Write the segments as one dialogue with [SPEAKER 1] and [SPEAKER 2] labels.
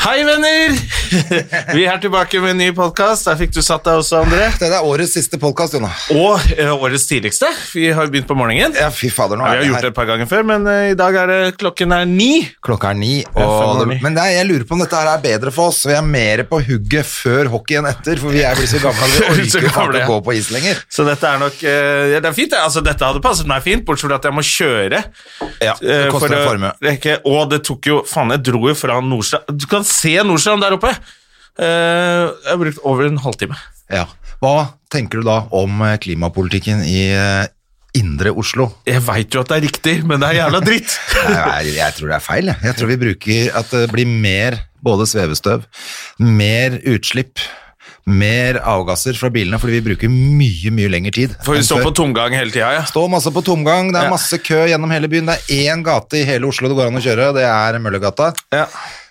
[SPEAKER 1] Hei, venner! Vi er tilbake med en ny podkast. Der fikk du satt deg også, André.
[SPEAKER 2] Dette er årets siste podkast, Jonna.
[SPEAKER 1] Og eh, årets tidligste. Vi har begynt på morgenen.
[SPEAKER 2] Ja, fy fader, nå
[SPEAKER 1] Ja, vi har
[SPEAKER 2] er
[SPEAKER 1] gjort det
[SPEAKER 2] det
[SPEAKER 1] et par ganger før, men eh, i dag er det klokken er ni.
[SPEAKER 2] her. Klokka er ni,
[SPEAKER 1] fem
[SPEAKER 2] og
[SPEAKER 1] over
[SPEAKER 2] det,
[SPEAKER 1] ni.
[SPEAKER 2] men det er, jeg lurer på om dette her er bedre for oss. Vi er mer på hugget før hockey enn etter, for vi er blitt så gamle at vi
[SPEAKER 1] Så
[SPEAKER 2] orker
[SPEAKER 1] gamle,
[SPEAKER 2] ikke
[SPEAKER 1] ja.
[SPEAKER 2] å gå på is lenger.
[SPEAKER 1] Så dette er nok eh, ja, Det er fint. det. Altså, dette hadde passet meg fint, bortsett fra at jeg må kjøre.
[SPEAKER 2] Ja, det
[SPEAKER 1] eh,
[SPEAKER 2] koster
[SPEAKER 1] for
[SPEAKER 2] en
[SPEAKER 1] å
[SPEAKER 2] formue.
[SPEAKER 1] rekke- Og det tok jo Faen, jeg dro jo fra Nordstrand Du kan se Nordstrand der oppe! Eh, jeg har brukt over en halvtime.
[SPEAKER 2] Ja. Hva tenker du da om eh, klimapolitikken i eh, indre Oslo?
[SPEAKER 1] Jeg veit jo at det er riktig, men det er jævla dritt.
[SPEAKER 2] Jeg, jeg tror det er feil, jeg. Jeg tror vi bruker at det blir mer både svevestøv, mer utslipp, mer avgasser fra bilene, fordi vi bruker mye, mye lengre tid.
[SPEAKER 1] For vi
[SPEAKER 2] enn
[SPEAKER 1] står
[SPEAKER 2] før.
[SPEAKER 1] på tomgang hele tida, ja.
[SPEAKER 2] Står masse på tomgang, det
[SPEAKER 1] Ja.
[SPEAKER 2] er masse kø gjennom hele byen. Det er én gate i hele Oslo det går an å kjøre, og det er Møllergata.
[SPEAKER 1] ja.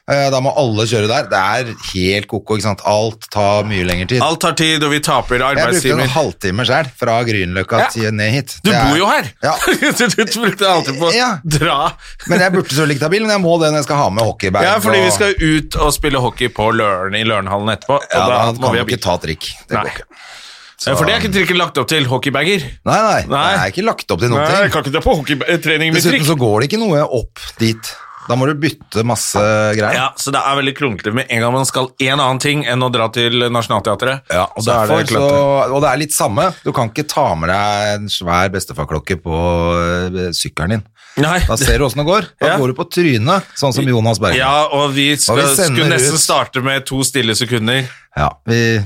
[SPEAKER 2] Eh, Da må alle kjøre der. Det er helt koko, ikke sant. Alt tar mye lengre tid.
[SPEAKER 1] Alt tar tid, og vi taper
[SPEAKER 2] Jeg brukte en
[SPEAKER 1] arbeidstimer.
[SPEAKER 2] halvtime sjøl, fra Grünerløkka
[SPEAKER 1] Ja.
[SPEAKER 2] til ned hit.
[SPEAKER 1] Du
[SPEAKER 2] Det er-
[SPEAKER 1] bor jo her!
[SPEAKER 2] Ja.
[SPEAKER 1] du du brukte alltid på å
[SPEAKER 2] Ja.
[SPEAKER 1] dra.
[SPEAKER 2] Men jeg burde selvfølgelig ikke ta bilen, men jeg må det når jeg skal ha med hockeybag.
[SPEAKER 1] Ja, fordi
[SPEAKER 2] og-
[SPEAKER 1] vi skal ut og spille hockey på Løren i Lørenhallen etterpå. Og
[SPEAKER 2] ja,
[SPEAKER 1] da
[SPEAKER 2] da
[SPEAKER 1] må
[SPEAKER 2] kan
[SPEAKER 1] vi
[SPEAKER 2] du
[SPEAKER 1] ha bil.
[SPEAKER 2] ikke ta trikk. Det
[SPEAKER 1] Nei.
[SPEAKER 2] går ikke.
[SPEAKER 1] Ja, For det er ikke trikken lagt opp til. Hockeybager.
[SPEAKER 2] Nei, nei,
[SPEAKER 1] Nei.
[SPEAKER 2] Det er ikke lagt opp til noen
[SPEAKER 1] Nei,
[SPEAKER 2] ting.
[SPEAKER 1] jeg kan ikke dra på hockeytrening med
[SPEAKER 2] Dessuten
[SPEAKER 1] trikk.
[SPEAKER 2] så går det ikke noe opp dit. Da må du bytte masse greier.
[SPEAKER 1] Ja, så det er veldig kronglete med en gang man skal en annen ting enn å dra til Nationaltheatret.
[SPEAKER 2] Ja, og, da er det
[SPEAKER 1] Derfor
[SPEAKER 2] så, og det er litt samme. Du kan ikke ta med deg en svær bestefarklokke på eh, sykkelen din.
[SPEAKER 1] Nei.
[SPEAKER 2] Da ser du åssen det går. Da
[SPEAKER 1] Ja.
[SPEAKER 2] går du på trynet, sånn som Jonas Bergen.
[SPEAKER 1] Ja, og vi, skal,
[SPEAKER 2] sender
[SPEAKER 1] skulle nesten
[SPEAKER 2] ut-
[SPEAKER 1] starte med to stille sekunder
[SPEAKER 2] Ja, vi,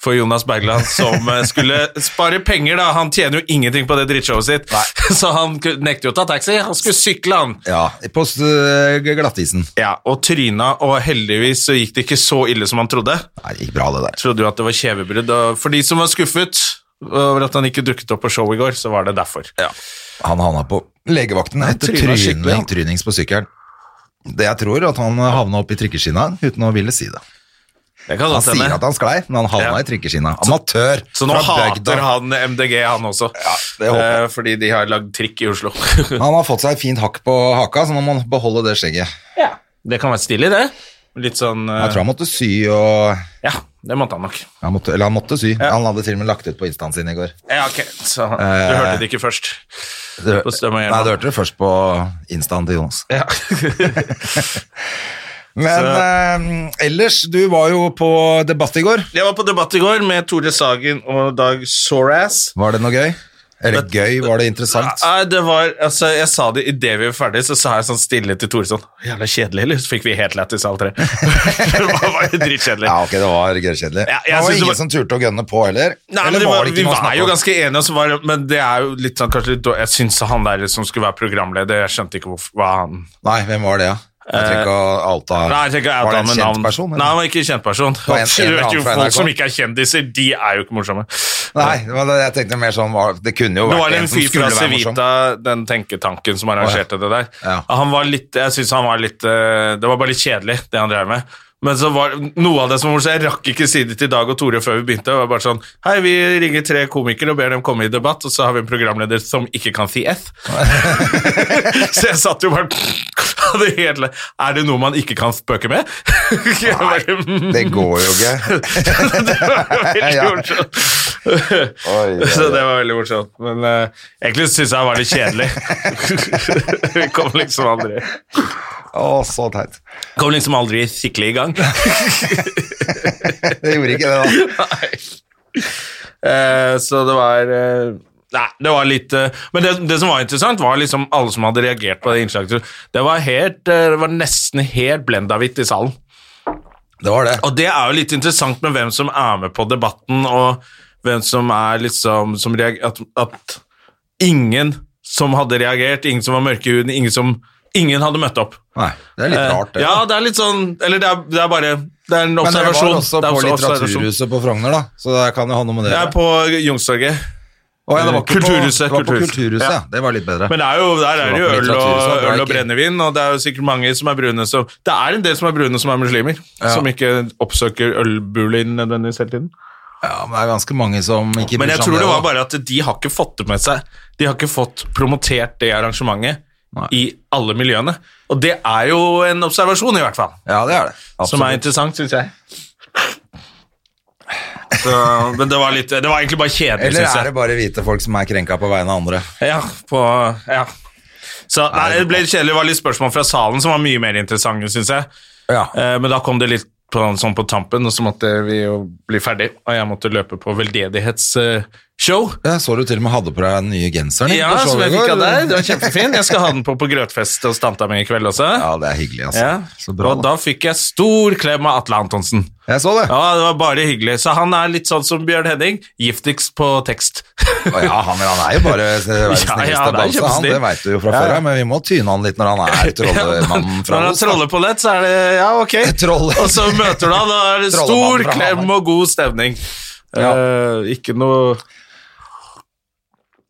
[SPEAKER 1] for Jonas Bergland, som eh, skulle spare penger. da. Han tjener jo ingenting på det drittshowet sitt, så han ku- nekter jo å ta taxi. Han skulle sykle, han.
[SPEAKER 2] ja på eh, glattisen.
[SPEAKER 1] Ja, Og tryna, og heldigvis så gikk det ikke så ille som han trodde.
[SPEAKER 2] Nei, det gikk bra, det der.
[SPEAKER 1] Trodde jo at det var kjevebrudd. Og for de som var skuffet over at han ikke dukket opp på show i går, så var det derfor.
[SPEAKER 2] Han havna på legevakten etter
[SPEAKER 1] tryna skikkelig,
[SPEAKER 2] tryning,
[SPEAKER 1] han.
[SPEAKER 2] trynings på sykkelen. Det jeg tror, at han eh, havna oppi trikkeskinna uten å ville si det.
[SPEAKER 1] Det kan
[SPEAKER 2] Han
[SPEAKER 1] godt
[SPEAKER 2] sier
[SPEAKER 1] hende.
[SPEAKER 2] at han sklei, men han havna
[SPEAKER 1] Sånn Ja.
[SPEAKER 2] i trikkeskinna. Amatør
[SPEAKER 1] Så nå
[SPEAKER 2] fra bygda.
[SPEAKER 1] hater han MDG, han også.
[SPEAKER 2] det håper
[SPEAKER 1] Eh, fordi de har lagd trikk i Oslo.
[SPEAKER 2] Han har fått seg et fint hakk på haka, så nå må han beholde det skjegget.
[SPEAKER 1] det kan være stilig, det. Litt sånn eh,
[SPEAKER 2] Jeg tror han måtte sy og
[SPEAKER 1] Ja, det måtte han nok.
[SPEAKER 2] Han måtte, eller han måtte sy. Han hadde til og med lagt ut på instaen sin i går.
[SPEAKER 1] Ja, ok. Så han,
[SPEAKER 2] Eh,
[SPEAKER 1] du hørte det ikke først.
[SPEAKER 2] Du,
[SPEAKER 1] På Strøm og Gjerman.
[SPEAKER 2] nei, du hørte det først på instaen til Jonas.
[SPEAKER 1] Ja.
[SPEAKER 2] Men eh, ellers, du var jo på debatt i går.
[SPEAKER 1] Jeg var på debatt i går med Tore Sagen og Dag Soras.
[SPEAKER 2] Var det noe gøy? Eller gøy, var det interessant?
[SPEAKER 1] Nei, det var, altså, jeg sa det idet vi var ferdige, så sa jeg sånn stille til Tore sånn Jævla kjedelig, eller? Så fikk vi helt lættis, alle tre. det var var jo dritkjedelig.
[SPEAKER 2] Ja, ok, det var gørrkjedelig.
[SPEAKER 1] Ja,
[SPEAKER 2] det
[SPEAKER 1] jeg
[SPEAKER 2] var
[SPEAKER 1] synes det
[SPEAKER 2] ingen
[SPEAKER 1] var-
[SPEAKER 2] som turte å gønne på heller.
[SPEAKER 1] Nei, men
[SPEAKER 2] eller
[SPEAKER 1] det var, Vi
[SPEAKER 2] noe å
[SPEAKER 1] var
[SPEAKER 2] snakke
[SPEAKER 1] jo
[SPEAKER 2] om?
[SPEAKER 1] ganske enige, og så var, det- men det er jo litt sånn kanskje litt dår- Jeg syns han der som skulle være programleder, jeg skjønte ikke hvorfor hva han
[SPEAKER 2] Nei, hvem var det, da? Jeg trenger ikke å outa
[SPEAKER 1] Nei, jeg tenker jeg
[SPEAKER 2] Var det en
[SPEAKER 1] tar med
[SPEAKER 2] kjent
[SPEAKER 1] navn.
[SPEAKER 2] person? eller?
[SPEAKER 1] Nei, han var ikke en kjent person. Du
[SPEAKER 2] var en- en eller
[SPEAKER 1] vet jo
[SPEAKER 2] annen fra
[SPEAKER 1] Folk
[SPEAKER 2] NRK.
[SPEAKER 1] som ikke er kjendiser, de er jo ikke morsomme.
[SPEAKER 2] Nei, det var det jeg tenkte mer sånn var- Det kunne jo
[SPEAKER 1] Det
[SPEAKER 2] vært
[SPEAKER 1] var
[SPEAKER 2] en
[SPEAKER 1] en
[SPEAKER 2] som
[SPEAKER 1] fyr
[SPEAKER 2] skulle
[SPEAKER 1] fra
[SPEAKER 2] være morsom.
[SPEAKER 1] Civita, den tenketanken som arrangerte det der.
[SPEAKER 2] Ja.
[SPEAKER 1] Han var litt, jeg synes han var litt eh, Det var bare litt kjedelig, det han drev med. Men så var noe av det som var morsomt, jeg rakk ikke si det til Dag og Tore før vi begynte. Det var bare sånn Hei, vi ringer tre komikere og ber dem komme i debatt, og så har vi en programleder som ikke kan si F. så jeg satt jo bare hadde helt, Er det noe man ikke kan spøke med? Jeg bare, «Mm,
[SPEAKER 2] Det går jo ikke.
[SPEAKER 1] det var veldig
[SPEAKER 2] Ja.
[SPEAKER 1] morsomt.
[SPEAKER 2] Oi, oi,
[SPEAKER 1] Så det var veldig morsomt. Men eh, egentlig syns jeg det var litt kjedelig. Vi kom liksom aldri
[SPEAKER 2] Å, så teit.
[SPEAKER 1] Kom liksom aldri skikkelig i gang.
[SPEAKER 2] Det gjorde ikke det, da.
[SPEAKER 1] Eh, så det var eh, Nei, det var litt eh, Men det, det som var interessant, var liksom alle som hadde reagert på det innslaget. Det var, helt, eh, det var nesten helt blendahvitt i salen.
[SPEAKER 2] Det var det.
[SPEAKER 1] Og det er jo litt interessant med hvem som er med på debatten, og hvem som er liksom som reager, at, at ingen som hadde reagert, ingen som var mørke i huden, ingen som Ingen hadde møtt opp.
[SPEAKER 2] Nei, det er litt
[SPEAKER 1] Eh,
[SPEAKER 2] rart, det.
[SPEAKER 1] Ja, det er litt sånn Eller det er, det er bare Det er en
[SPEAKER 2] Men det
[SPEAKER 1] observasjon.
[SPEAKER 2] var også
[SPEAKER 1] Det er
[SPEAKER 2] på
[SPEAKER 1] også observasjon.
[SPEAKER 2] Litteraturhuset på Frogner, da, så det kan jo ha noe med det
[SPEAKER 1] Jeg
[SPEAKER 2] å
[SPEAKER 1] er på Youngstorget.
[SPEAKER 2] Å, ja, det var ikke på-
[SPEAKER 1] Kulturhuset,
[SPEAKER 2] Det var på
[SPEAKER 1] Kulturhuset.
[SPEAKER 2] Kulturhuset, ja. Det var litt bedre.
[SPEAKER 1] Men det er jo, der er det jo
[SPEAKER 2] Det var på
[SPEAKER 1] øl
[SPEAKER 2] litteraturhuset,
[SPEAKER 1] og,
[SPEAKER 2] det var
[SPEAKER 1] øl og
[SPEAKER 2] ikke-
[SPEAKER 1] brennevin, og det er jo sikkert mange som er brune som Det er en del som er brune som er muslimer,
[SPEAKER 2] Ja.
[SPEAKER 1] som ikke oppsøker ølbuler nødvendigvis hele tiden.
[SPEAKER 2] Ja, men det er ganske mange som ikke
[SPEAKER 1] Men
[SPEAKER 2] seg
[SPEAKER 1] jeg tror
[SPEAKER 2] om
[SPEAKER 1] det var
[SPEAKER 2] da.
[SPEAKER 1] bare at de har ikke fått det med seg. De har ikke fått promotert det arrangementet
[SPEAKER 2] Nei.
[SPEAKER 1] i alle miljøene. Og det er jo en observasjon, i hvert fall,
[SPEAKER 2] Ja, det er det.
[SPEAKER 1] som er
[SPEAKER 2] Absolutt.
[SPEAKER 1] interessant, syns jeg. Så, men det var, litt, det var egentlig bare kjedelig,
[SPEAKER 2] Eller
[SPEAKER 1] syns jeg.
[SPEAKER 2] er det bare hvite folk som er krenka på vegne av andre?
[SPEAKER 1] Ja, på Ja. Så nei, det ble litt kjedelig. Det var litt spørsmål fra salen som var mye mer interessante, syns jeg.
[SPEAKER 2] Ja.
[SPEAKER 1] Eh, Men da kom det litt på, sånn på tampen, og så måtte vi jo bli ferdig. Og jeg måtte løpe på veldedighetsshow.
[SPEAKER 2] Jeg så du til og med hadde på deg den nye genseren.
[SPEAKER 1] Ja,
[SPEAKER 2] på showet
[SPEAKER 1] som jeg
[SPEAKER 2] i går.
[SPEAKER 1] fikk av deg. Den var kjempefin. Jeg skal ha den på på grøtfest hos tanta mi i kveld også.
[SPEAKER 2] Ja, det er hyggelig, altså.
[SPEAKER 1] Ja.
[SPEAKER 2] Så bra,
[SPEAKER 1] og
[SPEAKER 2] da.
[SPEAKER 1] da fikk jeg stor klem av Atle Antonsen.
[SPEAKER 2] Jeg så det.
[SPEAKER 1] Ja, Det var bare hyggelig. Så han er litt sånn som Bjørn Henning, giftigst på tekst.
[SPEAKER 2] Å ja, han, han er jo bare verdens
[SPEAKER 1] Ja, ja,
[SPEAKER 2] snilleste
[SPEAKER 1] han er
[SPEAKER 2] bamse, han.
[SPEAKER 1] kjempesnill.
[SPEAKER 2] Det veit du jo fra før av, men vi må tyne han litt når han er trollemannen
[SPEAKER 1] Når
[SPEAKER 2] fra
[SPEAKER 1] han
[SPEAKER 2] Os. da.
[SPEAKER 1] troller på nett, så er det ja, ok.
[SPEAKER 2] Troll.
[SPEAKER 1] Og så møter du han, da er det stor
[SPEAKER 2] Trollemannen fra
[SPEAKER 1] klem
[SPEAKER 2] Hamar.
[SPEAKER 1] og god stemning.
[SPEAKER 2] Ja.
[SPEAKER 1] Eh, ikke noe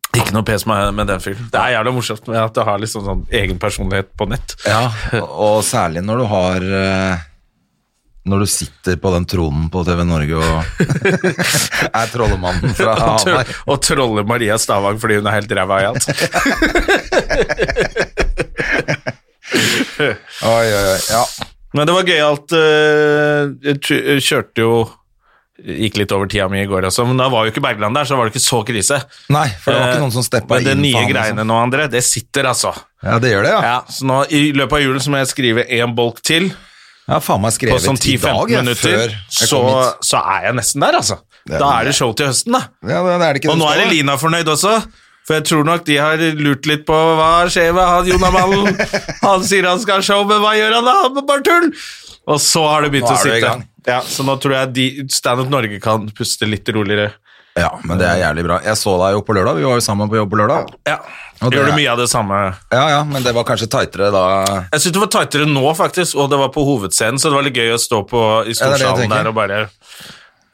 [SPEAKER 1] Ikke noe pes med, med den fyren. Det er jævla morsomt med at det har liksom sånn egen personlighet på nett.
[SPEAKER 2] Ja, og særlig når du har eh, Når du sitter på den tronen på TV Norge og er trollemannen fra
[SPEAKER 1] Og tro-
[SPEAKER 2] Hamar.
[SPEAKER 1] Og trolle Maria Stavang fordi hun er helt ræva i alt.
[SPEAKER 2] Oi, oi, oi. Ja.
[SPEAKER 1] Men det var gøyalt. eh, Jeg tu- jeg kjørte jo Gikk litt over tida mi i går også, men da var jo ikke Bergland der, så var det ikke så krise.
[SPEAKER 2] Nei, for det var
[SPEAKER 1] Eh,
[SPEAKER 2] ikke noen som steppa
[SPEAKER 1] Men
[SPEAKER 2] inn.
[SPEAKER 1] det
[SPEAKER 2] for
[SPEAKER 1] nye
[SPEAKER 2] han, liksom.
[SPEAKER 1] greiene nå, André, det sitter altså.
[SPEAKER 2] Ja, det gjør det, ja.
[SPEAKER 1] Ja, så nå i løpet av julen så må jeg skrive én bolk til
[SPEAKER 2] Jeg har faen meg
[SPEAKER 1] på
[SPEAKER 2] skrevet
[SPEAKER 1] sånn
[SPEAKER 2] i dag
[SPEAKER 1] 10-15
[SPEAKER 2] jeg,
[SPEAKER 1] minutter.
[SPEAKER 2] før jeg
[SPEAKER 1] Så,
[SPEAKER 2] kom hit.
[SPEAKER 1] så er jeg nesten der, altså.
[SPEAKER 2] er
[SPEAKER 1] Da
[SPEAKER 2] det.
[SPEAKER 1] er det show til høsten, da.
[SPEAKER 2] Ja, det, det er det ikke
[SPEAKER 1] Og
[SPEAKER 2] det
[SPEAKER 1] nå
[SPEAKER 2] står,
[SPEAKER 1] er
[SPEAKER 2] da.
[SPEAKER 1] Elina fornøyd også, for jeg tror nok de har lurt litt på hva skjer med han Jonamannen. Han sier han skal ha show, men hva gjør han da? Han Bare tull! Og så har det begynt
[SPEAKER 2] Nå
[SPEAKER 1] å
[SPEAKER 2] er du i
[SPEAKER 1] sitte.
[SPEAKER 2] gang.
[SPEAKER 1] Ja, så nå tror jeg de, Stand Up Norge kan puste litt roligere.
[SPEAKER 2] Ja, men det er jævlig bra. Jeg så deg jo på lørdag. Vi var jo sammen på jobb på lørdag.
[SPEAKER 1] Ja,
[SPEAKER 2] Og det
[SPEAKER 1] Gjør
[SPEAKER 2] er-
[SPEAKER 1] du mye av det samme?
[SPEAKER 2] Ja, ja, men det var kanskje tightere da.
[SPEAKER 1] Jeg syns det var tightere nå, faktisk, og det var på hovedscenen, så det var litt gøy å stå på
[SPEAKER 2] Ja,
[SPEAKER 1] i
[SPEAKER 2] det er det jeg
[SPEAKER 1] storsalen
[SPEAKER 2] tenker.
[SPEAKER 1] der og bare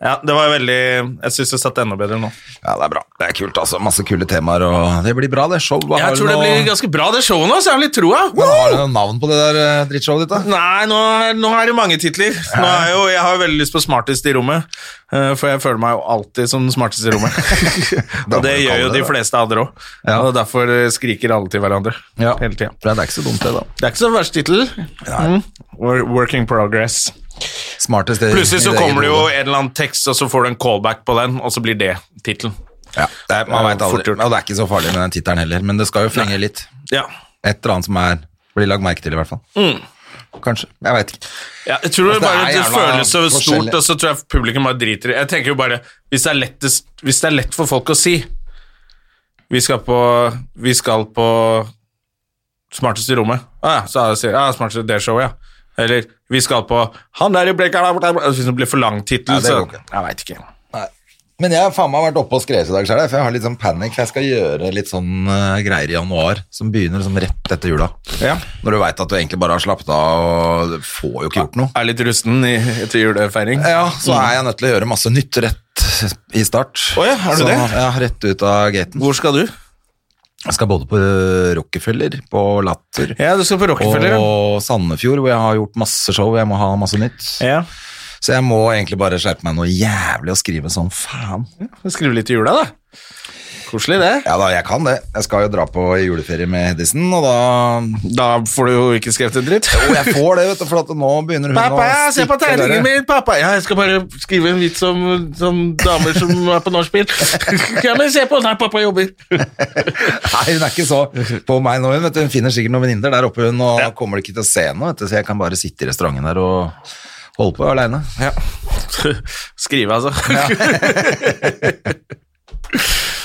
[SPEAKER 1] Ja, det var veldig Jeg syns det satt enda bedre nå.
[SPEAKER 2] Ja, det er bra. Det er kult, altså. Masse kule temaer, og det blir bra, det. Show. Hva har du
[SPEAKER 1] Jeg tror det
[SPEAKER 2] nå-
[SPEAKER 1] blir ganske bra, det showet nå, så jeg har litt troa.
[SPEAKER 2] Men Har du noe navn på det der eh, drittshowet ditt, da?
[SPEAKER 1] Nei, nå, er- nå er det mange titler. Nå er jo, jeg har jo veldig lyst på smartest i rommet, eh, for jeg føler meg jo alltid som den smarteste i rommet.
[SPEAKER 2] Da må
[SPEAKER 1] og det
[SPEAKER 2] du kalle
[SPEAKER 1] gjør jo
[SPEAKER 2] det
[SPEAKER 1] de
[SPEAKER 2] det.
[SPEAKER 1] fleste andre òg,
[SPEAKER 2] Ja.
[SPEAKER 1] og derfor eh, skriker alle til hverandre hele tida.
[SPEAKER 2] For det er ikke så dumt, det, da.
[SPEAKER 1] Det er ikke så verst tittel. Mm. Wor- Working progress.
[SPEAKER 2] Smartest i-
[SPEAKER 1] Plutselig
[SPEAKER 2] i
[SPEAKER 1] så
[SPEAKER 2] ditt
[SPEAKER 1] kommer det
[SPEAKER 2] eget
[SPEAKER 1] jo
[SPEAKER 2] hode.
[SPEAKER 1] en eller annen tekst, og så får du en callback på den, og så blir det tittelen.
[SPEAKER 2] ja, det er, Man
[SPEAKER 1] Ja,
[SPEAKER 2] vet
[SPEAKER 1] fort
[SPEAKER 2] aldri.
[SPEAKER 1] gjort.
[SPEAKER 2] Og det er ikke så farlig med den tittelen heller, men det skal jo flenge litt.
[SPEAKER 1] Ja.
[SPEAKER 2] Et eller annet som er blir lagt merke til, i hvert fall.
[SPEAKER 1] Mm.
[SPEAKER 2] Kanskje. Jeg veit ikke.
[SPEAKER 1] Ja, jeg tror det,
[SPEAKER 2] Altså, det
[SPEAKER 1] bare
[SPEAKER 2] er
[SPEAKER 1] det
[SPEAKER 2] jævla
[SPEAKER 1] føles så stort,
[SPEAKER 2] forskjellig.
[SPEAKER 1] og så tror jeg publikum bare driter i det. Jeg tenker jo bare, hvis det er, lettest, hvis det er lett for folk å si Vi skal på, vi skal på Smarteste i rommet. Ah, ja, så sier jeg ah, Smarteste det showet, ja. Eller vi skal på Han der i blekka der borte Altså, Hvis det blir for lang tittel,
[SPEAKER 2] Ja, det
[SPEAKER 1] så
[SPEAKER 2] går ikke.
[SPEAKER 1] Jeg veit ikke.
[SPEAKER 2] Nei. Men jeg har faen meg vært oppe og skrevet i dag sjøl, for jeg har litt sånn panikk. For jeg skal gjøre litt sånn eh, greier i januar som begynner liksom rett etter jula.
[SPEAKER 1] Ja.
[SPEAKER 2] Når du veit at du egentlig bare har slappet av og du får jo ikke gjort noe.
[SPEAKER 1] Er litt rusten i, etter julefeiring.
[SPEAKER 2] Ja, så er jeg nødt til å gjøre masse nytt rett i start.
[SPEAKER 1] Å ja, er du
[SPEAKER 2] så,
[SPEAKER 1] det?
[SPEAKER 2] Ja, rett ut av gaten.
[SPEAKER 1] Hvor skal du?
[SPEAKER 2] Jeg skal både på Rockefeller, på Latter
[SPEAKER 1] Ja, du skal på Rockefeller. ja.
[SPEAKER 2] og Sandefjord, hvor jeg har gjort masse show. Jeg må ha masse nytt.
[SPEAKER 1] Ja.
[SPEAKER 2] Så jeg må egentlig bare skjerpe meg noe jævlig og skrive sånn faen.
[SPEAKER 1] Skrive litt i jula, da. Koselig, det.
[SPEAKER 2] Ja da, jeg kan det. Jeg skal jo dra på juleferie med Hedison, og da
[SPEAKER 1] Da får du jo ikke skrevet en dritt.
[SPEAKER 2] Jo, jeg får det, vet du, for at nå begynner hun
[SPEAKER 1] Pappa,
[SPEAKER 2] å
[SPEAKER 1] se
[SPEAKER 2] stikke
[SPEAKER 1] på
[SPEAKER 2] av
[SPEAKER 1] tegningen
[SPEAKER 2] gårde.
[SPEAKER 1] min, pappa! Ja, jeg skal bare skrive en vits om, om damer som er på nachspiel. Ja, men se på den her, pappa jobber!
[SPEAKER 2] Nei, hun er ikke så på meg nå. Hun, vet du, hun finner sikkert noen venninner der oppe, hun, og kommer ikke til å se noe, vet du, så jeg kan bare sitte i restauranten der og holde på aleine.
[SPEAKER 1] Ja. Skrive, altså.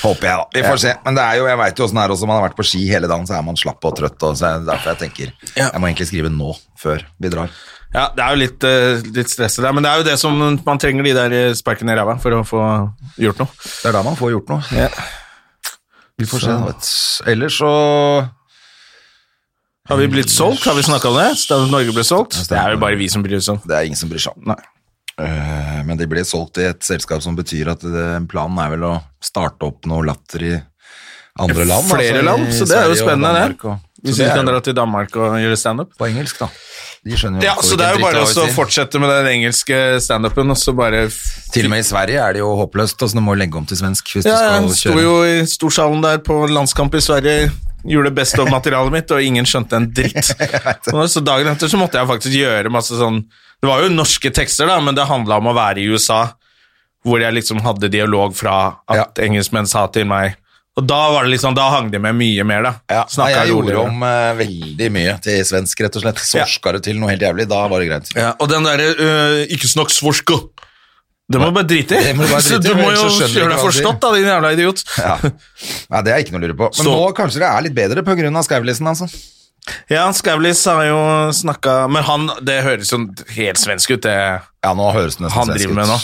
[SPEAKER 2] Håper jeg, da. Vi får se. Men det er jo, jeg vet jo åssen det er også. Man har vært på ski hele dagen, så er man slapp og trøtt. Og så er det derfor jeg tenker
[SPEAKER 1] Ja.
[SPEAKER 2] jeg må egentlig skrive nå, før vi drar.
[SPEAKER 1] Ja, det er jo litt, eh, litt stresset der, men det er jo det som man trenger de der sparkene i ræva for å få gjort noe.
[SPEAKER 2] Det er da man får gjort noe. Vi får se, da, vet du. Ellers så
[SPEAKER 1] Har vi blitt solgt? Har vi snakka om det? Stedet Norge ble solgt? Det er jo bare vi som bryr oss om.
[SPEAKER 2] Det er ingen som bryr seg om. Eh, Men de ble solgt i et selskap som betyr at eh, planen er vel å starte opp noe latter i andre land.
[SPEAKER 1] Flere
[SPEAKER 2] altså, i
[SPEAKER 1] land, så det er jo
[SPEAKER 2] Sverige og
[SPEAKER 1] spennende,
[SPEAKER 2] Danmark
[SPEAKER 1] det.
[SPEAKER 2] og-
[SPEAKER 1] Hvis
[SPEAKER 2] så
[SPEAKER 1] vi
[SPEAKER 2] det
[SPEAKER 1] kan
[SPEAKER 2] er
[SPEAKER 1] dra til Danmark og gjøre standup.
[SPEAKER 2] på engelsk, da. De skjønner jo
[SPEAKER 1] Ja,
[SPEAKER 2] også
[SPEAKER 1] så det er
[SPEAKER 2] hvilken
[SPEAKER 1] jo bare
[SPEAKER 2] dritt
[SPEAKER 1] å
[SPEAKER 2] har å si.
[SPEAKER 1] fortsette med den engelske standupen, og så bare
[SPEAKER 2] Til og med i Sverige er det jo håpløst, altså du må legge om til svensk hvis
[SPEAKER 1] Ja,
[SPEAKER 2] du skal
[SPEAKER 1] jeg sto
[SPEAKER 2] kjøre.
[SPEAKER 1] jo i storsalen der på landskamp i Sverige, gjorde best of materialet mitt, og ingen skjønte en dritt. Og Så dagen etter så måtte jeg faktisk gjøre masse sånn Det var jo norske tekster, da, men det handla om å være i USA, hvor jeg liksom hadde dialog fra at engelskmenn sa til meg Og da var det liksom, da hang de med mye mer, da.
[SPEAKER 2] Ja, nei,
[SPEAKER 1] Snakket
[SPEAKER 2] jeg gjorde
[SPEAKER 1] roligere.
[SPEAKER 2] om eh, veldig mye til svensk, rett og slett.
[SPEAKER 1] Ja.
[SPEAKER 2] Sorska det til noe helt jævlig, da var det greit.
[SPEAKER 1] Ja, og den derre øh, 'ikke snakk svorsko', det må du bare drite i.
[SPEAKER 2] Det må du bare
[SPEAKER 1] Så
[SPEAKER 2] drite i,
[SPEAKER 1] du må
[SPEAKER 2] ellers
[SPEAKER 1] jo
[SPEAKER 2] så skjønner du
[SPEAKER 1] gjøre
[SPEAKER 2] ikke
[SPEAKER 1] deg
[SPEAKER 2] hva du sier.
[SPEAKER 1] forstått, da, din jævla idiot.
[SPEAKER 2] Ja. Nei, det er ikke noe å lure på. Men
[SPEAKER 1] Så-
[SPEAKER 2] nå kanskje det er litt bedre på grunn av Skaulisen, altså.
[SPEAKER 1] Ja, Skavlis har jo snakka Men han, det høres jo helt svensk ut, det
[SPEAKER 2] Ja, nå høres det nesten
[SPEAKER 1] han driver med nå.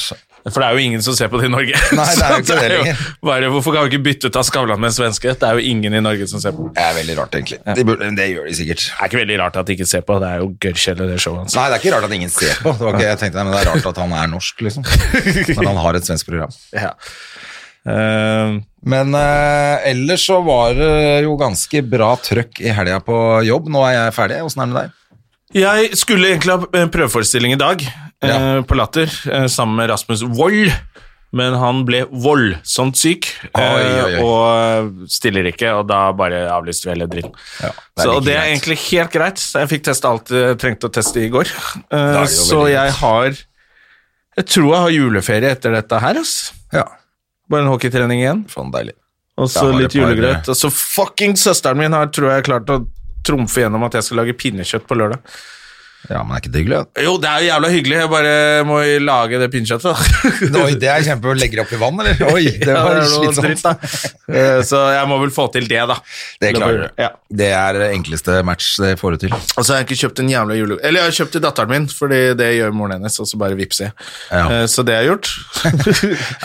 [SPEAKER 1] For det er jo ingen som ser på det i Norge.
[SPEAKER 2] Nei, det er jo
[SPEAKER 1] Så
[SPEAKER 2] ikke det
[SPEAKER 1] jo
[SPEAKER 2] lenger.
[SPEAKER 1] bare, Hvorfor kan vi ikke bytte ut av Skavlan med svenske? Det er jo ingen i Norge som ser på.
[SPEAKER 2] Det er veldig rart, egentlig. De burde, det gjør de sikkert.
[SPEAKER 1] Det er ikke veldig rart at de ikke ser på, det er jo gørrkjedelig, det showet hans.
[SPEAKER 2] Nei, det er ikke rart at ingen ser på. Det var ikke, jeg tenkte, nei, men det er rart at han er norsk, liksom. Når han har et svensk program.
[SPEAKER 1] Ja. Eh,
[SPEAKER 2] Men eh, ellers så var det jo ganske bra trøkk i helga på jobb. Nå er jeg ferdig. Åssen er det med deg?
[SPEAKER 1] jeg skulle egentlig ha en prøveforestilling i dag, eh,
[SPEAKER 2] Ja.
[SPEAKER 1] på Latter, eh, sammen med Rasmus Wold. Men han ble voldsomt syk
[SPEAKER 2] Oi,
[SPEAKER 1] eh,
[SPEAKER 2] oi, oi.
[SPEAKER 1] og eh, stiller ikke, og da bare avlyste vi hele dritten.
[SPEAKER 2] Ja, det er
[SPEAKER 1] så,
[SPEAKER 2] like
[SPEAKER 1] og det er
[SPEAKER 2] greit.
[SPEAKER 1] egentlig helt greit. Så jeg fikk testa alt jeg trengte å teste i går. Eh,
[SPEAKER 2] er det jo
[SPEAKER 1] så
[SPEAKER 2] veldig
[SPEAKER 1] jeg
[SPEAKER 2] greit.
[SPEAKER 1] har Jeg tror jeg har juleferie etter dette her. Ass.
[SPEAKER 2] Ja,
[SPEAKER 1] Bare en hockeytrening igjen,
[SPEAKER 2] faen deilig.
[SPEAKER 1] og så
[SPEAKER 2] Da har
[SPEAKER 1] litt
[SPEAKER 2] det bare-
[SPEAKER 1] julegrøt. Og så fucking søsteren min har tror jeg klart å trumfe gjennom at jeg skal lage pinnekjøtt på lørdag.
[SPEAKER 2] Ja, men er ikke det hyggelig? da?
[SPEAKER 1] Jo, det er jo jævla hyggelig, jeg bare må lage det pinnekjøttet. da.
[SPEAKER 2] Oi, det er kjempe... Legger opp i vann, eller? Oi, det
[SPEAKER 1] Ja,
[SPEAKER 2] var
[SPEAKER 1] det er noe dritt, da.
[SPEAKER 2] slitsomt.
[SPEAKER 1] Eh, Så jeg må vel få til det, da.
[SPEAKER 2] Det klarer du.
[SPEAKER 1] Ja.
[SPEAKER 2] Det er det enkleste match det får du til.
[SPEAKER 1] Og så har jeg ikke kjøpt en jævla jule... Eller jeg har kjøpt til datteren min, fordi det gjør moren hennes, og så bare vippser jeg.
[SPEAKER 2] Ja.
[SPEAKER 1] Eh, Så det har jeg gjort.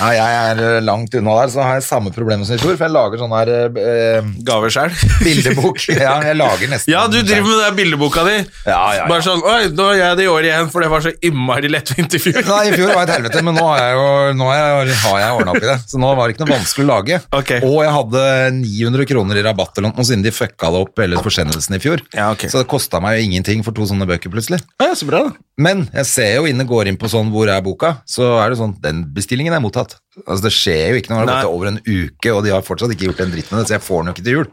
[SPEAKER 2] Ja, jeg er eh, langt unna der, så har jeg samme problem som i fjor, for jeg lager sånn her eh, eh,
[SPEAKER 1] Gaver sjøl.
[SPEAKER 2] bildebok. Ja, jeg lager nesten
[SPEAKER 1] Ja, du driver med den bildeboka di.
[SPEAKER 2] Ja, ja, ja.
[SPEAKER 1] Bare sånn Oi, nå gjør jeg det i år igjen, for det var så innmari lettvint i fjor.
[SPEAKER 2] Nei, i fjor var det et helvete, men nå har jeg jo nå har jeg, har jeg ordna opp i det. Så nå var det ikke noe vanskelig å lage.
[SPEAKER 1] Ok.
[SPEAKER 2] Og jeg hadde 900 kroner i rabatt eller noe, siden de fucka det opp eller forsendelsen i fjor.
[SPEAKER 1] Ja, ok.
[SPEAKER 2] Så det kosta meg jo ingenting for to sånne bøker plutselig.
[SPEAKER 1] Ja, så bra, da.
[SPEAKER 2] Men jeg ser jo inne går inn på sånn 'hvor er boka', så er det sånn 'den bestillingen er mottatt'. Altså Det skjer jo ikke noe, det har
[SPEAKER 1] Nei.
[SPEAKER 2] gått over en uke, og de har fortsatt ikke gjort en dritt med det, så jeg får den jo ikke til jul.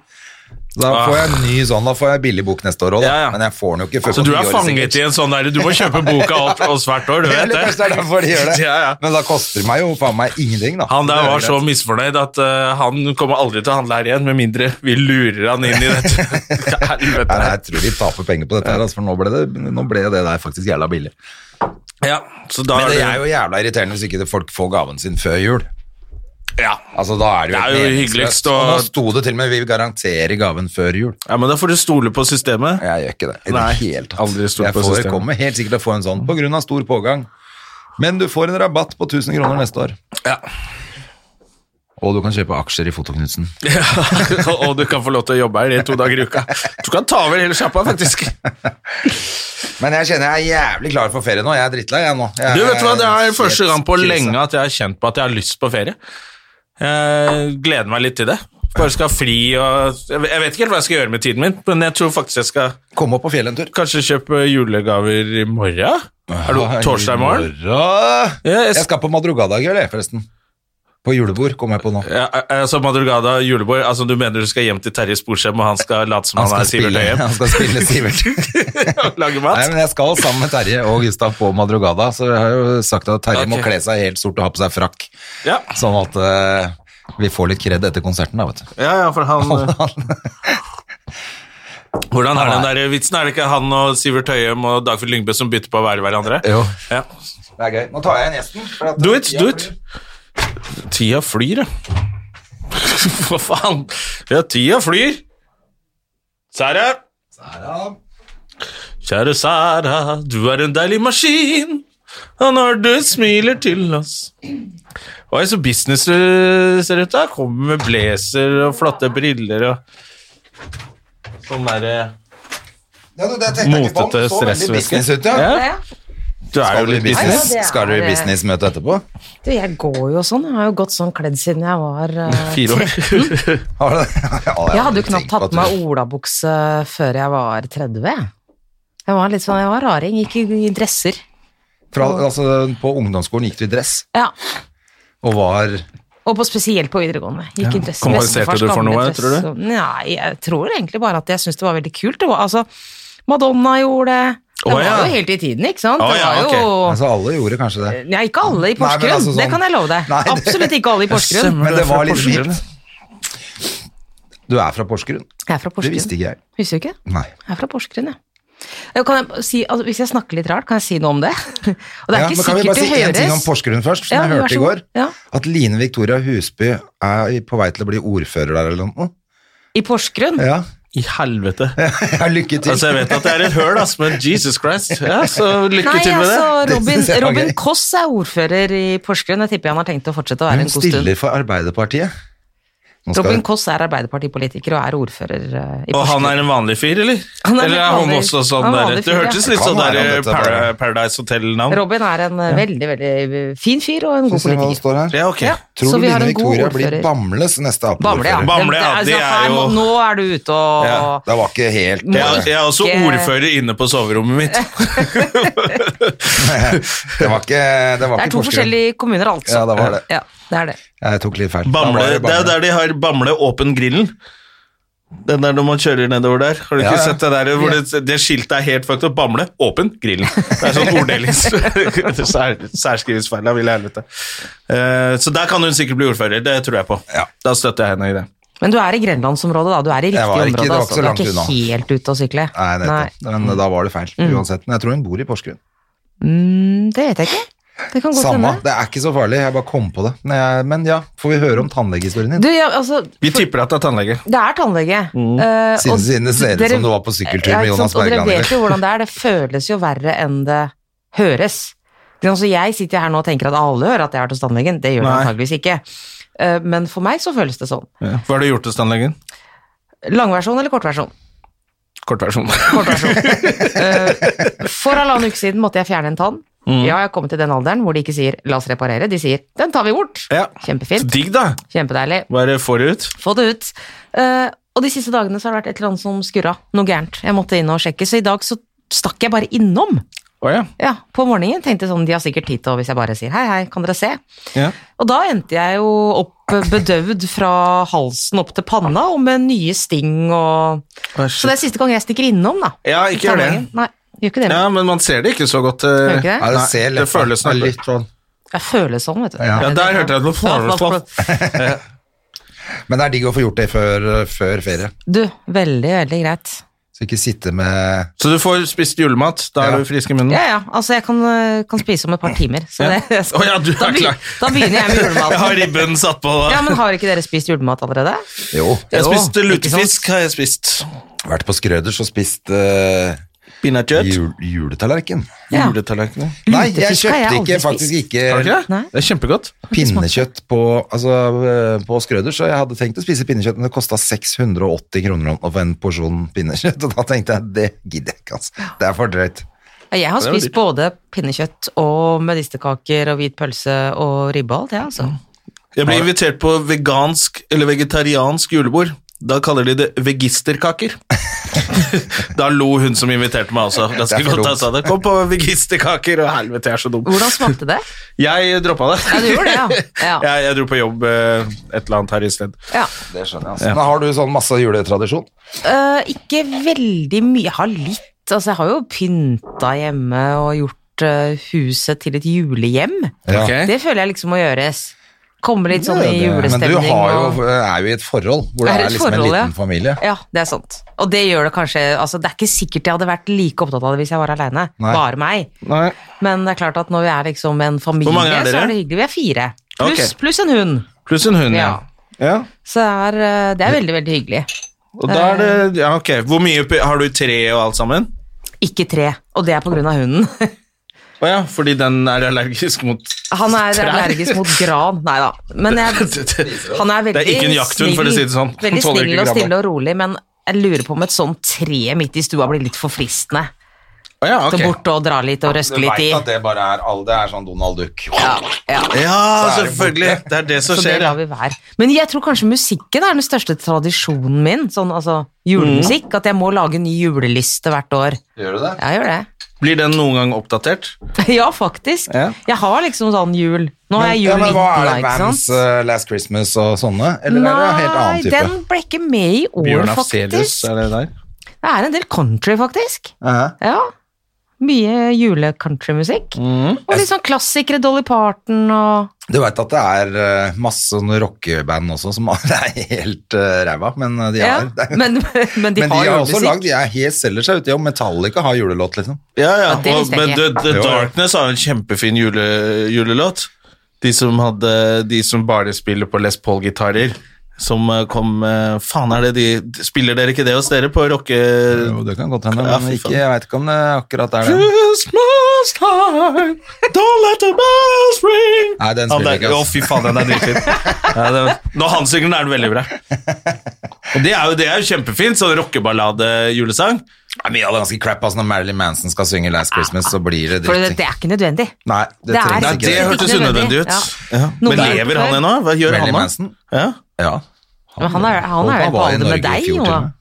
[SPEAKER 2] Da får jeg en ny sånn, da får jeg billig bok neste år òg,
[SPEAKER 1] Ah. Ja, ja.
[SPEAKER 2] men jeg får den jo ikke før
[SPEAKER 1] Så du er
[SPEAKER 2] nyåret, sikkert.
[SPEAKER 1] fanget i en sånn derre Du må kjøpe boka opp oss hvert år, du vet
[SPEAKER 2] Eller kanskje det er derfor de gjør det.
[SPEAKER 1] Ja, ja.
[SPEAKER 2] Men da koster det meg jo faen meg ingenting, da.
[SPEAKER 1] Han
[SPEAKER 2] Det
[SPEAKER 1] der
[SPEAKER 2] er
[SPEAKER 1] var så
[SPEAKER 2] greit.
[SPEAKER 1] misfornøyd at eh, han kommer aldri til å handle her igjen, med mindre vi lurer han inn i dette.
[SPEAKER 2] Nei,
[SPEAKER 1] Helvete.
[SPEAKER 2] nei, jeg tror de taper penger på dette, her, altså, for nå ble, det, nå ble det der faktisk jævla billig.
[SPEAKER 1] Ja, så da
[SPEAKER 2] Men det
[SPEAKER 1] er
[SPEAKER 2] er
[SPEAKER 1] du-
[SPEAKER 2] jo jævla irriterende hvis ikke det- folk får gaven sin før jul.
[SPEAKER 1] ja.
[SPEAKER 2] Altså, da er det jo,
[SPEAKER 1] Det er
[SPEAKER 2] helt
[SPEAKER 1] jo
[SPEAKER 2] meningsløst.
[SPEAKER 1] hyggeligst å-
[SPEAKER 2] Og nå sto det til og med 'vi garanterer gaven før jul'.
[SPEAKER 1] ja, men da får du stole på systemet.
[SPEAKER 2] Jeg gjør ikke det. i
[SPEAKER 1] Nei,
[SPEAKER 2] det hele tatt.
[SPEAKER 1] aldri stol
[SPEAKER 2] jeg
[SPEAKER 1] på
[SPEAKER 2] får,
[SPEAKER 1] systemet.
[SPEAKER 2] kommer helt sikkert til å få en sånn på grunn av stor pågang. Men du får en rabatt på 1000 kroner neste år.
[SPEAKER 1] Ja.
[SPEAKER 2] Og du kan kjøpe aksjer i Fotoknutsen.
[SPEAKER 1] og du kan få lov til å jobbe her i to dager i uka. Du kan ta over hele sjappa, faktisk.
[SPEAKER 2] Men jeg kjenner jeg er jævlig klar for ferie nå. Jeg er drittlei, jeg nå. Jeg
[SPEAKER 1] Du vet du hva, Det er
[SPEAKER 2] helt
[SPEAKER 1] første gang på
[SPEAKER 2] krise.
[SPEAKER 1] lenge at jeg har kjent på at jeg har lyst på ferie. Jeg gleder meg litt til det. Bare skal ha fri og Jeg vet ikke helt hva jeg skal gjøre med tiden min, men jeg tror faktisk jeg skal
[SPEAKER 2] Kom opp på fjellet en tur.
[SPEAKER 1] kanskje kjøpe julegaver i morgen. Er
[SPEAKER 2] Ah,
[SPEAKER 1] det torsdag i morgen?
[SPEAKER 2] morgen?
[SPEAKER 1] Ja, jeg
[SPEAKER 2] Jeg skal på Madrugada i kveld, jeg, forresten. På julebord, kom jeg på nå.
[SPEAKER 1] Ja, altså Madrugada, julebord altså Du mener du skal hjem til Terje Sporsem, og han skal late som han,
[SPEAKER 2] skal
[SPEAKER 1] er Sivert
[SPEAKER 2] spille-
[SPEAKER 1] Høyem?
[SPEAKER 2] han skal spille Sivert.
[SPEAKER 1] og lage
[SPEAKER 2] Nei,
[SPEAKER 1] mat?
[SPEAKER 2] men jeg skal sammen med Terje og Gustav på Madrugada, så jeg har jo sagt at Terje må
[SPEAKER 1] Ok.
[SPEAKER 2] kle seg helt sort og ha på seg frakk,
[SPEAKER 1] Ja,
[SPEAKER 2] sånn at eh, vi får litt kred etter konserten, da, vet du.
[SPEAKER 1] ja, ja for han eh, Hvordan er den der vitsen? Er det ikke han og Sivert Høyem og Dagfrid Lyngbø som bytter på å være hverandre?
[SPEAKER 2] Jo,
[SPEAKER 1] Ja.
[SPEAKER 2] det er gøy. Nå tar jeg igjen gjesten. for at-
[SPEAKER 1] Eh, Do it, do it. Tida flyr, ja. Hva faen? Ja, tida flyr. Sara,
[SPEAKER 2] Ja,
[SPEAKER 1] kjære Sara, du er en deilig maskin. Og når du smiler til oss Oi, så business du ser ut da. Kommer med blazer og flotte briller og sånn derre
[SPEAKER 2] Ja, det tenkte jeg ikke på.
[SPEAKER 1] Motete
[SPEAKER 2] Så veldig
[SPEAKER 1] stressvesen.
[SPEAKER 2] business ut, ja.
[SPEAKER 1] Ja,
[SPEAKER 3] Ja.
[SPEAKER 1] Du er jo
[SPEAKER 2] Skal du i
[SPEAKER 1] litt business.
[SPEAKER 2] business?
[SPEAKER 4] Ja, det er-
[SPEAKER 2] Skal du i businessmøte etterpå?
[SPEAKER 4] Du, jeg går jo sånn. Jeg har jo gått sånn kledd siden jeg var eh,
[SPEAKER 1] Fire år.
[SPEAKER 2] Har du det? Ja, det?
[SPEAKER 4] Jeg hadde jo
[SPEAKER 2] tenkt
[SPEAKER 4] knapt
[SPEAKER 2] på at
[SPEAKER 4] tatt
[SPEAKER 2] du-
[SPEAKER 4] på meg olabukse før jeg var 30. jeg. Jeg var litt sånn, jeg var raring, gikk i i dresser.
[SPEAKER 2] Fra, altså, på ungdomsskolen gikk du i dress
[SPEAKER 4] Ja,
[SPEAKER 2] og var
[SPEAKER 4] og på, spesielt på videregående. Gikk i dress.
[SPEAKER 1] Kompenserte
[SPEAKER 4] Bestefars
[SPEAKER 1] du for
[SPEAKER 4] gamle
[SPEAKER 1] noe,
[SPEAKER 4] dress.
[SPEAKER 1] tror du?
[SPEAKER 4] Nei, jeg tror egentlig bare at jeg syntes det var veldig kult. Det var, altså, Madonna gjorde det.
[SPEAKER 1] Å,
[SPEAKER 4] Jeg var
[SPEAKER 1] ja.
[SPEAKER 4] jo helt i tiden, ikke sant?
[SPEAKER 1] Å,
[SPEAKER 4] Det
[SPEAKER 1] ja,
[SPEAKER 4] var
[SPEAKER 1] ok.
[SPEAKER 4] jo...
[SPEAKER 2] Altså, alle gjorde kanskje det.
[SPEAKER 4] Nei, ikke alle
[SPEAKER 2] Nei,
[SPEAKER 4] i
[SPEAKER 2] men
[SPEAKER 4] Porsgrunn,
[SPEAKER 2] altså
[SPEAKER 4] det
[SPEAKER 2] sånn-
[SPEAKER 4] kan jeg love deg.
[SPEAKER 2] Nei, det-
[SPEAKER 4] Absolutt ikke alle i Porsgrunn.
[SPEAKER 1] Stemmer,
[SPEAKER 2] Men
[SPEAKER 1] du
[SPEAKER 2] det
[SPEAKER 1] er
[SPEAKER 2] var
[SPEAKER 1] fra
[SPEAKER 2] litt
[SPEAKER 1] Porsgrunn.
[SPEAKER 2] vilt. Du er fra Porsgrunn?
[SPEAKER 4] Jeg er fra
[SPEAKER 2] Det
[SPEAKER 4] Porsgrunn.
[SPEAKER 2] visste ikke jeg.
[SPEAKER 4] Visste du ikke?
[SPEAKER 2] Nei.
[SPEAKER 4] Jeg er fra Porsgrunn, jeg. Eh, Kan jeg si, altså, hvis jeg snakker litt rart, kan jeg si noe om det? Og det
[SPEAKER 2] Ja,
[SPEAKER 4] er ikke
[SPEAKER 2] men kan vi
[SPEAKER 4] sikkert
[SPEAKER 2] bare si
[SPEAKER 4] det
[SPEAKER 2] én ting om
[SPEAKER 4] høres.
[SPEAKER 2] Porsgrunn først, som
[SPEAKER 4] Ja,
[SPEAKER 2] jeg
[SPEAKER 4] vær
[SPEAKER 2] hørte
[SPEAKER 4] så
[SPEAKER 2] i
[SPEAKER 4] god.
[SPEAKER 2] går?
[SPEAKER 4] Ja.
[SPEAKER 2] At Line Victoria Husby er på vei til å bli ordfører der eller noe.
[SPEAKER 4] I Porsgrunn?
[SPEAKER 2] Ja,
[SPEAKER 1] I helvete.
[SPEAKER 2] ja lykke til.
[SPEAKER 1] Altså, jeg vet at det er et høl, ass, men Jesus Christ. Ja, så lykke
[SPEAKER 4] Nei,
[SPEAKER 1] til med det.
[SPEAKER 4] altså,
[SPEAKER 2] Det
[SPEAKER 4] Robin,
[SPEAKER 2] synes jeg var
[SPEAKER 4] Robin
[SPEAKER 2] gøy.
[SPEAKER 4] Koss er ordfører i Porsgrunn. Jeg tipper han har tenkt å fortsette å
[SPEAKER 2] Hun
[SPEAKER 4] være en god stund.
[SPEAKER 2] stiller for Arbeiderpartiet. Nå skal-
[SPEAKER 4] Robin Koss er arbeiderpartipolitiker og er ordfører eh, i
[SPEAKER 1] Og han
[SPEAKER 4] Porsgrunn.
[SPEAKER 1] er en vanlig fyr, eller?
[SPEAKER 4] Han er
[SPEAKER 1] eller er
[SPEAKER 4] en
[SPEAKER 1] han
[SPEAKER 4] vanlig-
[SPEAKER 1] også sånn
[SPEAKER 4] han er en
[SPEAKER 1] der
[SPEAKER 4] vanlig
[SPEAKER 1] Det
[SPEAKER 4] fyr,
[SPEAKER 1] hørtes
[SPEAKER 4] ja.
[SPEAKER 1] litt
[SPEAKER 2] Kan
[SPEAKER 1] sånn
[SPEAKER 2] være
[SPEAKER 1] der
[SPEAKER 2] han, dette
[SPEAKER 1] Para-
[SPEAKER 2] bare.
[SPEAKER 1] Paradise Hotel-navn.
[SPEAKER 4] Robin er en eh, veldig, veldig fin fyr og en god
[SPEAKER 2] Skal vi se hva det
[SPEAKER 4] politiker.
[SPEAKER 2] står her.
[SPEAKER 1] Ja, ok.
[SPEAKER 2] Tror
[SPEAKER 4] Så
[SPEAKER 2] du
[SPEAKER 4] vi har
[SPEAKER 2] Line
[SPEAKER 4] en god
[SPEAKER 2] Victoria blir
[SPEAKER 4] ordfører.
[SPEAKER 2] Bambles neste
[SPEAKER 4] Bamble, ja.
[SPEAKER 2] Ap-ordfører?
[SPEAKER 1] Bamble,
[SPEAKER 4] Den-
[SPEAKER 1] ja,
[SPEAKER 4] altså,
[SPEAKER 1] det er
[SPEAKER 4] her må-
[SPEAKER 1] jo-
[SPEAKER 4] Nå er du ute og
[SPEAKER 1] Ja.
[SPEAKER 2] Det var ikke helt eh,
[SPEAKER 1] Jeg, jeg er også
[SPEAKER 4] Ikke-
[SPEAKER 1] ordfører inne på soverommet mitt.
[SPEAKER 2] Det var ikke, det var ikke
[SPEAKER 4] Det er to
[SPEAKER 2] Porsgrunn.
[SPEAKER 4] forskjellige kommuner, altså.
[SPEAKER 2] Ja, det var det.
[SPEAKER 4] Ja, det er det.
[SPEAKER 2] Jeg tok litt feil. Da
[SPEAKER 1] Bamble,
[SPEAKER 2] var det
[SPEAKER 1] det er jo
[SPEAKER 2] Bamble.
[SPEAKER 1] der de har Bamble åpen grillen. Den der når man kjører nedover der. Har du
[SPEAKER 2] Ja,
[SPEAKER 1] ikke
[SPEAKER 2] ja.
[SPEAKER 1] sett det der hvor det, det skiltet er helt fucked up? Bamble åpen grillen. Det er sånn orddelings sær, Særskrivningsfeil av ville helvete. Eh, så der kan hun sikkert bli ordfører, det tror jeg på.
[SPEAKER 2] Ja.
[SPEAKER 1] Da støtter jeg henne i det.
[SPEAKER 4] Men du er i Grenlandsområdet, da. Du er i riktig
[SPEAKER 2] Jeg var ikke-
[SPEAKER 4] område.
[SPEAKER 2] det var ikke
[SPEAKER 4] altså.
[SPEAKER 2] så langt
[SPEAKER 4] du er
[SPEAKER 2] unna.
[SPEAKER 4] ikke helt ute å sykle.
[SPEAKER 2] Nei, nettopp. Men eh, da var det feil, uansett. Men jeg tror hun bor i Porsgrunn.
[SPEAKER 4] Mm, det vet jeg ikke. Det kan godt
[SPEAKER 2] Samme,
[SPEAKER 4] hende.
[SPEAKER 2] det er ikke så farlig, jeg bare kom på det. Men, jeg, men ja, får vi høre om tannlegehistorien din?
[SPEAKER 4] Du, ja, altså,
[SPEAKER 1] Vi tipper at det er tannlege.
[SPEAKER 4] det er tannlege. Eh, og
[SPEAKER 2] Siden, siden det Mm. ser ut
[SPEAKER 4] dere-
[SPEAKER 2] som du var på sykkeltur
[SPEAKER 4] Ja,
[SPEAKER 2] med
[SPEAKER 4] ikke
[SPEAKER 2] Jonas
[SPEAKER 4] sant, Og
[SPEAKER 2] Bergland.
[SPEAKER 4] dere
[SPEAKER 2] i
[SPEAKER 4] vet jo
[SPEAKER 2] dag.
[SPEAKER 4] hvordan det er. Det føles jo verre enn det høres. Det er altså, jeg sitter her nå og tenker at alle hører at jeg har vært hos tannlegen. Det gjør de
[SPEAKER 1] Nei.
[SPEAKER 4] antageligvis ikke. Eh, Men for meg så føles det sånn.
[SPEAKER 1] Ja. Hva har du gjort hos tannlegen?
[SPEAKER 4] Langversjon eller kortversjon?
[SPEAKER 1] Kortversjon.
[SPEAKER 4] Kortversjon. Eh, For halvannen uke siden måtte jeg fjerne en tann.
[SPEAKER 2] Mm.
[SPEAKER 4] Ja, jeg har kommet til den alderen hvor de ikke sier 'la oss reparere', de sier 'den tar vi bort'.
[SPEAKER 1] Ja. Så
[SPEAKER 4] Kjempefint.
[SPEAKER 1] digg, da.
[SPEAKER 4] Kjempedeilig.
[SPEAKER 1] Hva er det får du ut?
[SPEAKER 4] Få det ut. Eh, og de siste dagene så har det vært et eller annet som skurra. Noe gærent. Jeg måtte inn og sjekke, så i dag så stakk jeg bare innom.
[SPEAKER 1] Å ja.
[SPEAKER 4] Ja, på morgenen tenkte jeg sånn, de har sikkert tid til å hvis jeg bare sier hei, hei, kan dere se?
[SPEAKER 1] Ja.
[SPEAKER 4] Og da endte jeg jo opp eh, bedøvd fra halsen opp til panna og med nye sting og Så det er siste gang jeg stikker innom, da.
[SPEAKER 1] ja, ikke gjør det.
[SPEAKER 4] Tannlegen. Nei, gjør ikke det.
[SPEAKER 1] Ja, men man ser det ikke så godt.
[SPEAKER 4] Gjør
[SPEAKER 1] eh.
[SPEAKER 4] ikke
[SPEAKER 2] Ja,
[SPEAKER 4] det?
[SPEAKER 2] det
[SPEAKER 1] Nei,
[SPEAKER 2] ser
[SPEAKER 1] det
[SPEAKER 2] lett
[SPEAKER 1] føles
[SPEAKER 2] det er
[SPEAKER 1] nok-
[SPEAKER 2] litt sånn.
[SPEAKER 4] Jeg føler sånn, vet du.
[SPEAKER 2] Ja.
[SPEAKER 1] Ja, der hørte jeg det var
[SPEAKER 2] Men det er digg å få gjort det før, før ferie.
[SPEAKER 4] Du, veldig, veldig greit.
[SPEAKER 2] Så ikke sitte med
[SPEAKER 1] Så du får spist julemat, da er
[SPEAKER 2] Ja.
[SPEAKER 1] du frisk i munnen?
[SPEAKER 4] Ja, ja. Altså, jeg kan, eh, kan spise om et par timer. Så det, jeg skal-
[SPEAKER 1] Å ja, du er
[SPEAKER 4] da, begy-
[SPEAKER 1] klar.
[SPEAKER 4] da begynner jeg med
[SPEAKER 1] Jeg har
[SPEAKER 4] julematen.
[SPEAKER 1] ribben satt på.
[SPEAKER 4] Ja, men har ikke dere spist julemat allerede?
[SPEAKER 2] Jo,
[SPEAKER 1] Jeg
[SPEAKER 4] Jo,
[SPEAKER 1] spiste
[SPEAKER 4] ikke
[SPEAKER 1] lutefisk, har jeg spist.
[SPEAKER 2] vært på Skrøders og spist eh,
[SPEAKER 1] Pinnekjøtt.
[SPEAKER 2] jul, juletallerken.
[SPEAKER 4] Ja.
[SPEAKER 1] Juletallerkener.
[SPEAKER 2] Nei, jeg
[SPEAKER 4] Lutefisk har
[SPEAKER 2] kjøpte
[SPEAKER 4] jeg aldri
[SPEAKER 2] ikke,
[SPEAKER 4] spist.
[SPEAKER 2] faktisk ikke
[SPEAKER 1] Har du ikke det?
[SPEAKER 4] Nei.
[SPEAKER 1] Det er kjempegodt.
[SPEAKER 2] pinnekjøtt på, altså, eh, på Skrøder, så jeg hadde tenkt å spise pinnekjøtt, men det kosta 680 kroner å få en porsjon pinnekjøtt, og da tenkte jeg det gidder jeg ikke, altså. Det er for drøyt.
[SPEAKER 4] Ja, Jeg har
[SPEAKER 1] Det var
[SPEAKER 4] spist
[SPEAKER 1] dyrt.
[SPEAKER 4] både pinnekjøtt og medisterkaker og hvit pølse og ribbe og alt, jeg, altså.
[SPEAKER 1] Mm. Jeg ble invitert på vegansk eller vegetariansk julebord. Da kaller de det vegisterkaker. da lo hun som inviterte meg også.
[SPEAKER 2] Det
[SPEAKER 1] Ganske
[SPEAKER 2] er for
[SPEAKER 1] godt
[SPEAKER 2] dumt.
[SPEAKER 1] jeg sa det. Kom på vegisterkaker, og helvete, jeg er så dum.
[SPEAKER 4] Hvordan smakte det?
[SPEAKER 1] Jeg droppa det.
[SPEAKER 4] Ja, du gjorde det, ja. Ja.
[SPEAKER 1] jeg, jeg dro på jobb eh, et eller annet her i sted.
[SPEAKER 4] Ja.
[SPEAKER 2] Det skjønner jeg, altså. Men har du sånn masse juletradisjon?
[SPEAKER 4] Eh, ikke veldig mye. Jeg har litt. Altså, jeg har jo pynta hjemme og gjort eh, huset til et julehjem.
[SPEAKER 2] Ja.
[SPEAKER 1] Ok.
[SPEAKER 4] Det føler jeg liksom må gjøres. Komme litt sånn
[SPEAKER 2] Ja,
[SPEAKER 4] i
[SPEAKER 2] det-
[SPEAKER 4] julestemning.
[SPEAKER 2] Men du har
[SPEAKER 4] og-
[SPEAKER 2] jo, er jo i et forhold, hvor det er,
[SPEAKER 4] Er i et
[SPEAKER 2] liksom
[SPEAKER 4] forhold,
[SPEAKER 2] en
[SPEAKER 4] ja.
[SPEAKER 2] liten familie.
[SPEAKER 4] Ja, det er sant. Og det gjør det kanskje altså, Det er ikke sikkert jeg hadde vært like opptatt av det hvis jeg var aleine.
[SPEAKER 2] Nei.
[SPEAKER 4] Bare meg.
[SPEAKER 1] Nei.
[SPEAKER 4] Men det er klart at når vi er liksom en familie,
[SPEAKER 1] mange er
[SPEAKER 4] så
[SPEAKER 1] dere?
[SPEAKER 4] er det hyggelig. Vi er fire. Pluss
[SPEAKER 1] Ok.
[SPEAKER 4] pluss en hund.
[SPEAKER 1] Pluss en hund, ja. ja.
[SPEAKER 4] Så det er, eh, det er veldig, veldig hyggelig.
[SPEAKER 1] Og da er det Ja, ok. Hvor mye p- Har du tre og alt sammen?
[SPEAKER 4] Ikke tre, og det er på grunn av hunden.
[SPEAKER 1] Å ja, fordi den er allergisk mot
[SPEAKER 4] Han er
[SPEAKER 1] Trær.
[SPEAKER 4] allergisk mot gran, nei da. Men jeg, han er veldig
[SPEAKER 1] Det er ikke en jakthund, for å si det sånn. Han
[SPEAKER 4] Veldig
[SPEAKER 1] tåler ikke
[SPEAKER 4] snill og
[SPEAKER 1] gran.
[SPEAKER 4] stille og rolig, men Jeg lurer på om et sånt tre midt i stua blir litt for fristende.
[SPEAKER 1] Å ja, ok.
[SPEAKER 4] Så bort og dra litt og røske litt i.
[SPEAKER 2] Du vet at det bare er all, det er sånn Donald Duck.
[SPEAKER 1] Ja,
[SPEAKER 2] Så er det
[SPEAKER 1] selvfølgelig. Det er det som
[SPEAKER 4] Så det
[SPEAKER 1] skjer. ja.
[SPEAKER 4] lar vi være. Men jeg tror kanskje musikken er den største tradisjonen min. Sånn altså
[SPEAKER 2] Mm.
[SPEAKER 4] julemusikk. At jeg må lage en ny juleliste hvert år.
[SPEAKER 2] Gjør du det?
[SPEAKER 4] Jeg gjør det.
[SPEAKER 1] Blir den noen gang oppdatert?
[SPEAKER 4] ja, faktisk.
[SPEAKER 1] Ja.
[SPEAKER 4] Jeg har liksom sånn jul. Nå har jeg jul
[SPEAKER 2] ja, men hva er det?
[SPEAKER 4] ikke
[SPEAKER 2] Vans,
[SPEAKER 4] sant?
[SPEAKER 2] eh, Last Christmas og sånne? Eller er det en helt
[SPEAKER 4] Nei,
[SPEAKER 2] annen type?
[SPEAKER 4] den ble ikke med i år,
[SPEAKER 1] Bjørn Afselius,
[SPEAKER 4] faktisk.
[SPEAKER 1] er det der?
[SPEAKER 4] Det er en del country, faktisk.
[SPEAKER 2] Ja.
[SPEAKER 4] Ja. Mye jule-countrymusikk.
[SPEAKER 2] Mm.
[SPEAKER 4] Og litt sånn klassikere, Dolly Parton og
[SPEAKER 2] Du veit at det er eh, masse sånne rockeband også som det er helt uh, ræva, men eh, de
[SPEAKER 4] ja,
[SPEAKER 2] har det er-
[SPEAKER 4] men, men de
[SPEAKER 2] men
[SPEAKER 4] har
[SPEAKER 2] også
[SPEAKER 4] julemusikk.
[SPEAKER 2] lagd De er helt selger seg ut i om Metallica har julelåt, liksom.
[SPEAKER 1] Ja, ja.
[SPEAKER 4] Ja, det
[SPEAKER 1] og-
[SPEAKER 4] visste jeg
[SPEAKER 1] Men The,
[SPEAKER 4] ikke.
[SPEAKER 1] The
[SPEAKER 2] Jo, jo.
[SPEAKER 1] Darkness har jo en kjempefin jule, julelåt. De som, hadde, de som bare spiller på Les Paul-gitarer. Som eh, kom eh, Faen, er det de de- Spiller dere ikke det hos dere på rocke...
[SPEAKER 2] Jo, det kan godt hende,
[SPEAKER 1] Ja,
[SPEAKER 2] men
[SPEAKER 1] fy
[SPEAKER 2] ikke,
[SPEAKER 1] faen.
[SPEAKER 2] jeg veit ikke om det akkurat er det.
[SPEAKER 1] Christmas time, don't let the bells ring
[SPEAKER 2] Nei, den
[SPEAKER 1] Ja,
[SPEAKER 2] spiller
[SPEAKER 1] det
[SPEAKER 2] ikke,
[SPEAKER 1] er- Å,
[SPEAKER 2] altså.
[SPEAKER 1] fy faen, den er dritfin. Ja, det- Nå Hanssingelen er den veldig bra. Og det er jo, det er jo kjempefint, sånn rockeballade-julesang.
[SPEAKER 2] Ja, Mye av det er ganske crap. Altså, når Marilyn Manson skal synge Last Christmas, så blir det
[SPEAKER 4] For det,
[SPEAKER 2] dritt.
[SPEAKER 4] det er ikke nødvendig.
[SPEAKER 2] Nei, det
[SPEAKER 4] det er-
[SPEAKER 2] trengs
[SPEAKER 1] Nei,
[SPEAKER 2] ikke.
[SPEAKER 1] det
[SPEAKER 4] er
[SPEAKER 1] hørtes
[SPEAKER 4] ikke
[SPEAKER 1] unødvendig
[SPEAKER 4] nødvendig.
[SPEAKER 1] ut.
[SPEAKER 4] Ja.
[SPEAKER 1] Ja.
[SPEAKER 4] Noe
[SPEAKER 1] Men
[SPEAKER 4] der
[SPEAKER 1] lever
[SPEAKER 4] for-
[SPEAKER 1] han ennå? Hva gjør
[SPEAKER 2] Marilyn
[SPEAKER 1] han nå?
[SPEAKER 2] Manson?
[SPEAKER 1] Ja.
[SPEAKER 2] Ja.
[SPEAKER 4] Men han er- han er
[SPEAKER 2] Og
[SPEAKER 4] jo på
[SPEAKER 2] var i
[SPEAKER 4] alder med
[SPEAKER 2] Norge i
[SPEAKER 4] deg,
[SPEAKER 2] fjor
[SPEAKER 4] jo,
[SPEAKER 2] til og
[SPEAKER 4] da.
[SPEAKER 2] med.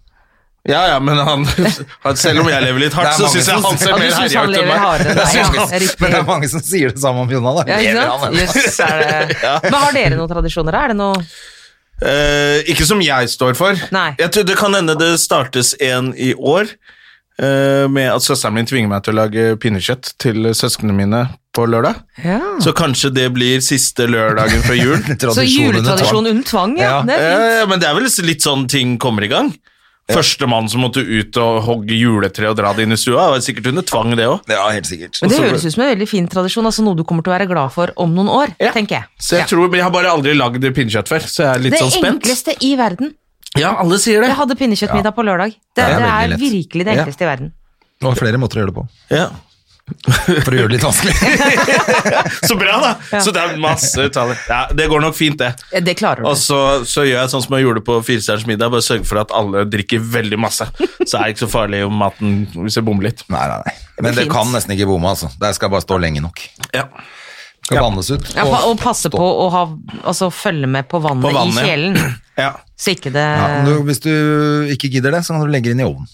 [SPEAKER 1] Ja, ja, men han, han, selv om jeg lever litt hardt,
[SPEAKER 2] Det er
[SPEAKER 1] så
[SPEAKER 2] mange
[SPEAKER 1] syns jeg
[SPEAKER 2] som-
[SPEAKER 1] han ser
[SPEAKER 4] Ja, du
[SPEAKER 1] mer
[SPEAKER 4] synes
[SPEAKER 1] herja
[SPEAKER 4] han
[SPEAKER 1] ut enn
[SPEAKER 4] lever
[SPEAKER 1] meg.
[SPEAKER 4] hardere enn deg, ja. Riktig.
[SPEAKER 2] Men det er mange som sier det samme om Jonna, da.
[SPEAKER 4] Ja, ikke
[SPEAKER 2] Lever
[SPEAKER 4] sant?
[SPEAKER 2] han ennå?
[SPEAKER 4] Jøss, er det... Men har dere noen tradisjoner? da? Er det noe
[SPEAKER 1] Eh, ikke som jeg står for.
[SPEAKER 4] Nei.
[SPEAKER 1] Jeg tror Det kan hende det startes en i år eh, med at søsteren min tvinger meg til å lage pinnekjøtt til søsknene mine på lørdag.
[SPEAKER 4] ja.
[SPEAKER 1] Så kanskje det blir siste lørdagen før jul.
[SPEAKER 4] Hmm. Så
[SPEAKER 2] Tradisjonen under tvang.
[SPEAKER 4] juletradisjon under tvang, ja.
[SPEAKER 2] Ja.
[SPEAKER 4] Det er fint.
[SPEAKER 1] Eh, men det er vel litt sånn ting kommer i gang. Førstemann som måtte ut og hogge juletre og dra det inn i stua, var sikkert under tvang, det òg.
[SPEAKER 2] Ja, helt sikkert.
[SPEAKER 4] Men det høres ut som en veldig fin tradisjon, altså noe du kommer til å være glad for om noen år,
[SPEAKER 1] Ja.
[SPEAKER 4] tenker jeg.
[SPEAKER 1] Så jeg
[SPEAKER 4] Ja.
[SPEAKER 1] tror, men jeg har bare aldri lagd pinnekjøtt før, så jeg er litt
[SPEAKER 4] Det
[SPEAKER 1] sånn spent.
[SPEAKER 4] enkleste i verden.
[SPEAKER 1] Ja, alle sier det.
[SPEAKER 4] Jeg hadde pinnekjøttmiddag på lørdag. Det,
[SPEAKER 2] Ja,
[SPEAKER 4] det
[SPEAKER 2] veldig
[SPEAKER 4] er
[SPEAKER 2] lett.
[SPEAKER 4] virkelig det
[SPEAKER 2] Ja.
[SPEAKER 4] enkleste i verden.
[SPEAKER 2] Det var flere måter å gjøre det på.
[SPEAKER 1] Ja.
[SPEAKER 2] For å gjøre det litt vanskelig.
[SPEAKER 1] Så bra, da! Så det er masse uttaler. Ja, det går nok fint, det.
[SPEAKER 4] Eh, Det
[SPEAKER 1] Og
[SPEAKER 4] klarer du.
[SPEAKER 2] Altså,
[SPEAKER 1] så, så gjør jeg sånn som jeg gjorde på Firestjerners middag, bare sørger for at alle drikker veldig masse. Så er det ikke så farlig om maten hvis jeg bommer litt.
[SPEAKER 2] Nei, nei, nei. Men det
[SPEAKER 4] fint.
[SPEAKER 2] kan nesten ikke bomme, altså. Det skal bare stå lenge nok.
[SPEAKER 1] Ja.
[SPEAKER 2] Skal bannes ut.
[SPEAKER 4] Ja, pa- og passe
[SPEAKER 2] stopp.
[SPEAKER 4] på å ha, altså, følge med på vannet,
[SPEAKER 1] På vannet,
[SPEAKER 4] i
[SPEAKER 1] ja.
[SPEAKER 4] kjelen,
[SPEAKER 1] Ja.
[SPEAKER 4] så ikke det
[SPEAKER 2] Ja, men du, hvis du ikke gidder det, så kan du legge det inn i ovnen.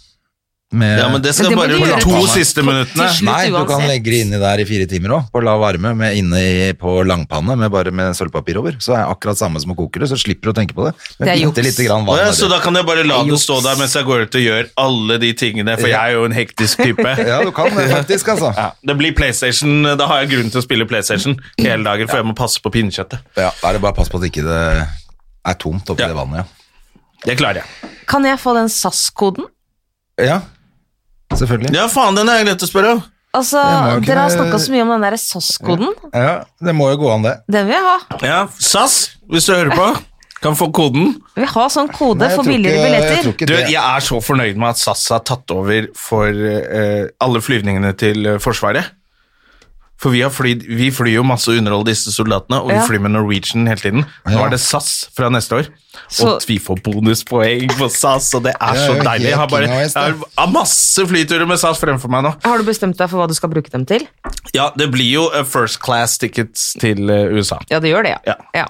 [SPEAKER 2] Med-
[SPEAKER 1] ja, men det skal
[SPEAKER 4] Men det må
[SPEAKER 1] bare
[SPEAKER 4] du
[SPEAKER 1] de
[SPEAKER 4] gjøre
[SPEAKER 1] to
[SPEAKER 2] til-
[SPEAKER 1] siste minuttene.
[SPEAKER 4] slutt
[SPEAKER 2] Nei, du kan
[SPEAKER 4] uansett.
[SPEAKER 2] legge det inni der i fire timer òg, på lav varme, med inne i, på langpanne, med bare med sølvpapir over. Så er det akkurat samme som å koke det, så slipper du å tenke på det. Med
[SPEAKER 4] Det er
[SPEAKER 2] bitte
[SPEAKER 4] juks.
[SPEAKER 2] lite grann vann.
[SPEAKER 1] Å ja,
[SPEAKER 2] over.
[SPEAKER 1] så da kan jeg bare la det
[SPEAKER 4] Juks.
[SPEAKER 1] stå der mens jeg går ut og gjør alle de tingene, for jeg er jo en hektisk type.
[SPEAKER 2] Ja, du kan det faktisk, altså.
[SPEAKER 1] Ja, det blir PlayStation, Da har jeg grunn til å spille PlayStation hele dagen, for jeg må passe på pinnekjøttet.
[SPEAKER 2] Ja, da er det bare å passe på at ikke det er tomt oppi
[SPEAKER 1] Ja.
[SPEAKER 2] det vannet,
[SPEAKER 1] Det klarer jeg.
[SPEAKER 4] Kan jeg få den SAS-koden?
[SPEAKER 2] ja. Ja, selvfølgelig.
[SPEAKER 1] Ja, faen, den er jeg nødt til å spørre om.
[SPEAKER 4] Altså,
[SPEAKER 2] Det må jo ikke
[SPEAKER 4] dere har
[SPEAKER 2] være-
[SPEAKER 4] snakka så mye om den der SAS-koden.
[SPEAKER 2] Ja, det må jo gå an, det.
[SPEAKER 4] Den vil jeg ha.
[SPEAKER 1] Ja, SAS, hvis du hører på, kan få koden.
[SPEAKER 4] Vi har sånn kode
[SPEAKER 2] Nei, jeg
[SPEAKER 4] for
[SPEAKER 2] tror
[SPEAKER 4] billigere
[SPEAKER 2] ikke- Jeg
[SPEAKER 4] billetter.
[SPEAKER 2] tror ikke
[SPEAKER 1] Du,
[SPEAKER 2] det.
[SPEAKER 1] jeg er så fornøyd med at SAS har tatt over for eh, alle flyvningene til eh, Forsvaret. For vi, har flydd- vi flyr jo masse og underholder disse soldatene, og vi
[SPEAKER 4] Ja.
[SPEAKER 1] flyr med Norwegian hele tiden. Nå
[SPEAKER 2] Ja.
[SPEAKER 1] er det SAS fra neste år,
[SPEAKER 4] Så-
[SPEAKER 1] og vi får bonuspoeng på SAS, og det er
[SPEAKER 2] Det er
[SPEAKER 1] så
[SPEAKER 2] jo
[SPEAKER 1] deilig. Jeg
[SPEAKER 2] helt
[SPEAKER 1] har, bare,
[SPEAKER 2] nice,
[SPEAKER 1] jeg
[SPEAKER 2] da.
[SPEAKER 1] har har masse flyturer med SAS fremfor meg nå.
[SPEAKER 4] Har du bestemt deg for hva du skal bruke dem til?
[SPEAKER 1] Ja, det blir jo eh, first class tickets til eh, USA.
[SPEAKER 4] Ja, det gjør det,
[SPEAKER 1] Ja.
[SPEAKER 4] ja. ja.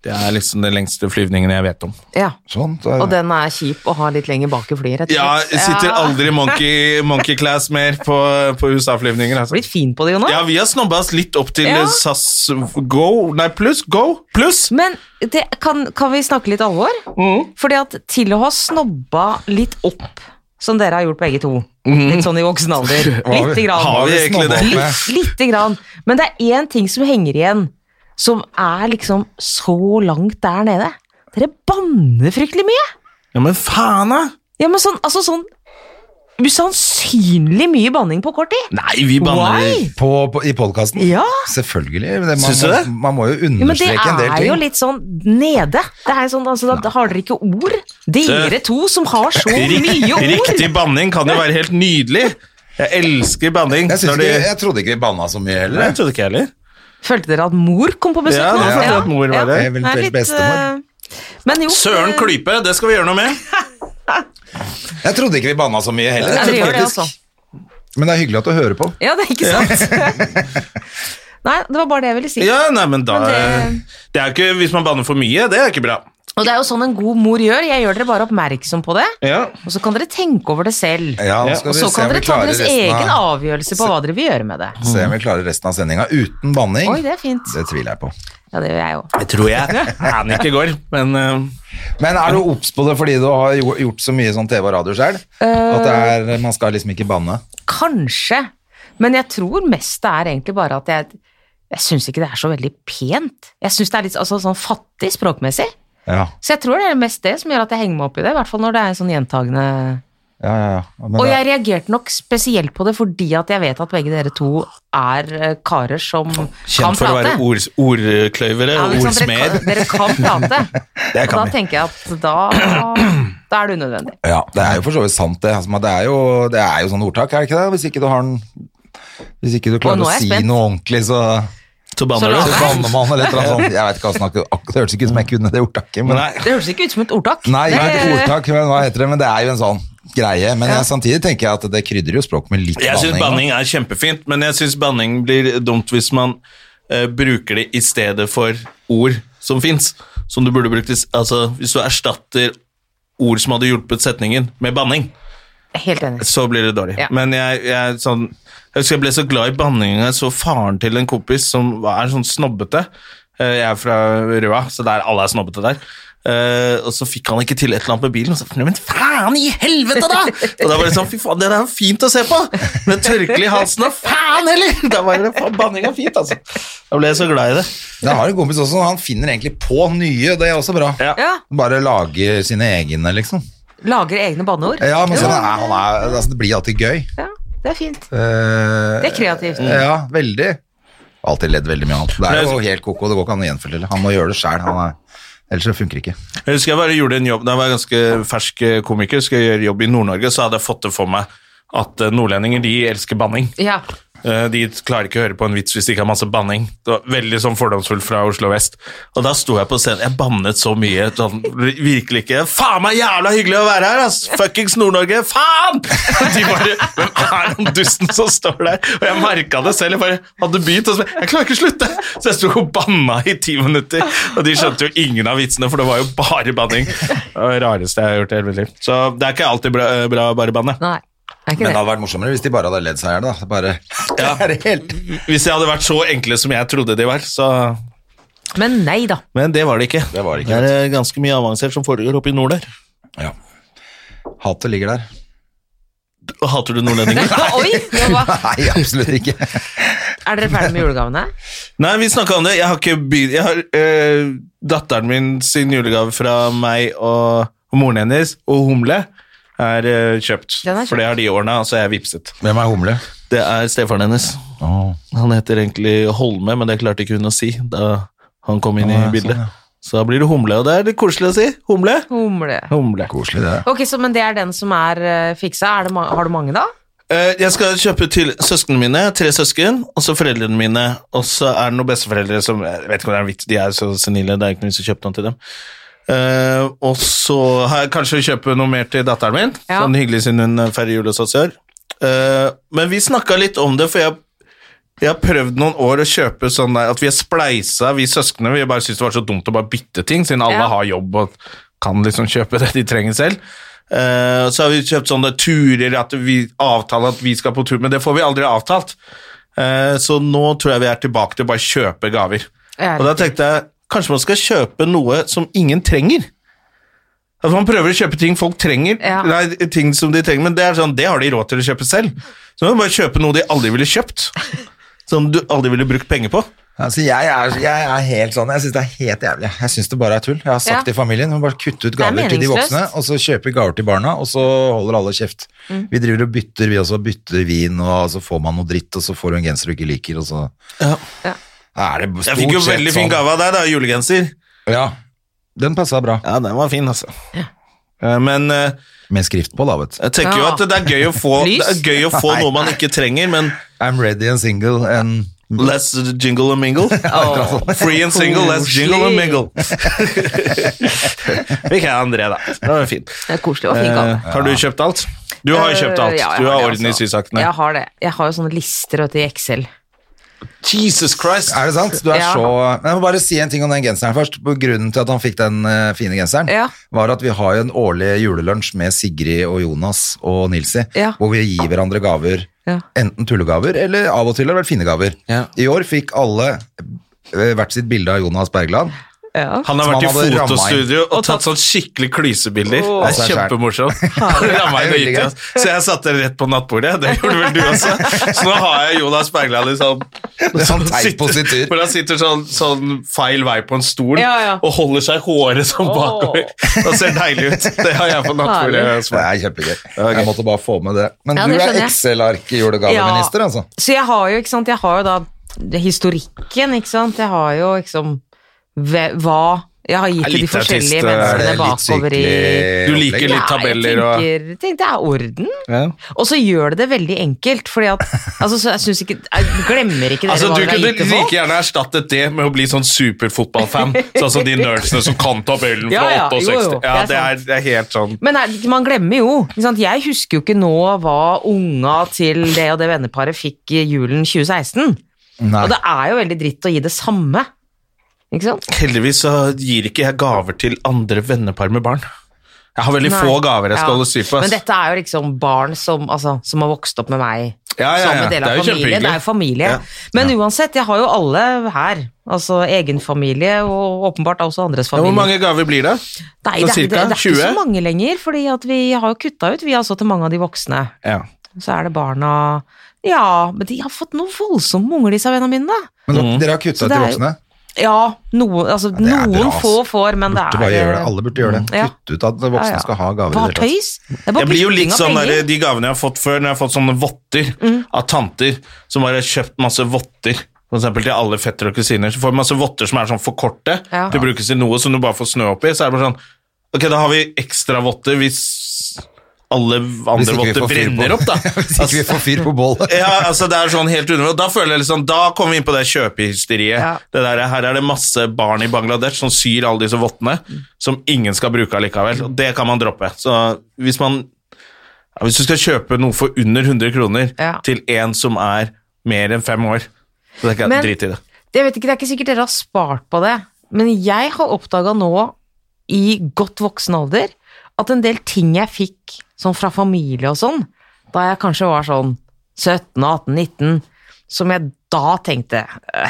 [SPEAKER 1] Det er liksom den lengste flyvningen jeg vet om.
[SPEAKER 4] ja.
[SPEAKER 2] Sånn, da,
[SPEAKER 4] Og den er kjip å ha litt lenger bak i flyet, rett og
[SPEAKER 1] Ja,
[SPEAKER 4] slett.
[SPEAKER 1] jeg sitter
[SPEAKER 4] Ja.
[SPEAKER 1] aldri i monkey, monkey class mer på, på USA-flyvninger. Altså.
[SPEAKER 4] Blitt fin på det, Jonas.
[SPEAKER 1] Ja, vi har snobba oss litt opp til
[SPEAKER 4] Ja.
[SPEAKER 1] eh, SAS Go Nei, pluss Go pluss.
[SPEAKER 4] Men det, kan, kan vi snakke litt alvor?
[SPEAKER 1] Mm.
[SPEAKER 4] Fordi at til å ha snobba litt opp, som dere har gjort begge to, litt sånn i voksen alder,
[SPEAKER 2] Hva har vi-
[SPEAKER 4] lite
[SPEAKER 1] Mm. Har
[SPEAKER 4] grann,
[SPEAKER 1] vi egentlig det?
[SPEAKER 2] snobba opp med?
[SPEAKER 4] litt, lite grann, men det er én ting som henger igjen, som er liksom så langt der nede. Dere banner fryktelig mye.
[SPEAKER 1] Ja, men faen, da!
[SPEAKER 4] Ja, men sånn, altså sånn usannsynlig mye banning på kort tid.
[SPEAKER 1] Nei, vi banner
[SPEAKER 4] Why?
[SPEAKER 2] på, på, I podkasten?
[SPEAKER 4] Ja.
[SPEAKER 2] Selvfølgelig. men Det, man,
[SPEAKER 1] Syns du det?
[SPEAKER 2] Må, man må jo
[SPEAKER 4] Ja, men det
[SPEAKER 2] understreke en del
[SPEAKER 4] er
[SPEAKER 2] ting.
[SPEAKER 4] jo litt sånn nede. Det er sånn, altså, da, da har dere ikke ord. Dere
[SPEAKER 1] Det-
[SPEAKER 4] to som har så mye ord.
[SPEAKER 1] Riktig banning kan jo være helt nydelig. Jeg elsker banning.
[SPEAKER 2] Jeg, syns
[SPEAKER 1] når
[SPEAKER 2] ikke,
[SPEAKER 1] det-
[SPEAKER 2] jeg trodde ikke vi banna så mye
[SPEAKER 1] Nei,
[SPEAKER 2] heller.
[SPEAKER 1] jeg trodde ikke jeg heller.
[SPEAKER 4] Følte dere at mor kom på besøk?
[SPEAKER 1] Ja,
[SPEAKER 4] nå?
[SPEAKER 1] nå følte jeg at mor var
[SPEAKER 4] Ja,
[SPEAKER 1] der.
[SPEAKER 4] det er
[SPEAKER 2] Eventuelt
[SPEAKER 4] litt,
[SPEAKER 2] bestemor.
[SPEAKER 4] eh, Men jo,
[SPEAKER 1] Søren
[SPEAKER 4] eh,
[SPEAKER 1] Klype, det skal vi gjøre noe med.
[SPEAKER 2] Jeg trodde ikke vi banna så mye heller.
[SPEAKER 4] Ja, dere gjør det,
[SPEAKER 2] faktisk.
[SPEAKER 4] altså.
[SPEAKER 2] Men det er hyggelig at du hører på.
[SPEAKER 4] Ja, det er ikke sant? Nei, det var bare det jeg ville si.
[SPEAKER 1] Ja, nei, men da
[SPEAKER 4] Men
[SPEAKER 1] det er jo ikke, Hvis man banner for mye, det er ikke bra.
[SPEAKER 4] Og det er jo sånn en god mor gjør. Jeg gjør dere bare oppmerksom på det.
[SPEAKER 1] Ja.
[SPEAKER 4] Og så kan dere tenke over det selv.
[SPEAKER 2] Ja, nå
[SPEAKER 1] Ja,
[SPEAKER 2] skal
[SPEAKER 4] Og
[SPEAKER 2] vi
[SPEAKER 4] så
[SPEAKER 2] se
[SPEAKER 4] kan
[SPEAKER 2] om vi
[SPEAKER 4] dere ta
[SPEAKER 2] klarer
[SPEAKER 4] deres
[SPEAKER 2] resten
[SPEAKER 4] egen
[SPEAKER 2] av,
[SPEAKER 4] avgjørelse på hva dere vil gjøre med det.
[SPEAKER 2] se om vi klarer resten av sendinga uten banning.
[SPEAKER 4] Oi, det er fint.
[SPEAKER 2] Det tviler jeg på.
[SPEAKER 4] Ja, det gjør jeg jo.
[SPEAKER 1] Jeg tror jeg aner ikke i går, men eh,
[SPEAKER 2] Men er du obs på det fordi du har jo- gjort så mye sånn TV og radio selv? At det er, man skal liksom ikke banne?
[SPEAKER 4] Kanskje. Men jeg tror mest det er egentlig bare at jeg jeg syns ikke det er så veldig pent. Jeg syns det er litt altså, sånn fattig språkmessig.
[SPEAKER 2] Ja,
[SPEAKER 4] Så jeg tror det er mest det som gjør at jeg henger meg opp i det. I hvert fall når det er en sånn gjentagende
[SPEAKER 2] ja, ja. ja. Men
[SPEAKER 4] Og
[SPEAKER 2] det-
[SPEAKER 4] jeg reagerte nok spesielt på det fordi at jeg vet at begge dere to er eh, karer som kan
[SPEAKER 1] kjent for å være
[SPEAKER 4] prate.
[SPEAKER 1] ord, ordkløyvere
[SPEAKER 4] Ja,
[SPEAKER 1] og
[SPEAKER 4] men ikke sant,
[SPEAKER 1] ordsmed.
[SPEAKER 4] Dere kan, dere
[SPEAKER 1] kan
[SPEAKER 4] kan prate. og da
[SPEAKER 1] vi.
[SPEAKER 4] tenker jeg at da, da er det unødvendig.
[SPEAKER 2] Ja, det er jo for så vidt sant det. Altså, men det, er jo, det er jo sånn ordtak, er det ikke det? Hvis ikke du har den Hvis ikke du
[SPEAKER 4] Og
[SPEAKER 2] klarer
[SPEAKER 4] nå
[SPEAKER 2] å
[SPEAKER 4] er jeg
[SPEAKER 2] si
[SPEAKER 4] spent.
[SPEAKER 2] noe ordentlig, så,
[SPEAKER 1] Så
[SPEAKER 4] Så
[SPEAKER 1] banner
[SPEAKER 4] la
[SPEAKER 1] du.
[SPEAKER 2] så
[SPEAKER 4] Nei.
[SPEAKER 2] banner man eller et eller annet sånt. Jeg vet ikke hva som akkurat akkurat- Det hørtes ikke ut som jeg kunne det ordtaket. Men,
[SPEAKER 1] Nei.
[SPEAKER 4] Det høres ikke ut som et ordtak.
[SPEAKER 2] nei,
[SPEAKER 4] det,
[SPEAKER 2] ikke et ordtak, men hva heter det? Men det er jo en sånn greie. Men jeg, samtidig tenker jeg at det krydrer jo språk med litt
[SPEAKER 1] Jeg syns
[SPEAKER 2] banning.
[SPEAKER 1] banning er kjempefint, men jeg syns banning blir dumt hvis man eh, bruker det i stedet for ord som fins. Som du burde brukt i s- Altså, hvis du erstatter ord som hadde hjulpet setningen, med banning,
[SPEAKER 4] Helt enig.
[SPEAKER 1] så blir det dårlig.
[SPEAKER 4] Ja.
[SPEAKER 1] Men jeg, jeg, er sånn, jeg husker jeg ble så glad i banninga. Jeg så faren til en kompis som er sånn snobbete. Eh, Jeg er fra Røa, så der alle er snobbete der. Eh, og så fikk han ikke til et eller annet med bilen. Og så, men faen i helvete, da! Og da var det sånn, fy faen, det er jo fint å se på! Med tørkle i halsen og faen heller! Da var det faen, banninga fint, altså. Da ble jeg så glad i det.
[SPEAKER 2] Jeg har en kompis også, han finner egentlig på nye, det er også bra.
[SPEAKER 1] Ja.
[SPEAKER 4] Ja,
[SPEAKER 2] Bare lager sine egne, liksom.
[SPEAKER 4] Lager egne banneord.
[SPEAKER 2] Ja, men sånn er, han er, altså, det blir alltid gøy.
[SPEAKER 4] Ja, det er fint.
[SPEAKER 2] Eh,
[SPEAKER 4] Det er kreativt.
[SPEAKER 2] Ja, veldig. Alltid ledd veldig mye av han. Det er jo helt koko, det går ikke an å gjenfortelle. Han må gjøre det sjæl. Ellers så funker det ikke.
[SPEAKER 1] Jeg husker jeg bare gjorde en jobb da jeg var ganske fersk komiker, skulle jeg gjøre jobb i Nord-Norge, så hadde jeg fått det for meg at eh, nordlendinger, de elsker banning.
[SPEAKER 4] Ja.
[SPEAKER 1] Eh, De klarer ikke å høre på en vits hvis de ikke har masse banning. Det var veldig sånn fordomsfullt fra Oslo vest. Og da sto jeg på scenen, jeg bannet så mye. Sånn, virkelig ikke. Faen meg jævla hyggelig å være her, ass! Fuckings Nord-Norge, faen! Og De bare, Hvem er han dusten som står der? Og jeg merka det selv. Jeg bare hadde begynt, og så bare, jeg klarer ikke å slutte! Så jeg sto og banna i ti minutter. Og de skjønte jo ingen av vitsene, for det var jo bare banning. Det var det rareste jeg har gjort i hele mitt liv. Så det er ikke alltid bra, eh, bra å bare banne.
[SPEAKER 4] Nei, det er
[SPEAKER 2] Men
[SPEAKER 4] ikke
[SPEAKER 2] det
[SPEAKER 4] det.
[SPEAKER 2] hadde vært morsommere hvis de bare hadde ledd seg i hjel, da. Bare, ja. er det helt...
[SPEAKER 1] Hvis jeg hadde vært så enkle som jeg trodde de var, så
[SPEAKER 4] Men nei da.
[SPEAKER 1] Men det var det ikke.
[SPEAKER 2] Det var det ikke,
[SPEAKER 1] er eh, ganske mye avansert som foregår oppe i nord der.
[SPEAKER 2] Ja. Hatet ligger der.
[SPEAKER 1] Hater du nordlendinger?
[SPEAKER 4] Oi! nå var-
[SPEAKER 2] Nei, absolutt ikke.
[SPEAKER 4] Er dere ferdige med julegavene?
[SPEAKER 1] Nei, vi snakka om det. Jeg har ikke begynt Jeg har eh, datteren min sin julegave fra meg og moren hennes og humle er eh, kjøpt.
[SPEAKER 4] Den er kjøpt.
[SPEAKER 1] For det har de ordna, og så er jeg vippset.
[SPEAKER 2] Hvem er humle?
[SPEAKER 1] Det er stefaren hennes.
[SPEAKER 2] Åh.
[SPEAKER 1] Han heter egentlig Holme, men det klarte ikke hun å si da han kom inn i
[SPEAKER 2] Å, ja,
[SPEAKER 1] bildet.
[SPEAKER 2] sånn, ja.
[SPEAKER 1] Så da blir det humle, og det er litt koselig å si. Humle.
[SPEAKER 4] Humle.
[SPEAKER 1] Humle.
[SPEAKER 2] Koselig, det.
[SPEAKER 4] Ok, så, Men det er den som er eh, fiksa. Er det, ma- har du mange, da?
[SPEAKER 1] Eh, Jeg skal kjøpe til søsknene mine, tre søsken, og så foreldrene mine. Og så er det noen besteforeldre som Jeg vet ikke om det er en vits, de er så senile. Det er ikke noe vits å kjøpe noe til dem. Eh, og så har jeg kanskje kjøpe noe mer til datteren min.
[SPEAKER 4] Ja.
[SPEAKER 1] Sånn hyggelig siden hun eh, feirer jul hos oss i år. Eh, men vi snakka litt om det, for jeg, jeg har prøvd noen år å kjøpe sånn der, at vi er spleisa, vi søsknene. Vi bare syntes det var så dumt å bare bytte ting, siden alle
[SPEAKER 4] Ja.
[SPEAKER 1] har jobb og kan liksom kjøpe det de trenger selv. Eh, så har vi kjøpt sånne turer, at vi avtaler at vi skal på tur, men det får vi aldri avtalt. Eh, så nå tror jeg vi er tilbake til å bare kjøpe gaver.
[SPEAKER 4] Ja,
[SPEAKER 1] Og da tenkte jeg, kanskje man skal kjøpe noe som ingen trenger. At man prøver å kjøpe ting folk trenger,
[SPEAKER 4] Ja.
[SPEAKER 1] nei, ting som de trenger, men det er sånn, det har de råd til å kjøpe selv. Så må man bare kjøpe noe de aldri ville kjøpt. Som du aldri ville brukt penger på.
[SPEAKER 2] Altså, jeg, er, jeg er helt sånn, jeg syns det er helt jævlig. Jeg syns det bare er tull. Jeg har sagt
[SPEAKER 4] Ja.
[SPEAKER 2] til familien hun bare kutte ut gaver til de
[SPEAKER 4] meningsløst.
[SPEAKER 2] voksne, og så kjøper gaver til barna, og så holder alle kjeft.
[SPEAKER 4] Mm.
[SPEAKER 2] Vi driver og bytter, vi også bytter vin, og så får man noe dritt, og så får du en genser du ikke liker, og så
[SPEAKER 1] Ja.
[SPEAKER 4] Ja.
[SPEAKER 2] er det stort
[SPEAKER 1] Jeg fikk jo
[SPEAKER 2] sett
[SPEAKER 1] veldig fin
[SPEAKER 2] sånn.
[SPEAKER 1] gave av deg, da, julegenser.
[SPEAKER 2] Ja, den passa bra.
[SPEAKER 1] Ja, den var fin, altså. Eh, Men eh,
[SPEAKER 2] Med skrift på, da, vet du.
[SPEAKER 1] jeg tenker jo
[SPEAKER 4] Ja.
[SPEAKER 1] at det er gøy å få, det
[SPEAKER 4] Lys?
[SPEAKER 1] er gøy å få noe man ikke trenger, men
[SPEAKER 2] I'm ready and single and
[SPEAKER 1] Let's jingle and mingle. Free and single, let's jingle and mingle. Vi kan ha André, da. Det var fint.
[SPEAKER 4] Det er koselig og fin gave.
[SPEAKER 1] Eh, har du kjøpt alt? Du har jo kjøpt
[SPEAKER 4] Eh,
[SPEAKER 1] alt.
[SPEAKER 4] ja, jeg
[SPEAKER 1] du har
[SPEAKER 4] det,
[SPEAKER 1] orden i
[SPEAKER 4] altså.
[SPEAKER 1] sysakene.
[SPEAKER 4] Jeg har det. Jeg har jo sånne lister vet du, i Excel.
[SPEAKER 1] Jesus Christ!
[SPEAKER 2] Er det sant? Du er
[SPEAKER 4] Ja.
[SPEAKER 2] så Jeg må bare si en ting om den genseren først. På Grunnen til at han fikk den eh, fine genseren,
[SPEAKER 4] Ja.
[SPEAKER 2] var at vi har jo en årlig julelunsj med Sigrid og Jonas og Nilsi,
[SPEAKER 4] Ja.
[SPEAKER 2] hvor vi gir hverandre gaver.
[SPEAKER 4] Ja.
[SPEAKER 2] Enten tullegaver, eller av og til har det vært fine gaver.
[SPEAKER 1] Ja.
[SPEAKER 2] I år fikk alle eh, hvert sitt bilde av Jonas Bergland.
[SPEAKER 4] Ja.
[SPEAKER 1] Han har
[SPEAKER 2] Som
[SPEAKER 1] vært i
[SPEAKER 2] han hadde rammet
[SPEAKER 1] fotostudio og tatt sånn skikkelig klysebilder. Det
[SPEAKER 2] Altså,
[SPEAKER 1] er
[SPEAKER 2] skjær.
[SPEAKER 1] kjempemorsomt. Rammet inn og
[SPEAKER 2] veldig
[SPEAKER 1] gitt til oss. Så jeg satte det rett på nattbordet. Det gjorde vel du også. Så nå har jeg Jonas Bergland i sånn
[SPEAKER 2] Det er sånn
[SPEAKER 1] sitter,
[SPEAKER 2] teippositur.
[SPEAKER 1] hvor han sitter sånn, sånn feil vei på en stol
[SPEAKER 4] Ja, ja.
[SPEAKER 1] og holder seg håret sånn bakover. Det ser deilig ut. Det har jeg på nattbordet.
[SPEAKER 2] Det
[SPEAKER 1] Sven.
[SPEAKER 2] er kjempegøy. Jeg måtte bare få med det. Men
[SPEAKER 4] Ja,
[SPEAKER 2] du
[SPEAKER 4] det
[SPEAKER 2] er
[SPEAKER 4] skjønner jeg.
[SPEAKER 2] Excel-ark-julegaveminister, altså.
[SPEAKER 4] Så jeg har jo, ikke sant, jeg har jo da historikken, ikke sant. Jeg har jo liksom ve- hva jeg har gitt
[SPEAKER 1] Er
[SPEAKER 4] til de
[SPEAKER 1] litt artist, er
[SPEAKER 4] forskjellige
[SPEAKER 2] Er
[SPEAKER 4] menneskene
[SPEAKER 2] det litt
[SPEAKER 4] bakover i
[SPEAKER 2] sykelig
[SPEAKER 1] Du liker
[SPEAKER 2] opplegg?
[SPEAKER 1] litt tabeller
[SPEAKER 4] ja,
[SPEAKER 1] og
[SPEAKER 4] jeg tenker, tenk, Det er orden.
[SPEAKER 1] ja.
[SPEAKER 4] Og så gjør det det veldig enkelt, fordi at altså, så jeg synes ikke Jeg glemmer ikke dere
[SPEAKER 1] Altså,
[SPEAKER 4] hva
[SPEAKER 1] Du
[SPEAKER 4] dere har
[SPEAKER 1] kunne
[SPEAKER 4] gitt til folk.
[SPEAKER 1] like gjerne erstattet det med å bli sånn superfotballfan. Sånn som de nerdsene som kan tabellen fra
[SPEAKER 4] Ja, ja, jo,
[SPEAKER 1] 68.
[SPEAKER 4] jo,
[SPEAKER 1] Ja,
[SPEAKER 4] det
[SPEAKER 1] det
[SPEAKER 4] er
[SPEAKER 1] er, det er helt sånn
[SPEAKER 4] Men nei, man glemmer jo. Ikke sant? Jeg husker jo ikke nå hva unga til det og det venneparet fikk i julen 2016.
[SPEAKER 2] Nei.
[SPEAKER 4] Og det er jo veldig dritt å gi det samme. Ikke sant?
[SPEAKER 1] Heldigvis så gir ikke jeg gaver til andre vennepar med barn. Jeg har veldig
[SPEAKER 4] Nei.
[SPEAKER 1] få gaver jeg skal
[SPEAKER 4] Ja.
[SPEAKER 1] holde styr på. ass.
[SPEAKER 4] Men dette er jo liksom barn som, altså, som har vokst opp med meg.
[SPEAKER 1] Ja, ja,
[SPEAKER 4] Som
[SPEAKER 1] ja.
[SPEAKER 4] en del
[SPEAKER 1] Det
[SPEAKER 4] av
[SPEAKER 1] er jo
[SPEAKER 4] familien. Det er jo familie.
[SPEAKER 1] Ja.
[SPEAKER 4] Men uansett, jeg har jo alle her. Altså egen familie, og åpenbart også andres
[SPEAKER 1] Ja,
[SPEAKER 4] familie.
[SPEAKER 1] Hvor mange gaver blir det?
[SPEAKER 4] Nei,
[SPEAKER 1] Sånn
[SPEAKER 4] det, er-
[SPEAKER 1] cirka?
[SPEAKER 4] det, det er ikke
[SPEAKER 1] 20?
[SPEAKER 4] så mange lenger, fordi at vi har jo kutta ut, vi altså, til mange av de voksne.
[SPEAKER 1] Ja.
[SPEAKER 4] Så er det barna Ja, men de har fått noe voldsomt med unger, disse vennene mine, da.
[SPEAKER 2] Men
[SPEAKER 1] Mm.
[SPEAKER 2] dere har kutta
[SPEAKER 4] Så
[SPEAKER 2] ut
[SPEAKER 4] det
[SPEAKER 2] de
[SPEAKER 4] er jo-
[SPEAKER 2] voksne?
[SPEAKER 4] Ja, noe, altså,
[SPEAKER 2] det er
[SPEAKER 4] noen
[SPEAKER 2] bra, ass.
[SPEAKER 4] få får, men det
[SPEAKER 2] Burde
[SPEAKER 4] er
[SPEAKER 2] bare gjøre det. Alle burde gjøre det.
[SPEAKER 4] Mm. Ja.
[SPEAKER 2] Kutt ut at voksne
[SPEAKER 4] Ja, ja.
[SPEAKER 2] skal ha gaver. i
[SPEAKER 4] Bare
[SPEAKER 2] det hele tatt.
[SPEAKER 4] tøys. Det er bare
[SPEAKER 1] Jeg blir jo litt
[SPEAKER 4] putting av
[SPEAKER 1] sånn der,
[SPEAKER 4] penger.
[SPEAKER 1] De gavene jeg har fått før, når jeg har fått sånne votter av tanter, som bare har kjøpt masse votter, for eksempel til alle fettere og kusiner, så får jeg masse votter som er sånn for korte,
[SPEAKER 4] Ja.
[SPEAKER 1] de brukes til noe som du bare får snø oppi, så er det bare sånn, ok, da har vi ekstra votter hvis alle
[SPEAKER 2] Hvis
[SPEAKER 1] andre
[SPEAKER 2] ikke vi
[SPEAKER 1] votter
[SPEAKER 2] får fyr på-
[SPEAKER 1] brenner opp, da.
[SPEAKER 2] Hvis ikke vi får fyr på bålet.
[SPEAKER 1] Ja, altså det er sånn helt unødvendig. Og Da føler jeg liksom, da kommer vi inn på det kjøpehysteriet.
[SPEAKER 4] Ja.
[SPEAKER 1] Det der, her er det masse barn i Bangladesh som syr alle disse vottene, som ingen skal bruke allikevel. Og det kan man droppe. Så hvis man ja, Hvis du skal kjøpe noe for under 100 kroner
[SPEAKER 4] Ja.
[SPEAKER 1] til en som er mer enn fem år, så tenker jeg
[SPEAKER 4] Men-
[SPEAKER 1] drit i det.
[SPEAKER 4] Jeg vet ikke, Det er ikke sikkert dere har spart på det, men jeg har oppdaga nå, i godt voksen alder, at en del ting jeg fikk sånn fra familie og sånn, da jeg kanskje var sånn 17, 18, 19, som jeg da tenkte øh,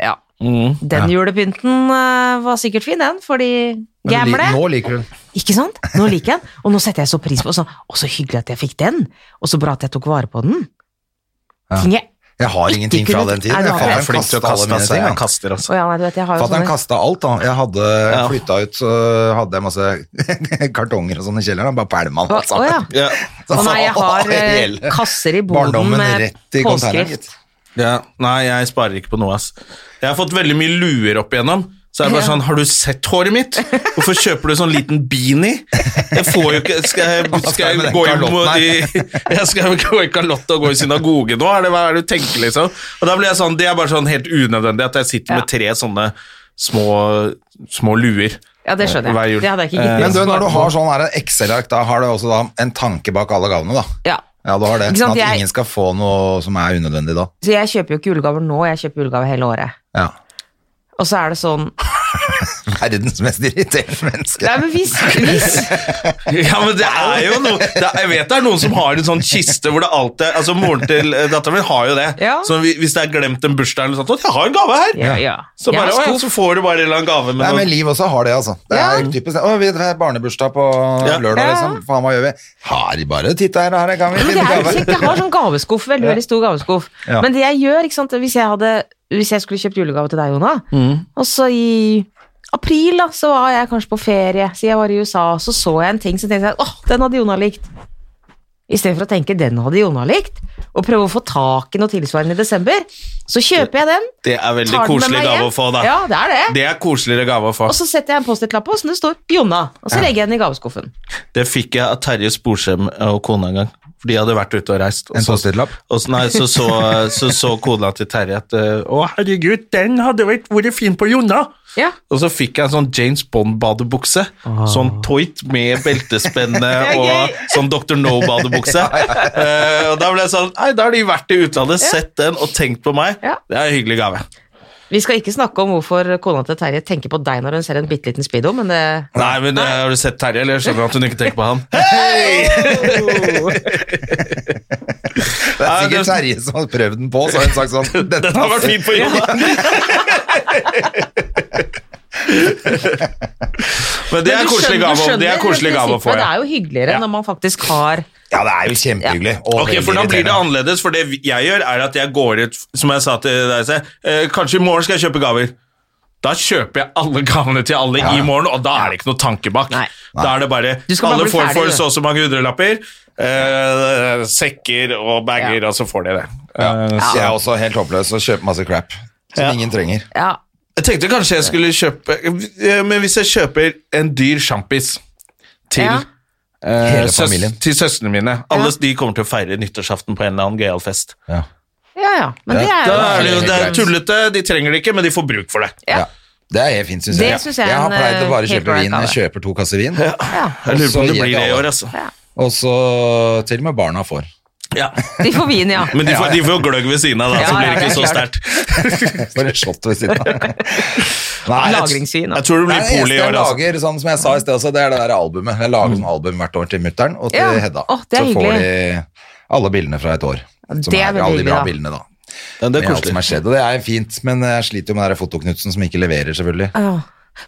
[SPEAKER 4] Ja,
[SPEAKER 1] Mm.
[SPEAKER 4] den julepynten øh, var sikkert fin, den, for de
[SPEAKER 2] Men li-
[SPEAKER 4] gamle.
[SPEAKER 2] Nå liker hun.
[SPEAKER 4] Ikke sant? Nå liker jeg den, og nå setter jeg så pris på den. Og så hyggelig at jeg fikk den, og så bra at jeg tok vare på den.
[SPEAKER 2] Ja.
[SPEAKER 4] Ting jeg
[SPEAKER 2] Jeg har
[SPEAKER 4] Ikke
[SPEAKER 2] ingenting fra
[SPEAKER 4] kunne-
[SPEAKER 2] den tiden.
[SPEAKER 4] Nei, du
[SPEAKER 2] Jeg
[SPEAKER 4] har
[SPEAKER 2] faen,
[SPEAKER 4] ikke.
[SPEAKER 2] jeg er flink til å kaste mine
[SPEAKER 1] altså.
[SPEAKER 2] ting.
[SPEAKER 1] Jeg
[SPEAKER 2] da.
[SPEAKER 1] kaster, altså.
[SPEAKER 4] Å ja, nei, du vet, jeg har jo
[SPEAKER 2] Fatter'n
[SPEAKER 4] sånne
[SPEAKER 2] kasta alt, da. Jeg hadde flytta ut, så hadde jeg masse kartonger og sånn i kjelleren. Bare pælma
[SPEAKER 4] Å
[SPEAKER 2] alt
[SPEAKER 4] å ja.
[SPEAKER 2] sammen.
[SPEAKER 1] Ja.
[SPEAKER 4] Å nei, jeg har eh,
[SPEAKER 2] Altså, Hele
[SPEAKER 4] kasser i boden
[SPEAKER 2] Barndommen
[SPEAKER 4] med
[SPEAKER 2] rett i containeren.
[SPEAKER 4] påskrift.
[SPEAKER 2] gitt.
[SPEAKER 1] Ja, nei, jeg sparer ikke på noe, ass. Jeg har fått veldig mye luer opp igjennom. Så er det bare sånn, har du sett håret mitt? Hvorfor kjøper du sånn liten beanie? Jeg får jo ikke, skal jeg,
[SPEAKER 2] Hva skal
[SPEAKER 1] skal
[SPEAKER 2] jeg med den
[SPEAKER 1] jeg gå i mo-
[SPEAKER 2] kalotten
[SPEAKER 1] i, jeg skal jo gå i kalott og gå i synagoge nå? Er det, hva er det du tenker, liksom? Og da blir jeg sånn, det er bare sånn helt unødvendig at jeg sitter med tre sånne små, små luer.
[SPEAKER 4] Ja, det skjønner
[SPEAKER 1] Hver jul.
[SPEAKER 4] jeg. Det hadde jeg ikke
[SPEAKER 2] Men
[SPEAKER 4] giddet.
[SPEAKER 2] du,
[SPEAKER 4] å
[SPEAKER 2] når du
[SPEAKER 4] spare
[SPEAKER 2] har
[SPEAKER 4] på.
[SPEAKER 2] sånn her Excel-ark, da har du også da en tanke bak alle gavene, da.
[SPEAKER 4] ja.
[SPEAKER 2] Ja, du har det.
[SPEAKER 4] Ikke
[SPEAKER 2] Sånn
[SPEAKER 4] sant,
[SPEAKER 2] at
[SPEAKER 4] jeg-
[SPEAKER 2] ingen skal få noe som er unødvendig da.
[SPEAKER 4] Så jeg kjøper jo ikke julegaver nå, jeg kjøper julegaver hele året.
[SPEAKER 2] Ja.
[SPEAKER 4] Og så er det sånn
[SPEAKER 2] Verdens mest irriterende menneske.
[SPEAKER 4] Nei, men hvis, hvis
[SPEAKER 1] Ja, men det er jo noe det er, Jeg vet det er noen som har en sånn kiste hvor det alltid Altså, moren til eh, datteren min har jo det.
[SPEAKER 4] Ja.
[SPEAKER 1] Så vi- hvis det er glemt en bursdag eller noe sånt, «Å, 'Jeg har en gave her!'
[SPEAKER 4] Ja, ja.
[SPEAKER 1] Så,
[SPEAKER 4] Jeg
[SPEAKER 1] bare, «Å,
[SPEAKER 4] har
[SPEAKER 1] ja,
[SPEAKER 4] skuff.
[SPEAKER 1] så får du bare en eller annen gave med
[SPEAKER 2] Nei, men
[SPEAKER 1] noe.
[SPEAKER 2] Liv også har det, altså. Det er
[SPEAKER 4] Ja.
[SPEAKER 2] typisk Å, vi har barnebursdag på
[SPEAKER 1] Ja.
[SPEAKER 2] lørdag,
[SPEAKER 4] Ja.
[SPEAKER 2] liksom. Faen, hva gjør vi? Har de bare titt her og her, kan vi
[SPEAKER 4] Men det
[SPEAKER 2] finne
[SPEAKER 4] er jo
[SPEAKER 2] gave?
[SPEAKER 4] kjekt. Jeg har sånn gaveskuff, veldig veldig stor gaveskuff.
[SPEAKER 2] Ja.
[SPEAKER 4] Men det jeg gjør, ikke sant, hvis jeg, hadde, hvis jeg skulle kjøpt julegave til deg, Jona,
[SPEAKER 1] Mm.
[SPEAKER 4] og så i april da, så var jeg kanskje på ferie, så jeg var i USA, og så så jeg en ting, så tenkte jeg, åh, den hadde Jona likt. I stedet for å tenke, den hadde Jona likt, og prøve å få tak i noe tilsvarende i desember, så kjøper jeg den,
[SPEAKER 1] Det er veldig
[SPEAKER 4] tar den med
[SPEAKER 1] koselig
[SPEAKER 4] meg hjem.
[SPEAKER 1] gave å få, da.
[SPEAKER 4] Ja, det er det.
[SPEAKER 1] Det er koseligere gave å få.
[SPEAKER 4] Og så setter jeg en post-it-lapp på, som det står Jonna, og så legger jeg den i gaveskuffen.
[SPEAKER 1] Det fikk jeg av Terje Sporsem og kona en gang. For de hadde vært ute og reist. Og
[SPEAKER 2] En
[SPEAKER 1] så-
[SPEAKER 2] post-it-lapp?
[SPEAKER 1] og så- Nei, så så, så, så kona til Terje at eh, Å, herregud, den hadde vært, vært fin på Jonna!
[SPEAKER 4] Ja.
[SPEAKER 1] Og så fikk jeg en sånn James Bond-badebukse.
[SPEAKER 4] Ah.
[SPEAKER 1] Sånn toit med beltespenne og sånn Dr. No-badebukse. Eh, og da ble jeg sånn Nei, da har de vært i utlandet, sett den og tenkt på meg.
[SPEAKER 4] Ja.
[SPEAKER 1] Det er en hyggelig gave.
[SPEAKER 4] Vi skal ikke snakke om hvorfor kona til Terje tenker på deg når hun ser en bitte liten speedo, men det
[SPEAKER 1] Nei, men eh, har du sett Terje, eller skjønner du at hun ikke tenker på han?
[SPEAKER 2] Det er
[SPEAKER 1] Ja, det-
[SPEAKER 2] sikkert Terje som har prøvd den på, så har hun sagt sånn Dette
[SPEAKER 1] Den har vært fin på jorda! men det er
[SPEAKER 4] Men
[SPEAKER 1] en
[SPEAKER 4] du
[SPEAKER 1] koselig
[SPEAKER 4] skjønner- du
[SPEAKER 1] gave, å- det er
[SPEAKER 4] skjønner
[SPEAKER 1] en koselig gave å få.
[SPEAKER 4] prinsippet, Det
[SPEAKER 1] Ja.
[SPEAKER 4] er jo hyggeligere
[SPEAKER 1] Ja.
[SPEAKER 4] når man faktisk har
[SPEAKER 2] Ja, det er jo kjempehyggelig. og
[SPEAKER 1] Ok,
[SPEAKER 2] veldig
[SPEAKER 1] for da blir det
[SPEAKER 2] irriterende.
[SPEAKER 1] annerledes, for det vi- jeg gjør er at jeg går ut, som jeg sa til deg, se, eh, kanskje i morgen skal jeg kjøpe gaver. Da kjøper jeg alle gavene til alle i morgen, og da er det ikke noe tanke bak.
[SPEAKER 4] Nei.
[SPEAKER 1] Da er det bare,
[SPEAKER 4] Du skal bare
[SPEAKER 1] alle
[SPEAKER 4] bli
[SPEAKER 1] får
[SPEAKER 4] ferdig,
[SPEAKER 1] for
[SPEAKER 4] du.
[SPEAKER 1] så og så mange hundrelapper, eh, sekker og bager, og så får de det. Eh,
[SPEAKER 2] Så jeg er også helt håpløs og kjøper masse crap som
[SPEAKER 1] Ja.
[SPEAKER 2] ingen trenger.
[SPEAKER 4] Ja,
[SPEAKER 1] Jeg tenkte kanskje jeg skulle kjøpe eh, Men hvis jeg kjøper en dyr sjampis til
[SPEAKER 4] Ja.
[SPEAKER 1] eh,
[SPEAKER 2] Hele
[SPEAKER 1] søs-
[SPEAKER 2] familien.
[SPEAKER 1] Til søstrene mine. Alle de kommer til å feire nyttårsaften på en eller annen gøyal fest.
[SPEAKER 2] Ja.
[SPEAKER 4] ja. ja. Men det
[SPEAKER 2] Ja,
[SPEAKER 4] er
[SPEAKER 1] Da
[SPEAKER 4] jo
[SPEAKER 1] er det jo det er
[SPEAKER 2] greit.
[SPEAKER 1] tullete, de trenger det ikke, men de får bruk for det.
[SPEAKER 4] Ja.
[SPEAKER 2] Ja. Det er helt fint, syns
[SPEAKER 4] Det
[SPEAKER 2] jeg.
[SPEAKER 4] synes jeg er
[SPEAKER 2] jeg har
[SPEAKER 4] en,
[SPEAKER 2] pleid å bare
[SPEAKER 4] eh, helt
[SPEAKER 2] kjøpe vin.
[SPEAKER 4] right
[SPEAKER 2] Jeg kjøper to kasser vin,
[SPEAKER 1] Jeg lurer på
[SPEAKER 2] Og
[SPEAKER 1] om
[SPEAKER 2] så
[SPEAKER 1] det
[SPEAKER 2] gir
[SPEAKER 1] blir
[SPEAKER 2] jeg
[SPEAKER 1] det i
[SPEAKER 2] alle.
[SPEAKER 1] år, altså.
[SPEAKER 2] og så til og med barna får.
[SPEAKER 1] Ja.
[SPEAKER 4] De får vin, ja.
[SPEAKER 1] Men de får, de får jo gløgg ved siden av, da,
[SPEAKER 4] Ja,
[SPEAKER 1] så blir
[SPEAKER 4] ja,
[SPEAKER 1] det
[SPEAKER 4] det
[SPEAKER 1] ikke
[SPEAKER 4] er
[SPEAKER 1] så
[SPEAKER 4] klart.
[SPEAKER 1] sterkt.
[SPEAKER 2] For et shot ved siden av. Nei, jeg-
[SPEAKER 4] Lagringsvin. da.
[SPEAKER 1] Jeg tror det
[SPEAKER 2] Nei,
[SPEAKER 1] blir
[SPEAKER 2] det eneste
[SPEAKER 1] pol i
[SPEAKER 2] jeg
[SPEAKER 1] år, altså.
[SPEAKER 2] lager, sånn som jeg sa i sted også, det er det der albumet. Jeg lager sånn album hvert år til mutter'n og til
[SPEAKER 4] Ja.
[SPEAKER 2] Hedda.
[SPEAKER 4] Åh, det er
[SPEAKER 2] så får
[SPEAKER 4] hyggelig.
[SPEAKER 2] de alle bildene fra et år. Som
[SPEAKER 4] det er
[SPEAKER 2] er,
[SPEAKER 4] veldig
[SPEAKER 2] alle de bra
[SPEAKER 4] hyggelig, da.
[SPEAKER 2] bildene, da.
[SPEAKER 1] Ja, det
[SPEAKER 2] Med
[SPEAKER 1] er
[SPEAKER 2] alt som
[SPEAKER 1] koselig.
[SPEAKER 2] er skjedd. Og det er fint, men jeg sliter jo med den der fotoknutsen som ikke leverer, selvfølgelig.
[SPEAKER 4] Ja.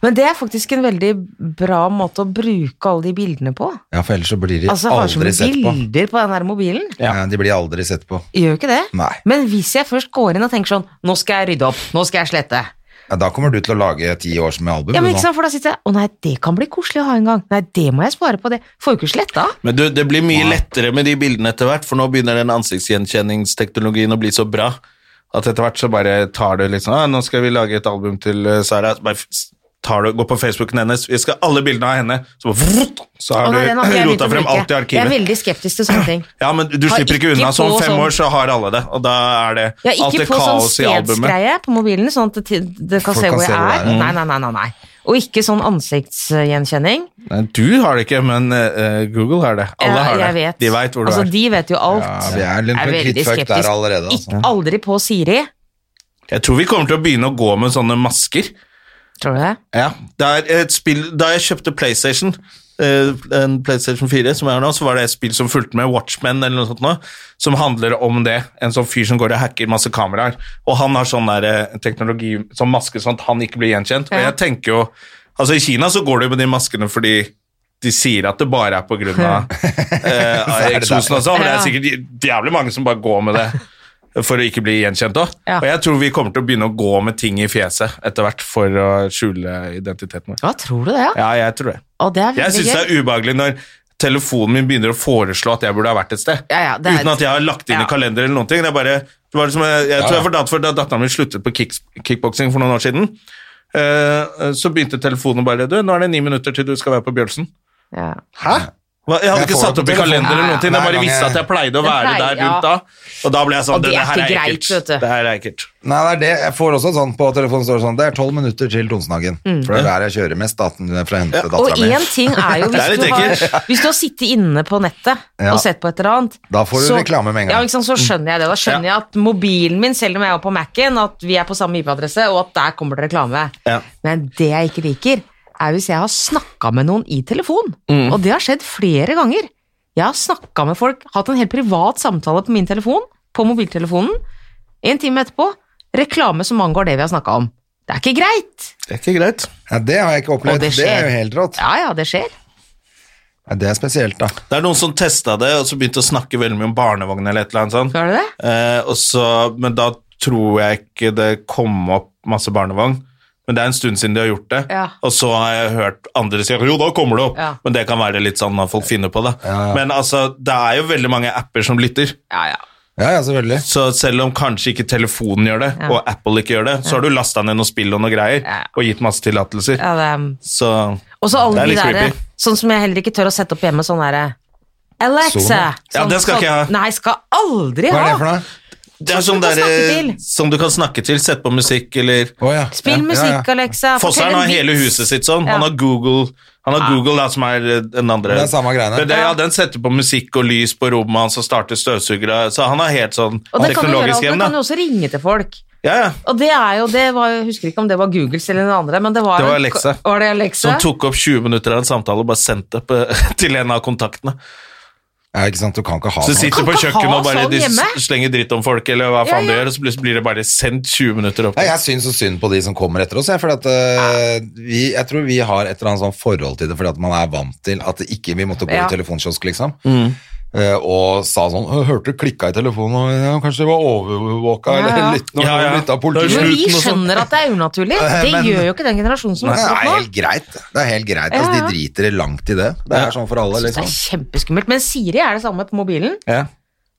[SPEAKER 4] Men det er faktisk en veldig bra måte å bruke alle de bildene på.
[SPEAKER 2] Ja, for ellers så blir de
[SPEAKER 4] Altså, jeg har så
[SPEAKER 2] aldri
[SPEAKER 4] mye
[SPEAKER 2] sett på.
[SPEAKER 4] bilder på den der mobilen.
[SPEAKER 2] Ja. De blir aldri sett på.
[SPEAKER 4] Gjør jo ikke det.
[SPEAKER 2] Nei.
[SPEAKER 4] Men hvis jeg først går inn og tenker sånn Nå skal jeg rydde opp. Nå skal jeg slette.
[SPEAKER 2] Ja, da kommer du til å lage ti års med album.
[SPEAKER 4] Ja, men
[SPEAKER 2] du,
[SPEAKER 4] ikke
[SPEAKER 2] nå.
[SPEAKER 4] sant, for da sitter jeg Å nei, det kan bli koselig å ha en gang. Nei, det må jeg spare på. Det får jo ikke sletta.
[SPEAKER 1] Men du, det blir mye lettere med de bildene etter hvert, for nå begynner den ansiktsgjenkjenningsteknologien å bli så bra at etter hvert så bare tar det litt sånn «Ah, Nå skal vi lage et album til eh, Sara. Så Bare f- tar det, går på Facebooken hennes. Vi skal ha alle bildene av henne. Så, bare, vrrt, så
[SPEAKER 4] Å,
[SPEAKER 1] har
[SPEAKER 4] nei, den har ikke jeg
[SPEAKER 1] du
[SPEAKER 4] begynt
[SPEAKER 1] rota
[SPEAKER 4] å
[SPEAKER 1] frem
[SPEAKER 4] bruke.
[SPEAKER 1] alt i
[SPEAKER 4] Jeg er
[SPEAKER 1] arkivet.
[SPEAKER 4] veldig skeptisk til sånne ting.
[SPEAKER 1] Ja, men du
[SPEAKER 4] Har
[SPEAKER 1] slipper ikke
[SPEAKER 4] ikke
[SPEAKER 1] unna. Så om
[SPEAKER 4] på
[SPEAKER 1] fem
[SPEAKER 4] sånn-
[SPEAKER 1] år så har alle det, og da er det
[SPEAKER 4] Jeg er
[SPEAKER 1] alt
[SPEAKER 4] ikke
[SPEAKER 1] det
[SPEAKER 4] på sånn
[SPEAKER 1] kaos i albumet.
[SPEAKER 4] stedsgreie på mobilen, sånn at det, til- det kan
[SPEAKER 2] Folk
[SPEAKER 4] se
[SPEAKER 2] kan
[SPEAKER 4] hvor jeg
[SPEAKER 2] se hvor
[SPEAKER 4] er.
[SPEAKER 2] det er, ja.
[SPEAKER 4] Nei, nei, nei, nei, nei. Og ikke sånn ansiktsgjenkjenning.
[SPEAKER 1] Nei, du har det ikke, men eh, Google har det. Alle
[SPEAKER 4] Ja,
[SPEAKER 1] har
[SPEAKER 4] jeg
[SPEAKER 1] det.
[SPEAKER 4] vet.
[SPEAKER 1] De veit hvor du
[SPEAKER 4] altså,
[SPEAKER 1] er.
[SPEAKER 4] De vet jo alt.
[SPEAKER 2] Ja, vi er litt- litt fucked der allerede, altså.
[SPEAKER 4] Ikke aldri på Siri,
[SPEAKER 1] Jeg tror vi kommer til å begynne å gå med sånne masker.
[SPEAKER 4] tror du det?
[SPEAKER 1] Ja, det er et spill Da jeg kjøpte Playstation eh, en Playstation 4 som jeg har nå, så var det et spill som fulgte med Watchmen eller noe sånt nå, som handler om det. En sånn fyr som går og hacker masse kameraer. Og han har sånn der eh, teknologi, sånn maske sånn at han ikke blir gjenkjent. Og
[SPEAKER 4] Ja.
[SPEAKER 1] jeg tenker jo Altså, i Kina så går det jo med de maskene fordi de sier at det bare er på grunn av eh,
[SPEAKER 2] det
[SPEAKER 1] eksosen og sånn, men det er
[SPEAKER 4] Ja.
[SPEAKER 1] sikkert jævlig mange som bare går med det for å ikke bli gjenkjent òg.
[SPEAKER 4] Ja.
[SPEAKER 1] Og jeg tror vi kommer til å begynne å gå med ting i fjeset etter hvert for å skjule identiteten vår.
[SPEAKER 4] Ja, tror du det, ja?
[SPEAKER 1] Ja, jeg tror det.
[SPEAKER 4] Og det er
[SPEAKER 1] Jeg
[SPEAKER 4] veldig
[SPEAKER 1] syns det
[SPEAKER 4] gøy.
[SPEAKER 1] er ubehagelig når telefonen min begynner å foreslå at jeg burde ha vært et sted.
[SPEAKER 4] Ja, ja, det er-
[SPEAKER 1] Uten at jeg har lagt inn
[SPEAKER 4] Ja.
[SPEAKER 1] i kalender eller noen ting. Det er bare, det var liksom, jeg, jeg tror
[SPEAKER 2] ja.
[SPEAKER 1] jeg fortalte for da datteren min sluttet på kick, kickboksing for noen år siden. eh, så begynte telefonen bare Du, nå er det ni minutter til du skal være på Bjølsen.
[SPEAKER 4] Ja.
[SPEAKER 2] Hæ?
[SPEAKER 1] Hva- Jeg hadde
[SPEAKER 2] Jeg
[SPEAKER 1] ikke
[SPEAKER 2] får
[SPEAKER 1] satt
[SPEAKER 2] det
[SPEAKER 1] opp
[SPEAKER 2] på
[SPEAKER 1] i
[SPEAKER 2] telefonen.
[SPEAKER 1] kalender eller noen ting. Jeg
[SPEAKER 2] Hver
[SPEAKER 1] bare
[SPEAKER 2] gang
[SPEAKER 1] visste
[SPEAKER 2] jeg-
[SPEAKER 1] at jeg pleide å
[SPEAKER 4] Den
[SPEAKER 1] være
[SPEAKER 4] pleier,
[SPEAKER 1] der rundt da.
[SPEAKER 4] ja.
[SPEAKER 1] Og da ble jeg sånn
[SPEAKER 4] Og det er
[SPEAKER 1] Dette her er
[SPEAKER 4] ikke greit, vet
[SPEAKER 1] ekkelt.
[SPEAKER 4] du.
[SPEAKER 1] Det her er ekkelt.
[SPEAKER 2] Nei, det er det. Jeg får også sånn på telefonen står det sånn Det er tolv minutter til Tonsenhagen. For det er der jeg kjører mest, da, for å hente
[SPEAKER 4] Mm. Og
[SPEAKER 2] dattera
[SPEAKER 4] én
[SPEAKER 2] mi.
[SPEAKER 4] ting er jo
[SPEAKER 1] Det er
[SPEAKER 4] hvis
[SPEAKER 1] litt
[SPEAKER 4] du, har,
[SPEAKER 1] ekkelt.
[SPEAKER 4] hvis du har sittet inne på nettet
[SPEAKER 2] Ja.
[SPEAKER 4] og sett på et eller annet
[SPEAKER 2] Da får du
[SPEAKER 4] så-
[SPEAKER 2] reklame med en gang.
[SPEAKER 4] Ja, ikke sant, så skjønner jeg det. Da skjønner jeg at mobilen min, selv om jeg er på Mac-en, at vi er på samme IP-adresse, og at der kommer det reklame.
[SPEAKER 1] Ja.
[SPEAKER 4] Men det jeg ikke liker, er hvis jeg har snakka med noen i telefon.
[SPEAKER 2] Mm.
[SPEAKER 4] Og det har skjedd flere ganger. Jeg har snakka med folk, hatt en helt privat samtale på min telefon, på mobiltelefonen. En time etterpå, reklame som angår det vi har snakka om. Det er ikke greit!
[SPEAKER 1] Det er ikke greit.
[SPEAKER 2] Ja, det har jeg ikke
[SPEAKER 4] Og
[SPEAKER 2] opplevd.
[SPEAKER 4] det
[SPEAKER 2] Det, er
[SPEAKER 4] skjer.
[SPEAKER 2] jo helt rått.
[SPEAKER 4] Ja ja, det skjer.
[SPEAKER 2] Ja, det er spesielt, da.
[SPEAKER 1] Det er noen som testa det, og så begynte å snakke veldig mye om barnevogn eller et eller annet sånt.
[SPEAKER 4] Gjør det det?
[SPEAKER 1] Eh, og så, men da tror jeg ikke det kom opp masse barnevogn. Men det er en stund siden de har gjort det.
[SPEAKER 4] Ja.
[SPEAKER 1] Og så har jeg hørt andre si jo, da kommer det opp.
[SPEAKER 4] Ja.
[SPEAKER 1] Men det kan være litt sånn at folk finner på det.
[SPEAKER 2] ja.
[SPEAKER 1] Men altså, det er jo veldig mange apper som lytter.
[SPEAKER 4] Ja ja.
[SPEAKER 2] Ja, ja, selvfølgelig.
[SPEAKER 1] Så selv om kanskje ikke telefonen gjør det, og Apple ikke gjør det, så har du lasta ned noe spill og noe greier,
[SPEAKER 4] Ja.
[SPEAKER 1] og gitt masse tillatelser.
[SPEAKER 4] ja det er...
[SPEAKER 1] Så
[SPEAKER 4] Og så
[SPEAKER 1] Det
[SPEAKER 4] alle
[SPEAKER 1] er
[SPEAKER 4] de
[SPEAKER 1] litt
[SPEAKER 4] der,
[SPEAKER 1] creepy.
[SPEAKER 4] sånn som jeg heller ikke tør å sette opp hjemme, sånn derre Alexa!
[SPEAKER 2] Sona.
[SPEAKER 1] Ja, det skal ikke jeg ha.
[SPEAKER 4] Nei, skal aldri
[SPEAKER 2] Hva
[SPEAKER 4] ha!
[SPEAKER 2] er det for noe?
[SPEAKER 1] Det er sånn
[SPEAKER 4] Du kan
[SPEAKER 1] der,
[SPEAKER 4] snakke til.
[SPEAKER 1] som du kan snakke til, sette på musikk eller
[SPEAKER 2] Å, ja.
[SPEAKER 4] Spill
[SPEAKER 2] Ja,
[SPEAKER 4] musikk,
[SPEAKER 2] Ja, ja.
[SPEAKER 4] Alexa.
[SPEAKER 1] Fosseren
[SPEAKER 4] fortell
[SPEAKER 1] har
[SPEAKER 4] en
[SPEAKER 1] hele
[SPEAKER 4] vits.
[SPEAKER 1] huset sitt sånn.
[SPEAKER 4] Ja.
[SPEAKER 1] Han har Google, han har Google da, som er eh, den andre.
[SPEAKER 2] Det er samme greiene.
[SPEAKER 1] Men det, ja, den setter på musikk og lys på rommet hans og starter støvsugere. Så han er helt sånn
[SPEAKER 4] Og det kan du gjøre,
[SPEAKER 1] teknologisk
[SPEAKER 4] alt.
[SPEAKER 1] hjem,
[SPEAKER 4] Du kan
[SPEAKER 1] da.
[SPEAKER 4] jo også ringe til folk.
[SPEAKER 1] Ja, ja.
[SPEAKER 4] Og det er jo, det var, jeg husker ikke om det var Googles eller noen andre, men det var,
[SPEAKER 1] Det var
[SPEAKER 4] en-
[SPEAKER 1] Alexa.
[SPEAKER 4] Var det Alexa?
[SPEAKER 1] Som tok opp 20 minutter av en samtale og bare sendte på, til en av kontaktene.
[SPEAKER 2] ja, ikke sant, du kan ikke ha
[SPEAKER 1] Så
[SPEAKER 2] noe.
[SPEAKER 1] sitter
[SPEAKER 4] kan
[SPEAKER 1] du på
[SPEAKER 4] ikke ha
[SPEAKER 1] kjøkkenet og bare
[SPEAKER 4] sånn
[SPEAKER 1] de s-
[SPEAKER 4] hjemme.
[SPEAKER 1] slenger dritt om folk, eller hva
[SPEAKER 4] Ja,
[SPEAKER 1] faen
[SPEAKER 4] ja.
[SPEAKER 1] du gjør, og så plutselig blir det bare sendt 20 minutter opp.
[SPEAKER 2] Ja, jeg syns så synd på de som kommer etter oss, jeg, for at, eh, vi, jeg tror vi har et eller annet sånn forhold til det, fordi at man er vant til at det ikke, vi måtte gå
[SPEAKER 4] Ja.
[SPEAKER 2] i telefonkiosk, liksom.
[SPEAKER 1] Mm.
[SPEAKER 2] Eh, og sa sånn «Å, 'Hørte du klikka i telefonen, og ja, kanskje det var overvåka,
[SPEAKER 4] Ja, ja.
[SPEAKER 2] eller litt, noe,
[SPEAKER 1] Ja, ja.
[SPEAKER 2] litt av
[SPEAKER 1] Det er
[SPEAKER 2] politiet'.
[SPEAKER 4] Men vi
[SPEAKER 1] Sluten og sånn.
[SPEAKER 4] skjønner at det er unaturlig. Det
[SPEAKER 2] men-
[SPEAKER 4] gjør jo ikke den generasjonen som
[SPEAKER 2] Nei,
[SPEAKER 4] vokser
[SPEAKER 2] det
[SPEAKER 4] opp
[SPEAKER 2] er
[SPEAKER 4] nå.
[SPEAKER 2] helt greit. Det er helt greit. Altså,
[SPEAKER 4] Ja, ja.
[SPEAKER 2] de driter i langt i det. Det er sånn for alle,
[SPEAKER 4] Det er
[SPEAKER 2] liksom.
[SPEAKER 4] kjempeskummelt. Men Siri er det samme på mobilen.
[SPEAKER 1] Ja.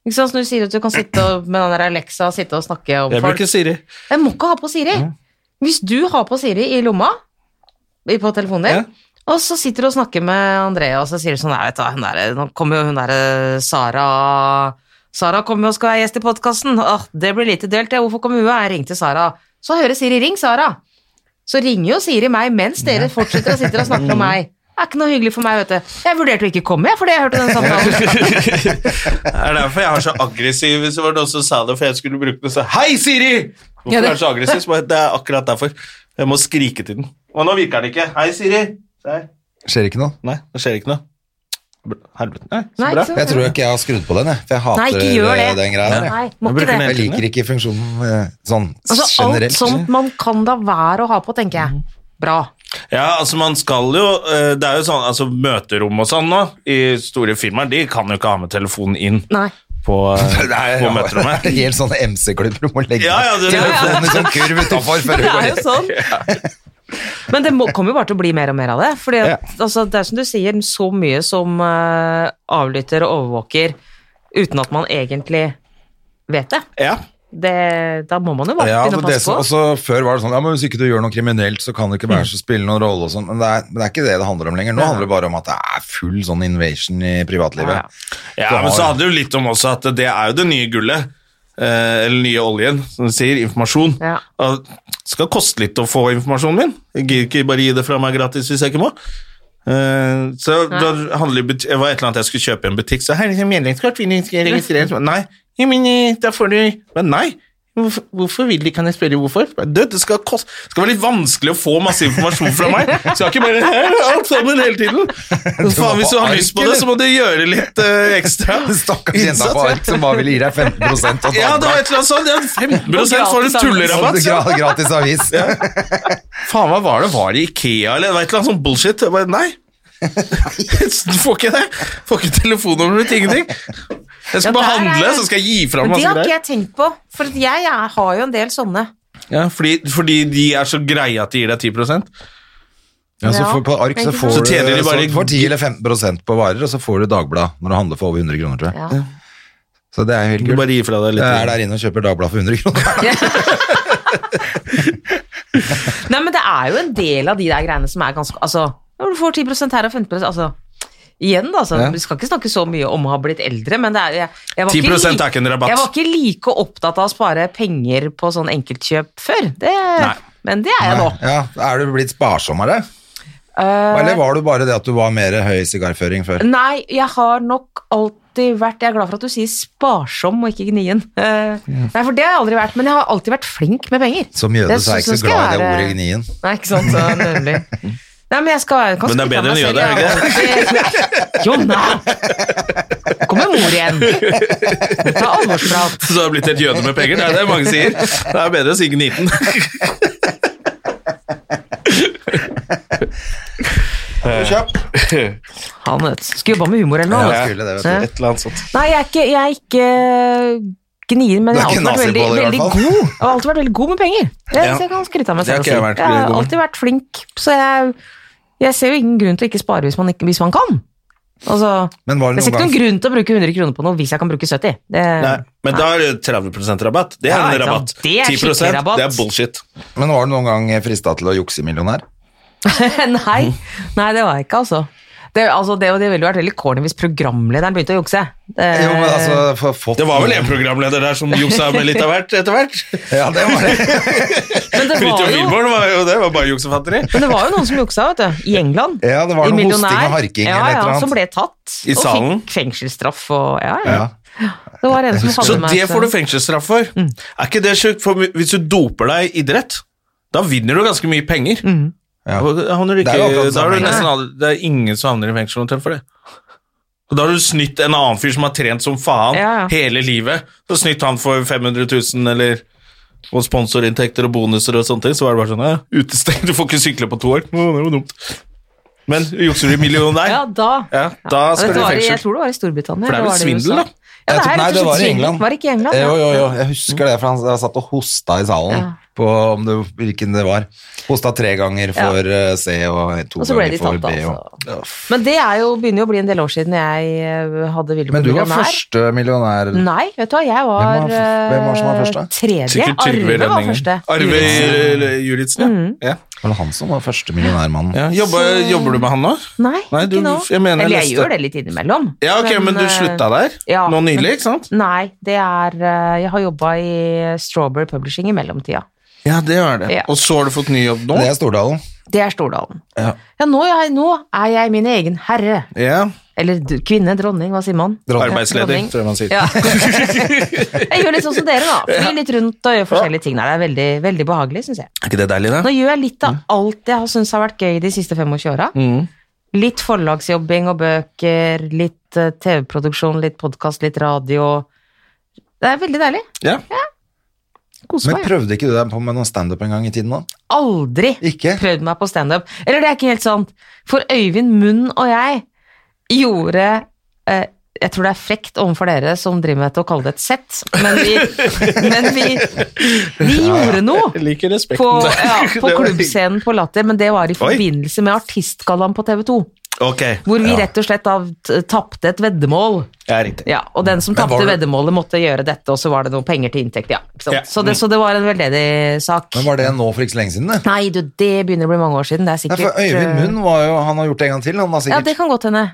[SPEAKER 4] Ikke sant? Så Når du sier at du kan sitte og, med den der Alexa og sitte og snakke om
[SPEAKER 1] Jeg
[SPEAKER 4] folk
[SPEAKER 1] bruker Siri.
[SPEAKER 4] Jeg må ikke ha på Siri. Hvis du har på Siri i lomma, i- på telefonen din, og så sitter du og snakker med Andrea, og så sier du sånn Nei, vet du hva, hun der, nå kommer jo hun derre Sara Sara kommer jo og skal være gjest i podkasten. Åh, det blir lite delt, det. Hvorfor kom hun? Jeg ringte Sara. Så hører Siri Ring Sara. Så ringer jo Siri meg mens dere fortsetter å sitte og snakke om meg. Det er ikke noe hyggelig for meg, vet du. Jeg vurderte å ikke komme, jeg, fordi jeg hørte den samtalen.
[SPEAKER 1] Det er derfor jeg har så aggressiv Så var det også sa det, for jeg skulle bruke den så Hei, Siri! Hvorfor
[SPEAKER 4] Ja, det-
[SPEAKER 1] er du så aggressiv? Så bare, Det er akkurat derfor. Jeg må skrike til den. Og nå virker den ikke. Hei, Siri. Der.
[SPEAKER 2] Skjer ikke noe.
[SPEAKER 1] Nei, det skjer ikke noe. Br- Helvete. Nei, så
[SPEAKER 4] Nei,
[SPEAKER 1] bra.
[SPEAKER 4] ikke sant?
[SPEAKER 2] Jeg tror ikke jeg har skrudd på den, jeg. For jeg hater eh,
[SPEAKER 4] Nei, ikke gjør det.
[SPEAKER 2] den greia der. jeg.
[SPEAKER 4] Nei, må
[SPEAKER 1] Jeg bruker
[SPEAKER 4] ikke
[SPEAKER 1] den
[SPEAKER 4] det.
[SPEAKER 2] Jeg liker ikke funksjonen eh, sånn
[SPEAKER 4] Altså, alt
[SPEAKER 2] generelt.
[SPEAKER 4] sånt man kan da være å ha på, tenker jeg. Mm. Bra.
[SPEAKER 1] Ja, altså man skal jo eh, Det er jo sånn, altså møterom og sånn nå, i store firmaer, de kan jo ikke ha med telefonen inn
[SPEAKER 4] Nei.
[SPEAKER 1] på, eh,
[SPEAKER 2] Det er
[SPEAKER 1] på
[SPEAKER 2] jo
[SPEAKER 1] møterommet.
[SPEAKER 2] helt sånn MC-klubb du må legge
[SPEAKER 1] Ja, ja, det-
[SPEAKER 2] telefonen i sånn kurv utafor før du
[SPEAKER 4] Det
[SPEAKER 2] går
[SPEAKER 4] er jo
[SPEAKER 2] inn.
[SPEAKER 4] sånn. Men det må- kommer jo bare til å bli mer og mer av det. Fordi at, altså, det er som du sier, så mye som eh, avlytter og overvåker uten at man egentlig vet det.
[SPEAKER 1] Ja.
[SPEAKER 4] det da må man jo bare
[SPEAKER 2] Ja,
[SPEAKER 4] begynne
[SPEAKER 2] for
[SPEAKER 4] å
[SPEAKER 2] det
[SPEAKER 4] passe
[SPEAKER 2] som,
[SPEAKER 4] på.
[SPEAKER 2] også før var det sånn Ja, men hvis ikke du gjør noe kriminelt, så kan det ikke være så spille noen rolle og sånn. Men, det er- men det er ikke det det handler om lenger. Nå handler det bare om at det er full sånn invasion i privatlivet.
[SPEAKER 4] Ja, ja.
[SPEAKER 1] ja,
[SPEAKER 2] Du
[SPEAKER 1] men
[SPEAKER 2] har-
[SPEAKER 1] så handler det jo litt om også at det er jo det nye gullet. Eh, eller nye oljen, som du sier. Informasjon.
[SPEAKER 4] Ja.
[SPEAKER 1] Og det skal koste litt å få informasjonen min. Jeg gir ikke bare gi det fra meg gratis hvis jeg ikke må. Eh, så da handler det det var et eller annet jeg skulle kjøpe i en butikk, så her er det medlemskort, vil du ikke registrere? Så, Nei, ja, men eh, da får du Men nei. Hvorfor, hvorfor vil de, kan jeg spørre hvorfor? Det, det, skal koste, det skal være litt vanskelig å få masse informasjon fra meg. Så jeg har ikke bare her, alt sammen hele tiden. Faen, hvis du har lyst på det, så må du gjøre litt eh, ekstra.
[SPEAKER 2] Stakkars jenta på ark som bare ville gi deg 15 av
[SPEAKER 1] Ja, det var et eller annet sånt. Ja, 15 får du tullerabatt.
[SPEAKER 2] Sånn gra- Gratis avis.
[SPEAKER 1] Faen, hva var det? Var det Ikea, eller det var et eller annet sånn bullshit? Jeg bare, nei. du får ikke det. Får ikke telefonnummeret mitt, ingenting. Jeg skal
[SPEAKER 4] Ja, der
[SPEAKER 1] bare
[SPEAKER 4] er
[SPEAKER 1] handle,
[SPEAKER 4] jeg.
[SPEAKER 1] så skal jeg gi fra
[SPEAKER 4] Men
[SPEAKER 1] meg
[SPEAKER 4] det
[SPEAKER 1] masse
[SPEAKER 4] har ikke
[SPEAKER 1] greier.
[SPEAKER 4] jeg tenkt på, for at jeg, jeg har jo en del sånne.
[SPEAKER 1] Ja, fordi, fordi de er så greie at de gir deg 10
[SPEAKER 2] Ja, så
[SPEAKER 4] Ja.
[SPEAKER 2] for, på ark så
[SPEAKER 4] Ikke
[SPEAKER 2] får
[SPEAKER 1] sant? Så tjener
[SPEAKER 2] du
[SPEAKER 1] de bare-
[SPEAKER 2] så får 10 eller 15 på varer, og så får du Dagblad når du handler for over 100 kroner, tror jeg.
[SPEAKER 4] Ja.
[SPEAKER 2] Så det er jo helt
[SPEAKER 1] Du
[SPEAKER 2] kult.
[SPEAKER 1] bare gir fra deg litt.
[SPEAKER 2] Jeg er der inne og kjøper Dagblad for 100 kroner.
[SPEAKER 4] Nei, men det er jo en del av de der greiene som er ganske Altså, når du får 10 her og 15 altså Igjen, da. Så, Vi skal ikke snakke så mye om å ha blitt eldre, men det er, jeg, jeg, var
[SPEAKER 1] 10%
[SPEAKER 4] like-
[SPEAKER 1] er ikke en rabatt.
[SPEAKER 4] jeg var ikke like opptatt av å spare penger på sånn enkeltkjøp før. Det,
[SPEAKER 1] Nei.
[SPEAKER 4] men det er jeg nå.
[SPEAKER 2] Ja, er du blitt sparsommere?
[SPEAKER 4] Eh,
[SPEAKER 2] Eller var du bare det at du var mer høy sigarføring før?
[SPEAKER 4] Nei, jeg har nok alltid vært Jeg er glad for at du sier sparsom og ikke gnien. Eh, Nei, for det har jeg aldri vært, men jeg har alltid vært flink med penger.
[SPEAKER 2] Som jøde
[SPEAKER 4] Det
[SPEAKER 2] så er jeg
[SPEAKER 4] synes eh,
[SPEAKER 2] ikke så
[SPEAKER 4] skal
[SPEAKER 2] glad i det
[SPEAKER 4] være-
[SPEAKER 2] ordet gnien.
[SPEAKER 4] Nei, ikke sant, så nemlig. Nei, men jeg skal kan
[SPEAKER 1] Men det er
[SPEAKER 4] skryte av
[SPEAKER 1] bedre enn
[SPEAKER 4] meg selv, jeg. Jonna! Kommer mor igjen. Ta alvorsprat.
[SPEAKER 1] Så det har blitt et jøde med penger. Det er det mange sier. Det er bedre å si gniten.
[SPEAKER 2] Kjapp!
[SPEAKER 4] Han vet, skulle jobba med humor eller noe.
[SPEAKER 2] Ja, skulle det, vet du.
[SPEAKER 4] Ja.
[SPEAKER 1] Et eller annet sånt.
[SPEAKER 4] Nei, jeg er ikke, jeg er ikke gnien, men
[SPEAKER 2] Du
[SPEAKER 4] jeg
[SPEAKER 2] er
[SPEAKER 4] har
[SPEAKER 2] ikke
[SPEAKER 4] alltid vært veldig,
[SPEAKER 2] nazibolle, i
[SPEAKER 4] veldig
[SPEAKER 2] hvert
[SPEAKER 4] god.
[SPEAKER 2] fall.
[SPEAKER 4] Jeg har alltid vært veldig god med penger. Det
[SPEAKER 1] Ja.
[SPEAKER 4] så jeg kan skryte av meg
[SPEAKER 1] Det har
[SPEAKER 4] selv. og
[SPEAKER 1] ikke jeg
[SPEAKER 4] si.
[SPEAKER 1] vært
[SPEAKER 4] Jeg
[SPEAKER 1] god
[SPEAKER 4] har
[SPEAKER 1] med.
[SPEAKER 4] alltid vært flink, så jeg, jeg ser jo ingen grunn til å ikke spare hvis man, ikke, hvis man kan. Altså,
[SPEAKER 2] Men var
[SPEAKER 4] det
[SPEAKER 2] det
[SPEAKER 4] er ikke
[SPEAKER 2] noen
[SPEAKER 4] noen
[SPEAKER 2] gang
[SPEAKER 4] grunn til å bruke 100 kroner på noe hvis jeg kan bruke 70. Det,
[SPEAKER 1] Nei, men da er det 30 rabatt. Det er
[SPEAKER 4] Ja,
[SPEAKER 1] en
[SPEAKER 4] ikke
[SPEAKER 1] rabatt.
[SPEAKER 4] sant. Det er
[SPEAKER 1] 10
[SPEAKER 4] skikkelig rabatt.
[SPEAKER 1] Det er bullshit.
[SPEAKER 2] Men eh, var du noen gang frista til å jukse millionær? Mm.
[SPEAKER 4] nei, nei, det var jeg ikke, altså. Det, altså, det, og det ville jo vært veldig corny hvis programlederen begynte å jukse. Det,
[SPEAKER 2] Jo, men altså, for, fått-
[SPEAKER 1] Det var vel en programleder der som juksa med litt av hvert etter hvert.
[SPEAKER 2] Ja, det var det.
[SPEAKER 4] men, det var
[SPEAKER 1] Fridtjof
[SPEAKER 4] jo,
[SPEAKER 1] Wilborn var jo det, var bare juksefatteri.
[SPEAKER 4] men det var jo noen som juksa, vet du. I England.
[SPEAKER 2] Ja, det var
[SPEAKER 4] I
[SPEAKER 2] noe
[SPEAKER 4] Millionær.
[SPEAKER 2] hosting og harking
[SPEAKER 4] ja,
[SPEAKER 2] eller et
[SPEAKER 4] ja,
[SPEAKER 2] eller annet.
[SPEAKER 4] Som ble tatt.
[SPEAKER 1] I
[SPEAKER 4] og
[SPEAKER 1] salen.
[SPEAKER 4] fikk fengselsstraff og ja, ja.
[SPEAKER 2] Ja.
[SPEAKER 4] Det var en som
[SPEAKER 1] Så
[SPEAKER 4] hadde med
[SPEAKER 1] det
[SPEAKER 4] seg-
[SPEAKER 1] får du fengselsstraff for. Er ikke det sjukt? For hvis du doper deg i idrett, da vinner du ganske mye penger.
[SPEAKER 2] Ja.
[SPEAKER 1] Og Da havner du
[SPEAKER 2] Det
[SPEAKER 1] ikke,
[SPEAKER 2] er jo akkurat det
[SPEAKER 1] da er du
[SPEAKER 2] samme.
[SPEAKER 1] nesten aldri, det er ingen som havner i fengsel omtrent for det. Og da har du snytt en annen fyr som har trent som faen
[SPEAKER 4] Ja, ja.
[SPEAKER 1] hele livet. Så snytt han for 500 000 eller og sponsorinntekter og bonuser og sånne ting. Så var det bare sånn ja, utestengt, du får ikke sykle på to år. Å, det var dumt. Men jukser du i millionær,
[SPEAKER 4] Ja, da.
[SPEAKER 1] ja, da skal
[SPEAKER 4] Dette
[SPEAKER 1] du i
[SPEAKER 4] var i-
[SPEAKER 1] fengsel.
[SPEAKER 4] Jeg tror det var i Storbritannia.
[SPEAKER 1] For det er vel
[SPEAKER 4] eller var i
[SPEAKER 1] svindel,
[SPEAKER 4] USA?
[SPEAKER 1] da?
[SPEAKER 4] Ja,
[SPEAKER 2] Jeg
[SPEAKER 4] det
[SPEAKER 2] tror-
[SPEAKER 4] er
[SPEAKER 2] nei,
[SPEAKER 4] rett og
[SPEAKER 2] det
[SPEAKER 4] slett
[SPEAKER 2] var i
[SPEAKER 4] svindel.
[SPEAKER 2] England.
[SPEAKER 4] Var det ikke i England?
[SPEAKER 2] Jo, jo,
[SPEAKER 4] Ja.
[SPEAKER 2] jo. Jeg husker det, for han jeg satt og hosta i salen
[SPEAKER 4] Ja.
[SPEAKER 2] på om det, hvilken det var. Hosta tre ganger for eh, C og to
[SPEAKER 4] Og så ble
[SPEAKER 2] ganger
[SPEAKER 4] de
[SPEAKER 2] for
[SPEAKER 4] tatt,
[SPEAKER 2] B. Og...
[SPEAKER 4] altså. Men det er jo, begynner jo å bli en del år siden jeg eh, hadde Ville
[SPEAKER 2] Men du var
[SPEAKER 4] millionær.
[SPEAKER 2] første millionær.
[SPEAKER 4] Nei, vet du hva, jeg var
[SPEAKER 2] Hvem var- hvem var som var
[SPEAKER 4] eh,
[SPEAKER 2] først da?
[SPEAKER 4] Tredje.
[SPEAKER 1] Sikkert Trygve
[SPEAKER 4] Arve var
[SPEAKER 1] Rønningen.
[SPEAKER 4] første. Mm.
[SPEAKER 1] Arve i- Juritzen, ja. ja.
[SPEAKER 2] Var det han som var første millionærmannen?
[SPEAKER 1] Ja, jobber, jobber du med han nå?
[SPEAKER 4] Nei,
[SPEAKER 1] Nei, du-
[SPEAKER 4] ikke nå.
[SPEAKER 1] jeg mener
[SPEAKER 4] Eller jeg
[SPEAKER 1] neste.
[SPEAKER 4] gjør det litt innimellom.
[SPEAKER 1] Ja, ok, men, du
[SPEAKER 4] eh,
[SPEAKER 1] slutta der
[SPEAKER 4] ja.
[SPEAKER 1] nå nylig, ikke sant?
[SPEAKER 4] Nei, det er eh, Jeg har jobba i Strawberry Publishing i mellomtida.
[SPEAKER 1] Ja, det var det.
[SPEAKER 4] Ja.
[SPEAKER 1] Og så har du fått ny jobb nå?
[SPEAKER 2] Det er Stordalen.
[SPEAKER 4] Det er Stordalen.
[SPEAKER 1] Ja.
[SPEAKER 4] Ja, nå er, jeg, nå er jeg min egen herre.
[SPEAKER 1] Ja.
[SPEAKER 4] Eller d- kvinne, dronning, hva sier man?
[SPEAKER 2] Dronning.
[SPEAKER 1] Arbeidsledig,
[SPEAKER 4] Dronning.
[SPEAKER 1] tror jeg man sier.
[SPEAKER 4] Ja. jeg gjør litt sånn som dere, da. Flyr litt rundt og gjør forskjellige ting. der. Det er veldig, veldig behagelig, syns jeg.
[SPEAKER 1] Er ikke det deilig, da?
[SPEAKER 4] Nå gjør jeg litt av alt jeg har syntes har vært gøy de siste 25 åra. Litt forlagsjobbing og bøker, litt eh, TV-produksjon, litt podkast, litt radio. Det er veldig deilig.
[SPEAKER 1] Ja.
[SPEAKER 4] Koser
[SPEAKER 2] Men
[SPEAKER 4] meg. jeg.
[SPEAKER 2] prøvde ikke du deg på med noen standup en gang i tiden da?
[SPEAKER 4] Aldri
[SPEAKER 2] Ikke?
[SPEAKER 4] prøvd meg på standup. Eller det er ikke helt sant. For Øyvind Munn og jeg gjorde eh, Jeg tror det er frekt overfor dere som driver med til å kalle det et sett, men vi, men vi, vi gjorde noe.
[SPEAKER 1] liker respekten
[SPEAKER 4] På,
[SPEAKER 1] der.
[SPEAKER 4] ja,
[SPEAKER 1] Det
[SPEAKER 4] på
[SPEAKER 1] var-
[SPEAKER 4] klubbscenen på Latter, men det var i forbindelse med Artistgallaen på TV 2.
[SPEAKER 1] Ok,
[SPEAKER 4] Hvor vi rett og slett da t- tapte et veddemål.
[SPEAKER 1] jeg er riktig.
[SPEAKER 4] Ja, og den som
[SPEAKER 2] Mm. Men var
[SPEAKER 4] tapte
[SPEAKER 2] det-
[SPEAKER 4] veddemålet, måtte gjøre dette, og så var det noen penger til inntekt. Ja, ikke sant?
[SPEAKER 1] Ja.
[SPEAKER 4] Så, det, så det var en veldedig sak.
[SPEAKER 2] Men var det nå for ikke så lenge siden, det?
[SPEAKER 4] Nei, du, det begynner å bli mange år siden. Det
[SPEAKER 2] Nei,
[SPEAKER 4] er sikkert
[SPEAKER 2] for Øyvind
[SPEAKER 4] eh,
[SPEAKER 2] Munn var jo Han har gjort det en gang til, han da
[SPEAKER 4] Ja,
[SPEAKER 2] sikkert.
[SPEAKER 4] det kan godt hende.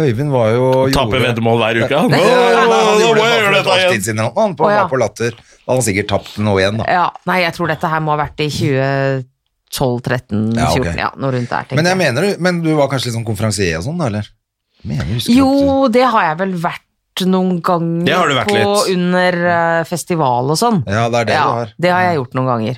[SPEAKER 2] Øyvind var jo
[SPEAKER 1] Taper
[SPEAKER 2] gjorde-
[SPEAKER 1] veddemål hver uke. han.
[SPEAKER 2] Nei,
[SPEAKER 1] Åh,
[SPEAKER 2] nei, nei, han
[SPEAKER 1] nå
[SPEAKER 2] gjorde
[SPEAKER 1] må jeg
[SPEAKER 2] det bare
[SPEAKER 1] gjøre
[SPEAKER 2] for et
[SPEAKER 1] dette
[SPEAKER 2] års
[SPEAKER 1] igjen.
[SPEAKER 2] tid siden. eller noe. Han på-
[SPEAKER 4] Å, ja.
[SPEAKER 2] var på latter. Da hadde han sikkert tapt noe igjen, da.
[SPEAKER 4] Ja, nei, jeg tror dette her må ha vært i 2012, 13,
[SPEAKER 2] Ja, ok.
[SPEAKER 4] 14, ja, noe rundt der. tenker
[SPEAKER 2] Men jeg mener, du- men du var kanskje litt sånn konferansier og sånn, da, eller? Jeg Mener, jeg husker at
[SPEAKER 4] Jo, det har jeg vel vært noen ganger
[SPEAKER 1] Det har du vært
[SPEAKER 4] på,
[SPEAKER 1] litt.
[SPEAKER 4] under eh, festival og sånn.
[SPEAKER 2] du... Ja, det er det
[SPEAKER 4] ja,
[SPEAKER 2] du har.
[SPEAKER 4] det har
[SPEAKER 1] Mm.
[SPEAKER 4] jeg gjort noen ganger.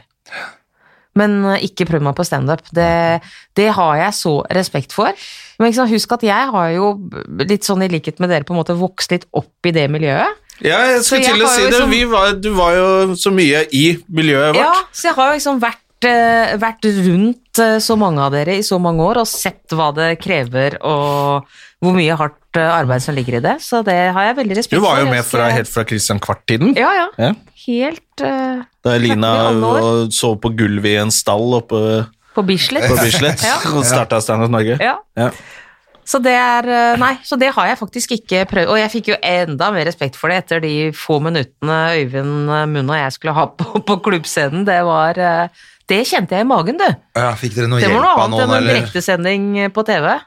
[SPEAKER 4] Men eh, ikke prøv meg på standup. Det, det har jeg så respekt for. Men ikke sant, husk at jeg har jo, litt sånn i likhet med dere, på en måte vokst litt opp i det miljøet.
[SPEAKER 1] Ja, jeg skulle
[SPEAKER 4] Så jeg
[SPEAKER 1] til å
[SPEAKER 4] har
[SPEAKER 1] si
[SPEAKER 4] jo
[SPEAKER 1] det.
[SPEAKER 4] liksom-
[SPEAKER 1] Vi var, du var jo så mye i miljøet
[SPEAKER 4] Ja,
[SPEAKER 1] vårt.
[SPEAKER 4] så jeg har jo liksom vært, eh, vært rundt eh, så mange av dere i så mange år og sett hva det krever og hvor mye hardt eh, arbeid som ligger i det. Så det har jeg veldig respekt
[SPEAKER 1] Du
[SPEAKER 4] for.
[SPEAKER 1] var jo
[SPEAKER 4] sånn Jeg
[SPEAKER 1] med
[SPEAKER 4] skal-
[SPEAKER 1] fra, helt fra Christian Kvart-tiden.
[SPEAKER 4] Ja, ja.
[SPEAKER 1] Ja.
[SPEAKER 4] Helt eh,
[SPEAKER 1] Da Lina
[SPEAKER 4] Klarte vi alle år.
[SPEAKER 1] sov på gulvet i en stall oppe
[SPEAKER 4] på Bislett.
[SPEAKER 1] på Bislett
[SPEAKER 4] Ja.
[SPEAKER 1] og starta Standup Norge.
[SPEAKER 4] Ja.
[SPEAKER 1] Ja.
[SPEAKER 4] Så det er eh, Nei, så det har jeg faktisk ikke prøvd. Og jeg fikk jo enda mer respekt for det etter de få minuttene Øyvind eh, Munn og jeg skulle ha på, på klubbscenen. Det var eh, Det kjente jeg i magen, du.
[SPEAKER 2] Ja, fikk dere noe
[SPEAKER 4] Det
[SPEAKER 2] hjelp
[SPEAKER 4] var
[SPEAKER 2] av
[SPEAKER 4] noe annet
[SPEAKER 2] noen,
[SPEAKER 4] enn en
[SPEAKER 2] eller?
[SPEAKER 4] direktesending på TV.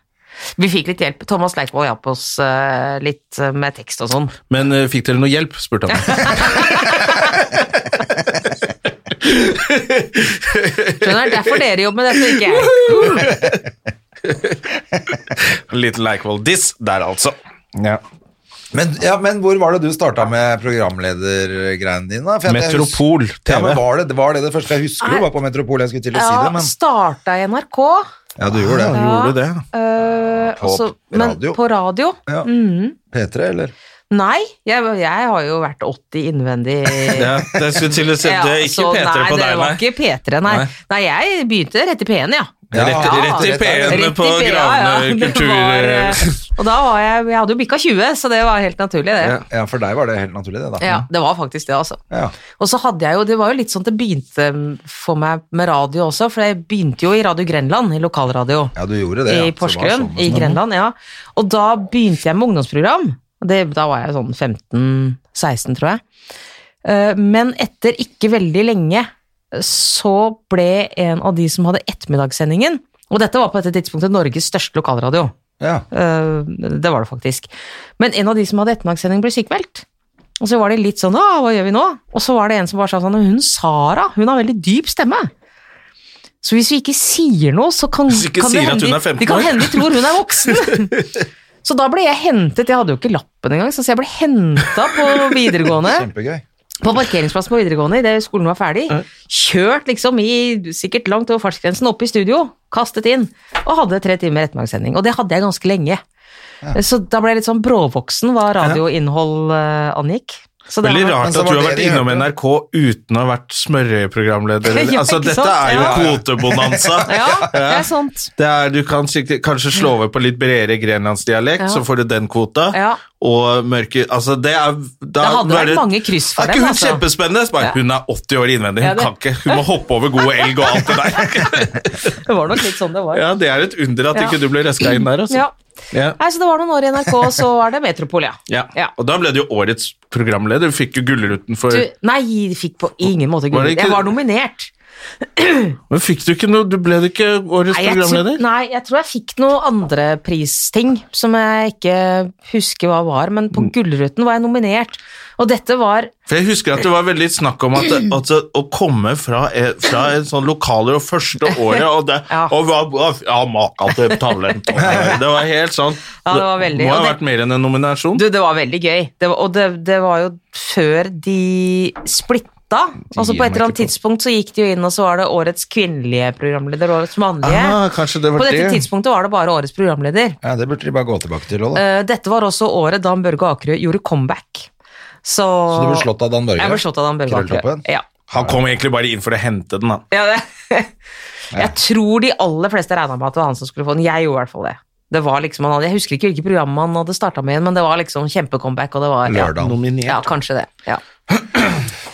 [SPEAKER 4] Vi fikk litt hjelp. Thomas Leikvoll hjalp oss eh, litt eh, med tekst og sånn.
[SPEAKER 1] Men eh, fikk dere noe hjelp, spurte han.
[SPEAKER 4] Skjønner? Det er derfor dere jobber med dette, ikke jeg.
[SPEAKER 1] Liten Leikvoll diss der, altså. Ja.
[SPEAKER 2] Men, ja, men hvor var det du starta med programledergreiene dine? da? For at jeg hus-
[SPEAKER 1] Metropol
[SPEAKER 2] Ja,
[SPEAKER 1] TV.
[SPEAKER 2] men var det, var det det første? Jeg husker
[SPEAKER 4] Nei.
[SPEAKER 2] jo var på Metropol, jeg skulle til å si det,
[SPEAKER 4] Ja,
[SPEAKER 2] men
[SPEAKER 4] starta i NRK.
[SPEAKER 2] Ja, du gjorde det.
[SPEAKER 4] Ja.
[SPEAKER 1] Gjorde det.
[SPEAKER 4] eh,
[SPEAKER 2] På
[SPEAKER 4] og så- men
[SPEAKER 2] radio.
[SPEAKER 4] På radio.
[SPEAKER 2] Ja.
[SPEAKER 4] Mhm.
[SPEAKER 2] P3, eller?
[SPEAKER 4] Nei, jeg, jeg har jo vært 80 innvendig.
[SPEAKER 1] Ja, det skulle til å si. Det er ikke
[SPEAKER 4] så
[SPEAKER 1] P3 på
[SPEAKER 4] altså, Nei, det
[SPEAKER 1] deg,
[SPEAKER 4] var
[SPEAKER 1] nei.
[SPEAKER 4] ikke P3, nei.
[SPEAKER 1] Nei.
[SPEAKER 4] nei. jeg begynte rett i P1, ja.
[SPEAKER 2] Ja,
[SPEAKER 1] Rett, rett i
[SPEAKER 4] Ja,
[SPEAKER 2] P1
[SPEAKER 1] P-ene
[SPEAKER 4] Rett
[SPEAKER 1] på
[SPEAKER 4] i P1, ja,
[SPEAKER 1] Gravene
[SPEAKER 4] ja. Det
[SPEAKER 1] kultur...
[SPEAKER 4] var, eh, Og da var jeg Jeg hadde jo bikka 20, så det var helt naturlig, det.
[SPEAKER 2] Ja. ja, for deg var det helt naturlig, det, da.
[SPEAKER 4] Ja, det var faktisk det, altså.
[SPEAKER 2] Ja.
[SPEAKER 4] Og så hadde jeg jo, det var jo litt sånn at det begynte mm, for meg med radio også, for jeg begynte jo i Radio Grenland, i lokalradio
[SPEAKER 2] Ja, du gjorde det. ja. Så
[SPEAKER 4] i
[SPEAKER 2] det var
[SPEAKER 4] Porsgrunn,
[SPEAKER 2] sånn-
[SPEAKER 4] i Grenland, ja. Og da begynte jeg med ungdomsprogram, og det, da var jeg sånn 15-16, tror jeg. Eh, Men etter ikke veldig lenge, så ble en av de som hadde ettermiddagssendingen, Og dette var på dette tidspunktet Norges største lokalradio.
[SPEAKER 2] Ja.
[SPEAKER 4] Eh, det var det faktisk. Men en av de som hadde ettermiddagssending, ble sykemeldt. Og så var det litt sånn Å, hva gjør vi nå? Og så var det en som bare sa sånn Hun Sara, hun har veldig dyp stemme. Så hvis vi ikke sier noe, så kan,
[SPEAKER 1] Hvis vi ikke
[SPEAKER 4] kan
[SPEAKER 1] sier at
[SPEAKER 4] hende,
[SPEAKER 1] hun er 15
[SPEAKER 4] det kan
[SPEAKER 1] år.
[SPEAKER 4] hende de tror hun er voksen. så da ble jeg hentet, jeg hadde jo ikke lappen engang, så jeg ble henta på videregående.
[SPEAKER 2] Kjempegøy.
[SPEAKER 4] På parkeringsplassen på videregående idet skolen var ferdig. Kjørt liksom i sikkert langt over fartsgrensen, opp i studio, kastet inn. Og hadde tre timer ettermiddagssending. Og det hadde jeg ganske lenge. Så da ble jeg litt sånn bråvoksen hva radioinnhold eh, angikk. Så det
[SPEAKER 1] Veldig
[SPEAKER 4] har-
[SPEAKER 2] Men
[SPEAKER 1] rart
[SPEAKER 2] så var
[SPEAKER 1] at du har
[SPEAKER 2] det
[SPEAKER 1] vært
[SPEAKER 2] de
[SPEAKER 1] innom
[SPEAKER 2] hørte.
[SPEAKER 1] NRK uten å ha vært smørjeprogramleder. eller-
[SPEAKER 4] Ja,
[SPEAKER 1] altså,
[SPEAKER 4] ikke
[SPEAKER 1] dette
[SPEAKER 4] sant?
[SPEAKER 1] er jo
[SPEAKER 4] Ja.
[SPEAKER 1] kvotebonanza.
[SPEAKER 4] Ja, det er sant.
[SPEAKER 1] Det er, du kan sikkert, kanskje slå over på litt bredere grenlandsdialekt,
[SPEAKER 4] Ja.
[SPEAKER 1] så får du den kvota.
[SPEAKER 4] Ja.
[SPEAKER 1] Og mørke Altså, det er da,
[SPEAKER 4] Det hadde
[SPEAKER 1] da er
[SPEAKER 4] vært mange kryss for
[SPEAKER 1] Er ikke
[SPEAKER 4] dem,
[SPEAKER 1] hun
[SPEAKER 4] altså.
[SPEAKER 1] kjempespennende? Så Bare,
[SPEAKER 4] Ja.
[SPEAKER 1] Hun er 80 år innvendig, hun
[SPEAKER 4] Ja, det-
[SPEAKER 1] kan ikke. Hun må hoppe over god elg og alt det der.
[SPEAKER 4] Det var nok litt sånn det var.
[SPEAKER 1] ja, det er et under at
[SPEAKER 4] Ja.
[SPEAKER 1] ikke du ble røska inn der, altså.
[SPEAKER 4] Ja.
[SPEAKER 1] Ja.
[SPEAKER 4] Nei, så det var noen år i NRK, og så er det Metropol, ja.
[SPEAKER 1] Ja.
[SPEAKER 4] Ja.
[SPEAKER 1] Og da ble du jo årets programleder. Du fikk jo Gullruten for
[SPEAKER 4] Du, nei, de fikk på ingen måte
[SPEAKER 1] Var
[SPEAKER 4] gull.
[SPEAKER 1] det ikke-
[SPEAKER 4] Jeg var nominert.
[SPEAKER 1] Men fikk du ikke noe Du ble det ikke årets
[SPEAKER 4] Nei jeg, tror,
[SPEAKER 1] programleder?
[SPEAKER 4] nei, jeg tror jeg fikk noe andre pristing som jeg ikke husker hva var, men på Gullruten var jeg nominert. Og dette var
[SPEAKER 1] For jeg husker at det var veldig snakk om at, at å komme fra, et- fra en sånn lokaler og første året og det,
[SPEAKER 4] Ja.
[SPEAKER 1] og hva, hva- ja, maka til talent. Det var helt sånn.
[SPEAKER 4] Ja, det var veldig-
[SPEAKER 1] må ha
[SPEAKER 4] og det-
[SPEAKER 1] vært mer enn en nominasjon.
[SPEAKER 4] Du, det var veldig gøy. Det var, og det, det var jo før de splitta. Altså På et eller annet tidspunkt så gikk de jo inn, og så var det årets kvinnelige programleder og årets mannlige.
[SPEAKER 1] Ah, kanskje det var
[SPEAKER 4] på dette
[SPEAKER 1] det.
[SPEAKER 4] tidspunktet var det bare årets programleder.
[SPEAKER 2] Ja, det burde de bare gå tilbake til òg, da.
[SPEAKER 4] Eh, dette var også året Dan Børge Akerø gjorde comeback. Så,
[SPEAKER 2] Så du ble slått av Dan Børge?
[SPEAKER 4] Jeg ble slått av Dan Børge Akerø.
[SPEAKER 2] Krølltoppen?
[SPEAKER 4] Ja.
[SPEAKER 1] Han kom egentlig bare inn for å hente den, da.
[SPEAKER 4] Ja, det. Jeg tror de aller fleste regna med at det var han som skulle få den. Jeg gjorde i hvert fall det. Det var liksom, han hadde, Jeg husker ikke hvilket program han hadde starta med igjen, men det var liksom kjempecomeback, og det var ja,
[SPEAKER 2] Lørdagen.
[SPEAKER 4] ja, kanskje det. Ja.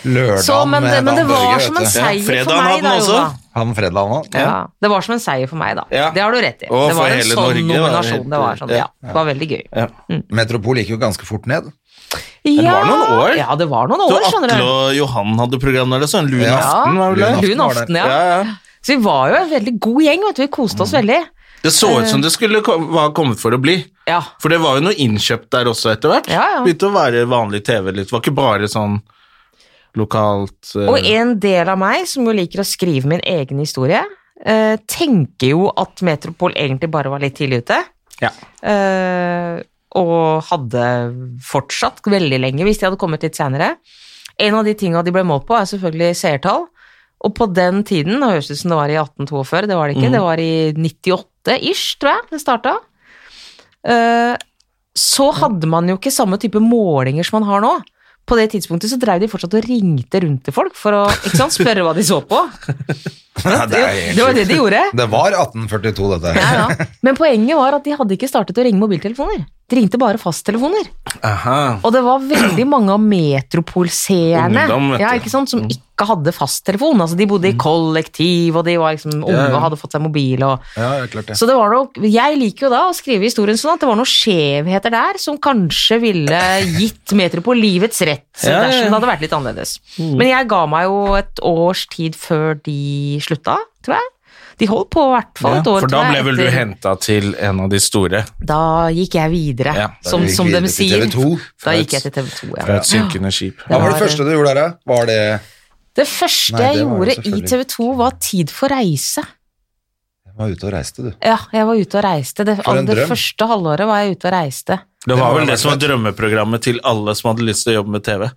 [SPEAKER 2] Lørdagen
[SPEAKER 4] Så, men, det,
[SPEAKER 2] med
[SPEAKER 4] men det
[SPEAKER 2] Dan
[SPEAKER 4] var
[SPEAKER 2] Børge,
[SPEAKER 4] som en
[SPEAKER 2] vet du.
[SPEAKER 1] Ja,
[SPEAKER 4] seier
[SPEAKER 1] fredagen
[SPEAKER 4] for meg,
[SPEAKER 1] hadde
[SPEAKER 4] da,
[SPEAKER 1] han også.
[SPEAKER 4] Jonna.
[SPEAKER 2] Han fredagen òg.
[SPEAKER 4] Ja, det var som en seier for meg, da.
[SPEAKER 1] Ja.
[SPEAKER 4] Det har du rett i.
[SPEAKER 1] Og
[SPEAKER 4] det
[SPEAKER 1] for
[SPEAKER 4] var en
[SPEAKER 1] hele
[SPEAKER 4] sånn
[SPEAKER 1] Norge, det var
[SPEAKER 4] nominasjon.
[SPEAKER 1] helt-
[SPEAKER 4] Det var, sånn,
[SPEAKER 1] ja.
[SPEAKER 4] ja, det var veldig gøy.
[SPEAKER 1] Ja.
[SPEAKER 2] Metropol gikk jo ganske fort ned.
[SPEAKER 4] Ja,
[SPEAKER 1] var noen år.
[SPEAKER 4] Ja, det var noen
[SPEAKER 1] Så
[SPEAKER 4] år, skjønner
[SPEAKER 1] Atle
[SPEAKER 4] du.
[SPEAKER 1] og Johan hadde program der også. En lun
[SPEAKER 2] Ja.
[SPEAKER 1] aften, var vel det?
[SPEAKER 2] Lun aften
[SPEAKER 4] Lun
[SPEAKER 2] var det.
[SPEAKER 4] aften, ja.
[SPEAKER 1] Ja, ja.
[SPEAKER 4] Så vi var jo en veldig god gjeng, vet du. Vi koste
[SPEAKER 2] Mm.
[SPEAKER 4] oss veldig.
[SPEAKER 1] Det så ut som
[SPEAKER 4] Eh.
[SPEAKER 1] det skulle kom, var kommet for å bli.
[SPEAKER 4] Ja.
[SPEAKER 1] For det var jo noe innkjøpt der også etter hvert.
[SPEAKER 4] Ja, ja.
[SPEAKER 1] Begynte å være vanlig TV litt. Det var ikke bare sånn lokalt eh,
[SPEAKER 4] Og en del av meg, som jo liker å skrive min egen historie, eh, tenker jo at Metropol egentlig bare var litt tidlig ute.
[SPEAKER 1] Ja.
[SPEAKER 4] Eh, og hadde fortsatt veldig lenge, hvis de hadde kommet litt senere. En av de tinga de ble målt på, er selvfølgelig seertall. Og på den tiden, det høres ut som det var i 1842, det var det ikke,
[SPEAKER 2] Mm.
[SPEAKER 4] det var i 98-ish, tror jeg, det starta. Eh, så hadde man jo ikke samme type målinger som man har nå. På det tidspunktet så drev de fortsatt og ringte rundt til folk for å ikke sant, spørre hva de så på.
[SPEAKER 2] Ja, det,
[SPEAKER 4] Det,
[SPEAKER 2] er helt
[SPEAKER 4] det var
[SPEAKER 2] sjukt.
[SPEAKER 4] det de gjorde.
[SPEAKER 2] det var 1842, dette.
[SPEAKER 4] Ja,
[SPEAKER 2] her.
[SPEAKER 4] ja. Men poenget var at de hadde ikke startet å ringe mobiltelefoner. De ringte bare fasttelefoner.
[SPEAKER 1] Aha.
[SPEAKER 4] Og det var veldig mange av metropolseerne
[SPEAKER 1] Ungdom, vet du. Mm.
[SPEAKER 4] ja, ikke sant, som ikke hadde fasttelefon. Altså, de bodde i kollektiv, og de var liksom unge og hadde fått seg mobil. Og,
[SPEAKER 2] Ja, ja, klart det.
[SPEAKER 4] så det var nok, jeg liker jo da å skrive historien sånn at det var noen skjevheter der som kanskje ville gitt Metropol livets rett,
[SPEAKER 1] Ja, Mm. ja, ja.
[SPEAKER 4] dersom det hadde vært litt annerledes. Men jeg ga meg jo et års tid før de slutta, tror jeg. De holdt på i hvert fall
[SPEAKER 1] Ja,
[SPEAKER 4] et år.
[SPEAKER 1] for da
[SPEAKER 4] tror jeg,
[SPEAKER 1] ble vel du
[SPEAKER 4] etter-
[SPEAKER 1] henta til en av de store eh,
[SPEAKER 4] Da gikk jeg videre,
[SPEAKER 1] Ja,
[SPEAKER 2] da
[SPEAKER 4] som,
[SPEAKER 2] gikk
[SPEAKER 4] som
[SPEAKER 2] vi
[SPEAKER 4] de
[SPEAKER 2] videre til
[SPEAKER 4] sier.
[SPEAKER 2] TV2.
[SPEAKER 4] Da gikk jeg til TV 2, ja.
[SPEAKER 1] fra et synkende skip.
[SPEAKER 2] Hva var
[SPEAKER 4] var-
[SPEAKER 2] det første du gjorde der, da? Var det
[SPEAKER 4] Det første
[SPEAKER 2] Nei, det
[SPEAKER 4] jeg
[SPEAKER 2] var jo
[SPEAKER 4] gjorde i
[SPEAKER 2] selvfølgelig-
[SPEAKER 4] TV 2 var Tid for reise.
[SPEAKER 2] Jeg var ute og reiste, du.
[SPEAKER 4] Ja, jeg var ute og reiste. Det,
[SPEAKER 2] For en
[SPEAKER 4] det
[SPEAKER 2] drøm.
[SPEAKER 4] første halvåret var jeg ute og reiste.
[SPEAKER 1] Det var vel
[SPEAKER 2] Det
[SPEAKER 1] det som var drømmeprogrammet til alle som hadde lyst til å jobbe med TV.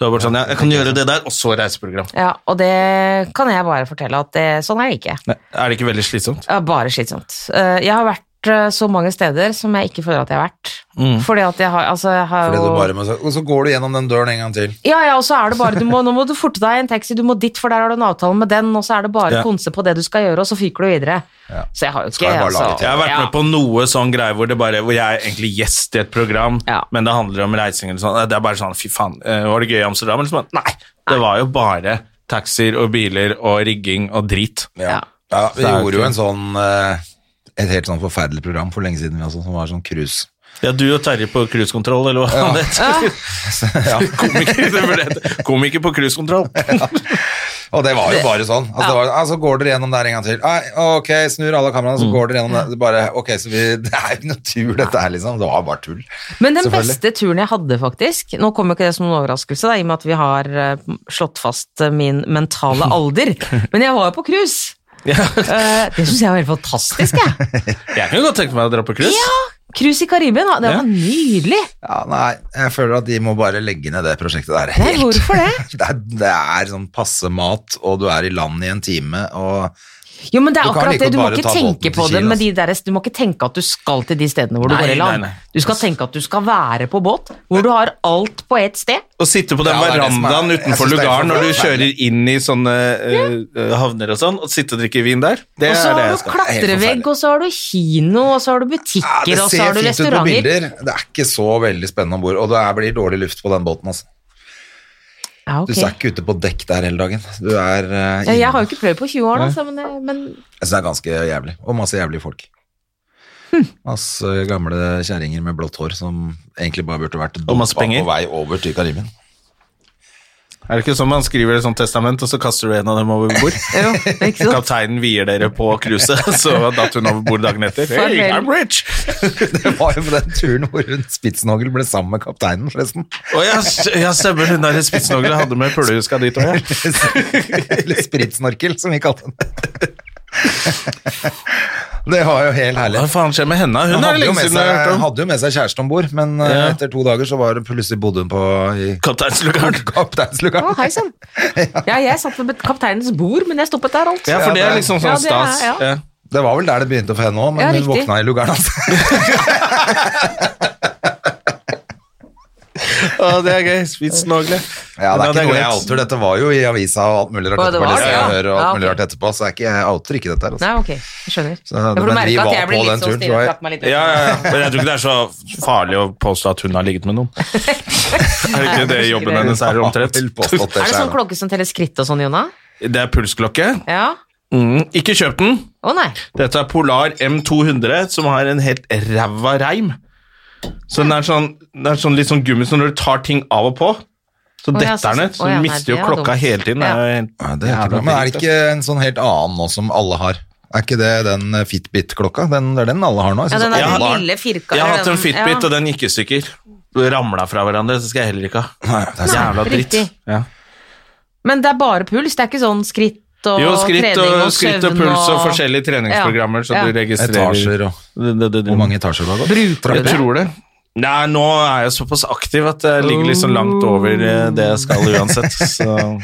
[SPEAKER 1] Det var bare sånn, ja, jeg kan gjøre det der, og så reiseprogram.
[SPEAKER 4] Ja, og det kan jeg bare fortelle at det, sånn er det ikke.
[SPEAKER 1] Nei, Er det ikke veldig slitsomt?
[SPEAKER 4] Ja, bare slitsomt. Eh, Jeg har vært eh, så mange steder som jeg ikke føler at jeg har vært. Fordi at jeg har, altså, jeg har
[SPEAKER 2] Mm. Fordi
[SPEAKER 4] jo
[SPEAKER 2] du bare må, så- og så går du gjennom den døren en gang til.
[SPEAKER 4] Ja, ja, og så er det bare du må, Nå må du forte deg i en taxi, du må dit, for der har du en avtale med den, og så er det bare
[SPEAKER 1] Ja.
[SPEAKER 4] konse på det du skal gjøre, og så fyker du videre. Så jeg har jo ikke
[SPEAKER 2] Skal jeg bare lage
[SPEAKER 4] altså,
[SPEAKER 2] til?
[SPEAKER 1] Jeg har vært
[SPEAKER 4] ja.
[SPEAKER 1] med på noe sånn greie hvor, det bare, hvor jeg er egentlig gjest i et program,
[SPEAKER 4] Ja.
[SPEAKER 1] men det handler om reising eller sånn. Det er bare sånn, fy faen, eh, var det gøy i Amsterdam? Eller sånn? Nei, det var jo bare taxier og biler og rigging og drit.
[SPEAKER 4] Ja.
[SPEAKER 2] Ja, vi
[SPEAKER 1] Det er jo
[SPEAKER 2] gjorde
[SPEAKER 1] ikke-
[SPEAKER 2] jo en sånn eh, Et helt sånn forferdelig program for lenge siden, vi også, som var sånn cruise.
[SPEAKER 1] Ja, du og Terje på cruisekontroll, eller hva faen det heter? Komiker, det ble det. Komiker på cruisekontroll.
[SPEAKER 2] Og det var jo bare sånn. Altså, det var, ah, så går dere gjennom der en gang til. Ah, ok, snur alle kameraene, så går dere gjennom der. Det, bare, ok, så vi, det er jo ikke noe tur, dette her, liksom. Det var bare tull.
[SPEAKER 4] Men den
[SPEAKER 2] Selvfølgelig.
[SPEAKER 4] beste turen jeg hadde, faktisk Nå kommer ikke det som en overraskelse, da, i og med at vi har eh, slått fast eh, min mentale alder. Men jeg var jo på cruise. Eh, det syns jeg var helt fantastisk, jeg.
[SPEAKER 1] Jeg kunne godt tenkt meg å dra på cruise.
[SPEAKER 4] Cruise i Karibien, det
[SPEAKER 1] Ja.
[SPEAKER 4] var nydelig.
[SPEAKER 2] Ja, nei, jeg føler at de må bare legge ned det prosjektet der.
[SPEAKER 4] Nei, hvorfor det?
[SPEAKER 2] Det er, det er sånn passe mat, og du er i land i en time, og
[SPEAKER 4] Jo, men det er
[SPEAKER 2] Du kan
[SPEAKER 4] akkurat
[SPEAKER 2] like
[SPEAKER 4] det. Du må
[SPEAKER 2] bare
[SPEAKER 4] ikke
[SPEAKER 2] ta båten
[SPEAKER 4] tenke
[SPEAKER 2] til
[SPEAKER 4] på det
[SPEAKER 2] Kina, altså.
[SPEAKER 4] med de der, Du må ikke tenke at du skal til de stedene hvor du
[SPEAKER 1] Nei,
[SPEAKER 4] går i land.
[SPEAKER 1] nei, nei.
[SPEAKER 4] Du skal tenke at du skal være på båt, hvor du har alt på ett sted.
[SPEAKER 1] Å sitte på
[SPEAKER 2] Ja,
[SPEAKER 1] den
[SPEAKER 2] det er det som er-
[SPEAKER 1] verandaen
[SPEAKER 2] jeg synes
[SPEAKER 1] utenfor
[SPEAKER 2] det er
[SPEAKER 1] lugaren når du
[SPEAKER 2] forferdelig.
[SPEAKER 1] kjører inn i sånne eh, havner og sånn, og sitte og drikke vin der. Det
[SPEAKER 4] Og så
[SPEAKER 1] er det
[SPEAKER 4] har
[SPEAKER 1] jeg
[SPEAKER 4] du
[SPEAKER 2] Det
[SPEAKER 1] skal.
[SPEAKER 2] er helt
[SPEAKER 4] klatrevegg,
[SPEAKER 2] forferdelig.
[SPEAKER 4] og så har du kino, og så har du
[SPEAKER 2] ja,
[SPEAKER 4] butikker,
[SPEAKER 2] det
[SPEAKER 4] og så
[SPEAKER 2] ser
[SPEAKER 4] har du
[SPEAKER 2] fint ut på
[SPEAKER 4] restauranter.
[SPEAKER 2] bilder. Det er ikke så veldig spennende om bord, og det er- blir dårlig luft på den båten, altså.
[SPEAKER 4] Ja, ok.
[SPEAKER 2] Du er ikke ute på dekk der hele dagen. Du er eh,
[SPEAKER 4] Ja,
[SPEAKER 2] inne.
[SPEAKER 4] jeg har jo ikke prøvd på 20 år, da, så, men, eh, men
[SPEAKER 2] Jeg synes det er ganske jævlig, og masse jævlige folk.
[SPEAKER 4] Hm.
[SPEAKER 2] Masse gamle kjerringer med blått hår som egentlig bare burde vært
[SPEAKER 1] masse
[SPEAKER 2] dumpa
[SPEAKER 1] penger.
[SPEAKER 2] på vei over til Karibien.
[SPEAKER 1] Er det ikke sånn man skriver et sånt testament, og så kaster du en av dem over bord?
[SPEAKER 4] jo, ikke sant?
[SPEAKER 1] Kapteinen vier dere på cruiset, så datt hun over bord dagen etter. Hey,
[SPEAKER 4] Farvel.
[SPEAKER 1] I'm rich!
[SPEAKER 2] Det var jo på den turen hvor hun Spitznagel ble sammen med kapteinen, forresten.
[SPEAKER 1] Å ja, s- ja, stemmer. Hun der spitsnogla hadde med pullehuska dit òg, ja.
[SPEAKER 2] Eller spritsnorkel, som vi kalte den. Det var jo helt herlig.
[SPEAKER 1] Hva faen skjer med henne?
[SPEAKER 2] Hun
[SPEAKER 1] Hun er det
[SPEAKER 2] hadde jo,
[SPEAKER 1] lenge
[SPEAKER 2] med
[SPEAKER 1] siden jeg har
[SPEAKER 2] seg,
[SPEAKER 1] hørt om.
[SPEAKER 2] hadde jo med seg kjæreste om bord, men eh,
[SPEAKER 1] Ja.
[SPEAKER 2] etter to dager så var det plutselig bodde hun på i
[SPEAKER 1] Kapteinslugaren.
[SPEAKER 4] Å,
[SPEAKER 2] kapteinslugaren.
[SPEAKER 4] hei sann. Ja, jeg satt ved kapteinens bord, men jeg stoppet der alt.
[SPEAKER 1] Ja, for det er
[SPEAKER 2] det-
[SPEAKER 1] liksom
[SPEAKER 4] Ja,
[SPEAKER 1] sånn
[SPEAKER 4] det er-
[SPEAKER 1] stas.
[SPEAKER 4] ja.
[SPEAKER 1] Ja.
[SPEAKER 2] Det var vel der det begynte for henne òg, men
[SPEAKER 4] Ja,
[SPEAKER 2] hun
[SPEAKER 4] riktig.
[SPEAKER 2] våkna i lugaren hans.
[SPEAKER 1] Å, det er gøy. Spitsnogle.
[SPEAKER 2] Ja, det er ikke noe jeg
[SPEAKER 1] greit.
[SPEAKER 2] outer, dette var jo i avisa og alt mulig rart
[SPEAKER 4] Å, det
[SPEAKER 2] etterpå.
[SPEAKER 4] var det,
[SPEAKER 2] leser jeg
[SPEAKER 4] ja.
[SPEAKER 2] og hører og alt
[SPEAKER 4] Ja, ok.
[SPEAKER 2] mulig rart etterpå, så er ikke jeg outer ikke dette her. Altså.
[SPEAKER 4] Nei, ok, jeg skjønner.
[SPEAKER 2] Så,
[SPEAKER 4] Jeg får
[SPEAKER 2] men vi
[SPEAKER 4] merke
[SPEAKER 2] var
[SPEAKER 4] at jeg
[SPEAKER 2] på
[SPEAKER 4] blir
[SPEAKER 2] den
[SPEAKER 4] litt så
[SPEAKER 2] turen,
[SPEAKER 4] stille.
[SPEAKER 2] tror jeg.
[SPEAKER 4] slapp meg litt ut.
[SPEAKER 1] Ja, ja, ja. Men jeg tror ikke det er så farlig å påstå at hun har ligget med noen. Er det ikke det jobben hennes er omtrent?
[SPEAKER 2] Vel påstått det
[SPEAKER 4] Er det
[SPEAKER 2] selv,
[SPEAKER 4] sånn
[SPEAKER 2] da.
[SPEAKER 4] klokke som teller skritt og sånn, Jonna?
[SPEAKER 1] Det er pulsklokke.
[SPEAKER 4] Ja?
[SPEAKER 1] Mm. Ikke kjøp den.
[SPEAKER 4] Å nei.
[SPEAKER 1] Dette er Polar M200, som har en helt ræva reim. Så den er sånn, den er sånn litt sånn gummi, så når du tar ting av og på, så
[SPEAKER 4] Å, ja,
[SPEAKER 1] detter den
[SPEAKER 4] så-
[SPEAKER 1] ned. Så
[SPEAKER 4] å,
[SPEAKER 1] du
[SPEAKER 4] ja, nei,
[SPEAKER 1] mister jo
[SPEAKER 4] det er
[SPEAKER 1] klokka
[SPEAKER 4] dumt.
[SPEAKER 1] hele tiden. Det er jo helt
[SPEAKER 2] Ja, det er
[SPEAKER 1] jævla
[SPEAKER 2] ikke bra. Men er
[SPEAKER 1] dritt,
[SPEAKER 2] det ikke en sånn helt annen nå som alle har? Er ikke det den eh, Fitbit-klokka? Den, det er den alle har nå. Jeg synes
[SPEAKER 4] Ja, den
[SPEAKER 2] alle
[SPEAKER 4] der
[SPEAKER 2] har den.
[SPEAKER 4] lille
[SPEAKER 1] ass.
[SPEAKER 4] firkanten.
[SPEAKER 1] altså. Jeg har hatt en Fitbit,
[SPEAKER 4] ja.
[SPEAKER 1] og den gikk i stykker. Ramla fra hverandre, så skal jeg heller ikke ha.
[SPEAKER 2] Nei, det er sant.
[SPEAKER 1] Jævla dritt.
[SPEAKER 4] riktig.
[SPEAKER 1] Ja.
[SPEAKER 4] Men det er bare puls, det er ikke sånn skritt og
[SPEAKER 1] Jo, skritt
[SPEAKER 4] trening
[SPEAKER 1] og,
[SPEAKER 4] og,
[SPEAKER 1] skritt og
[SPEAKER 4] søvn
[SPEAKER 1] puls og forskjellige treningsprogrammer, så
[SPEAKER 4] Ja.
[SPEAKER 1] du registrerer
[SPEAKER 2] Etasjer og
[SPEAKER 1] Det- det- det- det-
[SPEAKER 2] Hvor mange etasjer du har gått?
[SPEAKER 4] Bruker du
[SPEAKER 1] Jeg
[SPEAKER 4] det?
[SPEAKER 1] tror det. Nei, nå er jeg såpass aktiv at jeg ligger liksom langt
[SPEAKER 4] Oh.
[SPEAKER 1] over eh, det jeg skal uansett. Så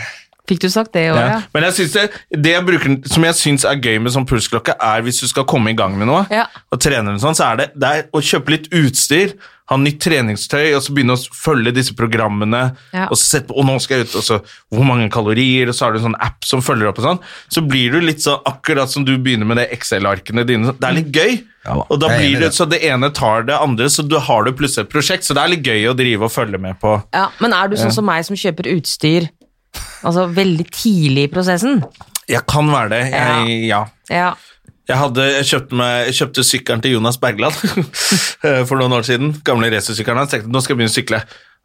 [SPEAKER 4] Fikk du sagt det i år,
[SPEAKER 1] Ja.
[SPEAKER 4] ja?
[SPEAKER 1] Men jeg synes det, det jeg bruker, som jeg syns er gøy med sånn pulsklokke, er hvis du skal komme i gang med noe
[SPEAKER 4] Ja.
[SPEAKER 1] og trene eller sånn, så er det, det er å kjøpe litt utstyr, ha nytt treningstøy, og så begynne å s- følge disse programmene,
[SPEAKER 4] Ja.
[SPEAKER 1] og så sette på, og nå skal jeg ut, og så hvor mange kalorier, og så har du en sånn app som følger opp og sånn, så blir du litt sånn akkurat som du begynner med det Excel-arkene dine, så det er litt gøy,
[SPEAKER 2] Ja,
[SPEAKER 1] og da
[SPEAKER 2] jeg er enig i
[SPEAKER 1] blir det,
[SPEAKER 2] det.
[SPEAKER 1] så det ene tar det andre, så du har du plutselig et prosjekt, så det er litt gøy å drive og følge med på.
[SPEAKER 4] ja. Men er du sånn som meg som kjøper utstyr altså veldig tidlig i prosessen?
[SPEAKER 1] Jeg kan være det, jeg, ja.
[SPEAKER 4] Ja.
[SPEAKER 1] Jeg, hadde, jeg, kjøpte meg, jeg kjøpte sykkelen til Jonas Bergland eh, for noen år siden. Gamle racersykkelen hans. Tenkte nå skal jeg begynne å sykle.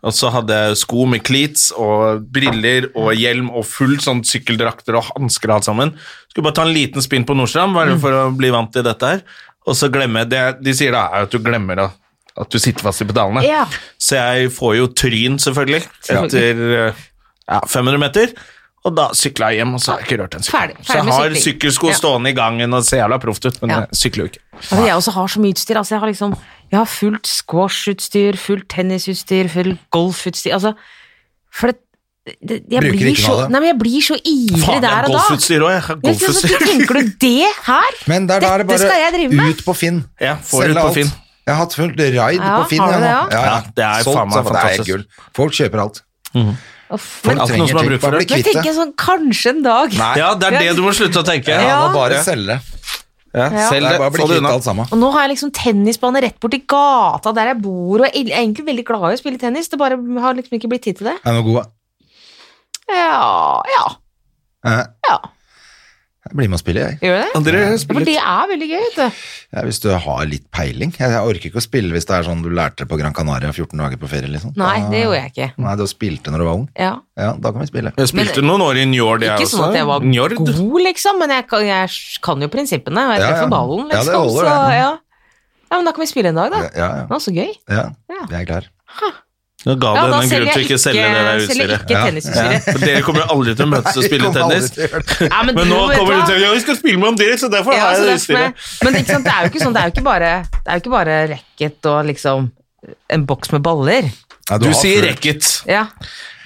[SPEAKER 1] Og så hadde jeg sko med cleats og briller og hjelm og full sånn sykkeldrakter og hansker og alt sammen. Skulle bare ta en liten spinn på Nordstrand bare for å bli vant til dette her. Og så glemme det de sier da, er at du glemmer å- at du sitter fast i pedalene.
[SPEAKER 4] Ja.
[SPEAKER 1] Så jeg får jo tryn, selvfølgelig,
[SPEAKER 4] Ja.
[SPEAKER 1] etter eh, ja, 500 meter. Og da sykla jeg hjem, og så har jeg ikke rørt en sykkel.
[SPEAKER 4] Ferdig- ferdig med
[SPEAKER 1] så jeg har
[SPEAKER 4] sykling.
[SPEAKER 1] sykkelsko
[SPEAKER 4] Ja.
[SPEAKER 1] stående i gangen og ser jævla proft ut, men
[SPEAKER 4] Ja.
[SPEAKER 1] jeg sykler jo ikke.
[SPEAKER 4] Altså, jeg også har så mye utstyr. Altså, jeg har liksom jeg har fullt squashutstyr, fullt tennisutstyr, fullt golfutstyr altså, For det, det, jeg,
[SPEAKER 2] Bruker
[SPEAKER 4] blir
[SPEAKER 2] ikke
[SPEAKER 4] så,
[SPEAKER 2] noe av det.
[SPEAKER 4] nei, men jeg blir så ivrig
[SPEAKER 1] Faen, jeg
[SPEAKER 4] der
[SPEAKER 1] har
[SPEAKER 4] og da.
[SPEAKER 1] golfutstyr òg, jeg. har
[SPEAKER 4] Jeg synes,
[SPEAKER 1] Golfutstyr.
[SPEAKER 4] altså, Tenker du det her?
[SPEAKER 2] Men der, da er det
[SPEAKER 4] Dette skal jeg drive
[SPEAKER 2] bare
[SPEAKER 4] med.
[SPEAKER 2] ut på Finn.
[SPEAKER 1] Ja, får
[SPEAKER 2] Selge
[SPEAKER 1] ut på
[SPEAKER 2] alt.
[SPEAKER 1] Finn.
[SPEAKER 2] Jeg har hatt fullt raid
[SPEAKER 4] Ja,
[SPEAKER 2] på Finn.
[SPEAKER 4] har du
[SPEAKER 2] jeg nå.
[SPEAKER 4] det,
[SPEAKER 2] ja, ja.
[SPEAKER 1] Ja, det er
[SPEAKER 2] Solgt,
[SPEAKER 1] faen meg
[SPEAKER 2] så det er
[SPEAKER 1] fantastisk.
[SPEAKER 2] gull. Folk kjøper alt.
[SPEAKER 4] Uff,
[SPEAKER 2] Folk
[SPEAKER 4] men,
[SPEAKER 1] Alt noen som har
[SPEAKER 2] trenger
[SPEAKER 1] bruk
[SPEAKER 2] ting,
[SPEAKER 1] for
[SPEAKER 2] bare
[SPEAKER 1] det.
[SPEAKER 2] bli
[SPEAKER 4] men
[SPEAKER 2] kvitt
[SPEAKER 4] tenker
[SPEAKER 2] det.
[SPEAKER 4] jeg sånn, kanskje en dag.
[SPEAKER 2] Nei.
[SPEAKER 1] Ja, det er det du må slutte å tenke.
[SPEAKER 2] Ja,
[SPEAKER 4] Ja.
[SPEAKER 2] må bare selge.
[SPEAKER 1] Ja,
[SPEAKER 2] Det
[SPEAKER 1] Selg
[SPEAKER 2] er
[SPEAKER 1] det,
[SPEAKER 2] bare å bli
[SPEAKER 1] få det
[SPEAKER 2] kvitt
[SPEAKER 1] unna.
[SPEAKER 2] alt sammen.
[SPEAKER 4] Og nå har jeg liksom tennisbane rett borti gata der jeg bor, og jeg er egentlig veldig glad i å spille tennis, det bare har liksom ikke blitt tid til det.
[SPEAKER 2] Er du god?
[SPEAKER 4] Ja, ja,
[SPEAKER 2] Ja.
[SPEAKER 4] ja.
[SPEAKER 2] Eh, Jeg blir med og spiller, jeg.
[SPEAKER 4] Gjør du det?
[SPEAKER 1] Dere
[SPEAKER 4] Ja,
[SPEAKER 1] spiller
[SPEAKER 4] for det er veldig gøy, vet du.
[SPEAKER 2] Ja, hvis du har litt peiling. Jeg, jeg orker ikke å spille hvis det er sånn du lærte det på Gran Canaria 14 dager på ferie, liksom.
[SPEAKER 4] Nei,
[SPEAKER 2] Da-
[SPEAKER 4] det gjorde jeg ikke.
[SPEAKER 2] Nei, du spilte når du var ung.
[SPEAKER 4] Ja.
[SPEAKER 2] Ja, da kan vi spille.
[SPEAKER 1] Jeg spilte noen år i Njord, jeg
[SPEAKER 4] Ikke
[SPEAKER 1] også.
[SPEAKER 4] sånn at jeg var
[SPEAKER 1] Njord.
[SPEAKER 4] god, liksom, men jeg kan, jeg kan jo prinsippene. og Jeg
[SPEAKER 2] Ja, ja.
[SPEAKER 4] treffer ballen,
[SPEAKER 2] Ja, det
[SPEAKER 4] liksom.
[SPEAKER 2] holder,
[SPEAKER 4] så,
[SPEAKER 2] det.
[SPEAKER 4] ja. ja, men da kan vi spille en dag, da.
[SPEAKER 2] Ja, ja.
[SPEAKER 4] Det var så gøy.
[SPEAKER 2] ja.
[SPEAKER 4] Ja.
[SPEAKER 2] Jeg er klar.
[SPEAKER 1] Nå ga
[SPEAKER 4] Ja,
[SPEAKER 1] det
[SPEAKER 4] da
[SPEAKER 1] en grunn til ikke å selge det der
[SPEAKER 4] selger
[SPEAKER 1] utstyret.
[SPEAKER 4] ikke tennisutstyret.
[SPEAKER 1] For Dere kommer jo aldri til å møtes og
[SPEAKER 2] Nei,
[SPEAKER 1] spille tennis.
[SPEAKER 2] vi kommer aldri til å gjøre det.
[SPEAKER 4] Ja,
[SPEAKER 1] Men
[SPEAKER 4] du,
[SPEAKER 1] nå
[SPEAKER 4] vet du
[SPEAKER 1] kommer du
[SPEAKER 4] hva?
[SPEAKER 1] til å Ja, vi skal spille med om dere, så derfor
[SPEAKER 4] Ja,
[SPEAKER 1] har jeg
[SPEAKER 4] så
[SPEAKER 1] det
[SPEAKER 4] derfor er-
[SPEAKER 1] utstyret.
[SPEAKER 4] Men ikke sant, det er jo ikke sånn, det er jo ikke bare, det er jo ikke bare racket og liksom en boks med baller.
[SPEAKER 2] Nei,
[SPEAKER 1] Du
[SPEAKER 2] har
[SPEAKER 1] sier
[SPEAKER 2] full-
[SPEAKER 1] racket.
[SPEAKER 4] Ja,